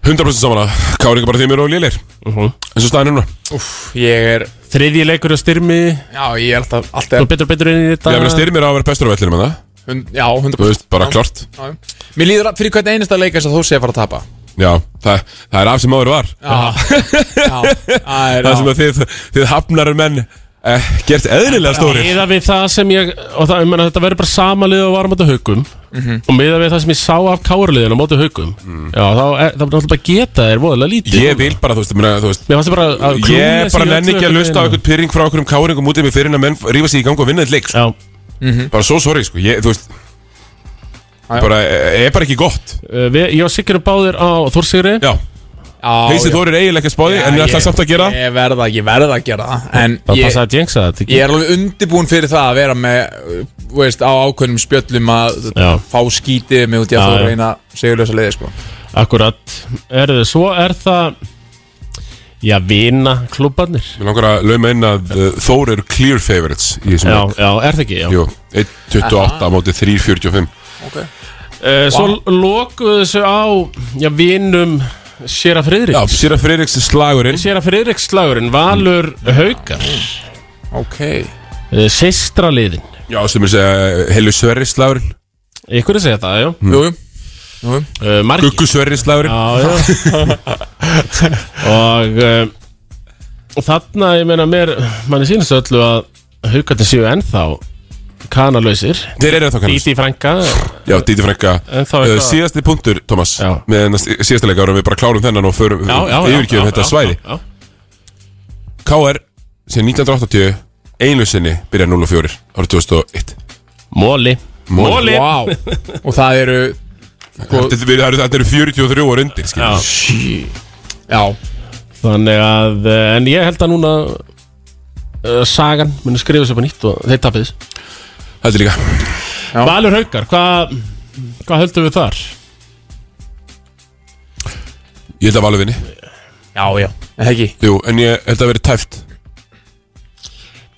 100% saman að Káringa bara því mér og lélir Mhm. En svo staðan er núna Ég er Þriðji leikur á styrmi Já, ég er alltaf, Þú alltaf betur og betur inn í þetta Ég verið að styrmir á að vera bestur á vellinum en það hund, Já, hundar Þú veist, bara klart Mér líður að- fyrir hvern einasta leik þess að þú sé að fara að tapa Já, það, það er af sem áður var Já, já, það er Það já. sem að þið, þið hafnar menn eh, gert eðlilega stórir Miða við það sem ég og það, ég meina, þetta verður bara sama lið og var á móti haugum Mhm. og miða við það sem ég sá af kárliðin á móti haugum já, þá, er, þá er náttúrulega bara geta þeir voðalega lítið Mm. Ég vil bara, þú veist, myrna, þú veist Mér fannst það bara að klúðra Ég sig bara í nenni öllu ekki að einhvern lusta á veginn. einhvern pyrring frá einhverjum káringum út í mig fyrir en að menn rífa sig í gang og vinna þetta leik sko. Já, Bara svo sorry, sko, ég, þú veist Bara, eh, er bara ekki gott uh, við, ég og Sigur erum báðir á Þórsigri Já, já, heysið já. þú er eiginlega ekki að spáði en Já, ég ætla ég- samt að gera það. Ég verða, ég verða að gera það En Það ég, passaði að jengsa þetta ekki ég er alveg undibúinn fyrir það að vera með uh, þú veist, á ákveðnum spjöllum að Já. fá skítið mig út í Já, að þú já. reyna segurlösa leiði sko. Akkurat, er þið, svo er það Já, vina klúbarnir Mér langar að lauma inn að uh, Þór eru clear favorites í þessum Já, leik já, er það ekki, já Jú, 1.28 á móti 3.45 okay. uh, Svo lokuðu þessu á Já, vinum Séra Já, Friðriks Sýra Freyriks slagurinn Séra Friðriks slagurinn, Valur Haukar ok Seistra liðin Já, sem er að segja Helu Sverris slagurinn Ykkur er segja það, já Jú, jú, jú. uh, Margi Guggu Sverris slagurinn Já, já Og uh, Þarna, ég meina mér Manni sýnist öllu að Haukarnir séu ennþá Kanalausir Þeir eru þá kannast Díti frænka Já, Díti Frenka Ennþá Uh, eitthvað- Síðasti punktur, Thomas Já. Með hennar sí- síðasta leika árum við bara klárum þennan og förum Já, já, já, Yfirgjöfum já, þetta já, svæði já, já. KR síðan 1980 einu sinni byrja 0 og 4 árið 2001 Móli Móli. wow. og það eru Þetta eru- þetta eru 43 ára undir skilur. Já. já, Þannig að, eh, en ég held að núna uh, Sagan muni skrifa sér upp á nýtt og þeir tapið þess Þetta er líka Já. Valur Haukar, hvað hva höldum við þar? Ég held að valur vinni já, já En ekki, Jú, en ég held að verið tæft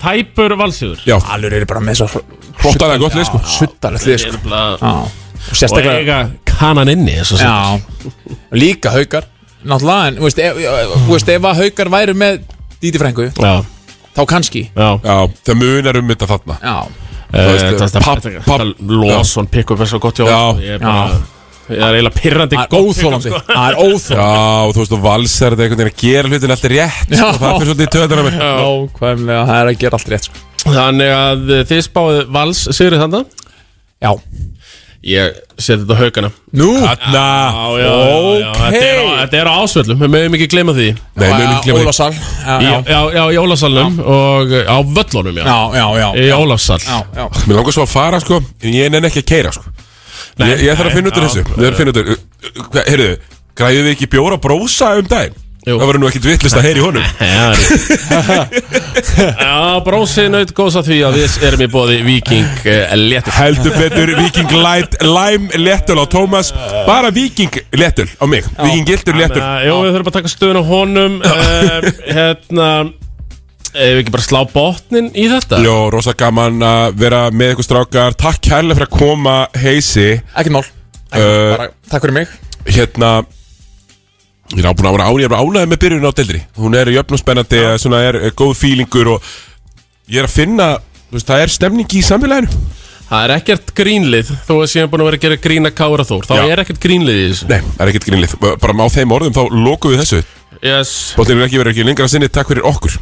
Tæpur Valsíður Já, alveg eru bara með svo hróttalega gott leið sko suttalegt lið sko. Og Já. og sérstaklega eiga kanan inni eins og sem já. Og líka haukar náttúrulega, en þú veist, ef, þú veist, ef að haukar væru með Díti Frængu, Já, þá kannski já Já, það munar um þetta þarna já, veist, Eh, þetta- papp- þetta- papp- þetta Lawson pick up er svo gott hjá Já. honum. Ég er bara- ég er eiginlega pirrandi það er gott pick-up, óþólandi það er óþólandi Já, og þú veist, og vals er þetta einhvern veginn að gera hlutin alltaf rétt sko, Já. Það fyrir svolítið í töðan að mér Nákvæmlega, það er að gera allt rétt sko. sko. Þannig að eh, þið spáðu Vals Sigurður þannig Já Ég seti þetta á haugana Nú Þarna Já, já, já, já, þetta er á- Þetta er á ásvöllum, við mögum ekki gleyma því Nei, mjög Já, líklega uh, Ólafsal Já, Í- já, Já, já, í Ólafsalnum og eh, á völlunum, já, já, já, já, Í Ólafsal já, já. Mér langar svo að fara sko En ég nenni ekki að keira sko Nei, Ég, ég þarf að nei, finna út úr já. þessu Við þarf að finna út úr Hvað- Heyrðu, græðum við ekki bjóra brósa um daginn? Jú. Það verður nú ekkit vittlust að heyra í honum Já, það er rétt. Já, brósið naut góðs að því að við erum í bóði Viking uh, léttur Heldur betur Viking Light Lime léttul á Tómas Bara Viking léttul á mig Viking Gildur léttul Þannig að, Jú, við þurfum að taka stöðun á honum uh, Hérna Ef við ekki bara slá botnin í þetta Jó, rosa gaman að vera með ykkur strákar Takk kærlega fyrir að koma heisi Ekkert mál Uh, Bara, Takk fyrir mig hérna ég er ábúin að vera án, ég er ánæðið með byrjun á deildri hún er jöfn og spennandi, eh, svona er er góð fílingur og ég er að finna þú veist, það er stemning í samfélaginu Það er ekkert grínlið Þó að séum búin að vera að gera grína kára þór Þá Já. er ekkert grínlið í þessu nei, það er ekkert grínlið, bara á þeim orðum þá lokum við þessu, yes. bóttinir ekki verið ekki lengra sinni, takk fyrir okkur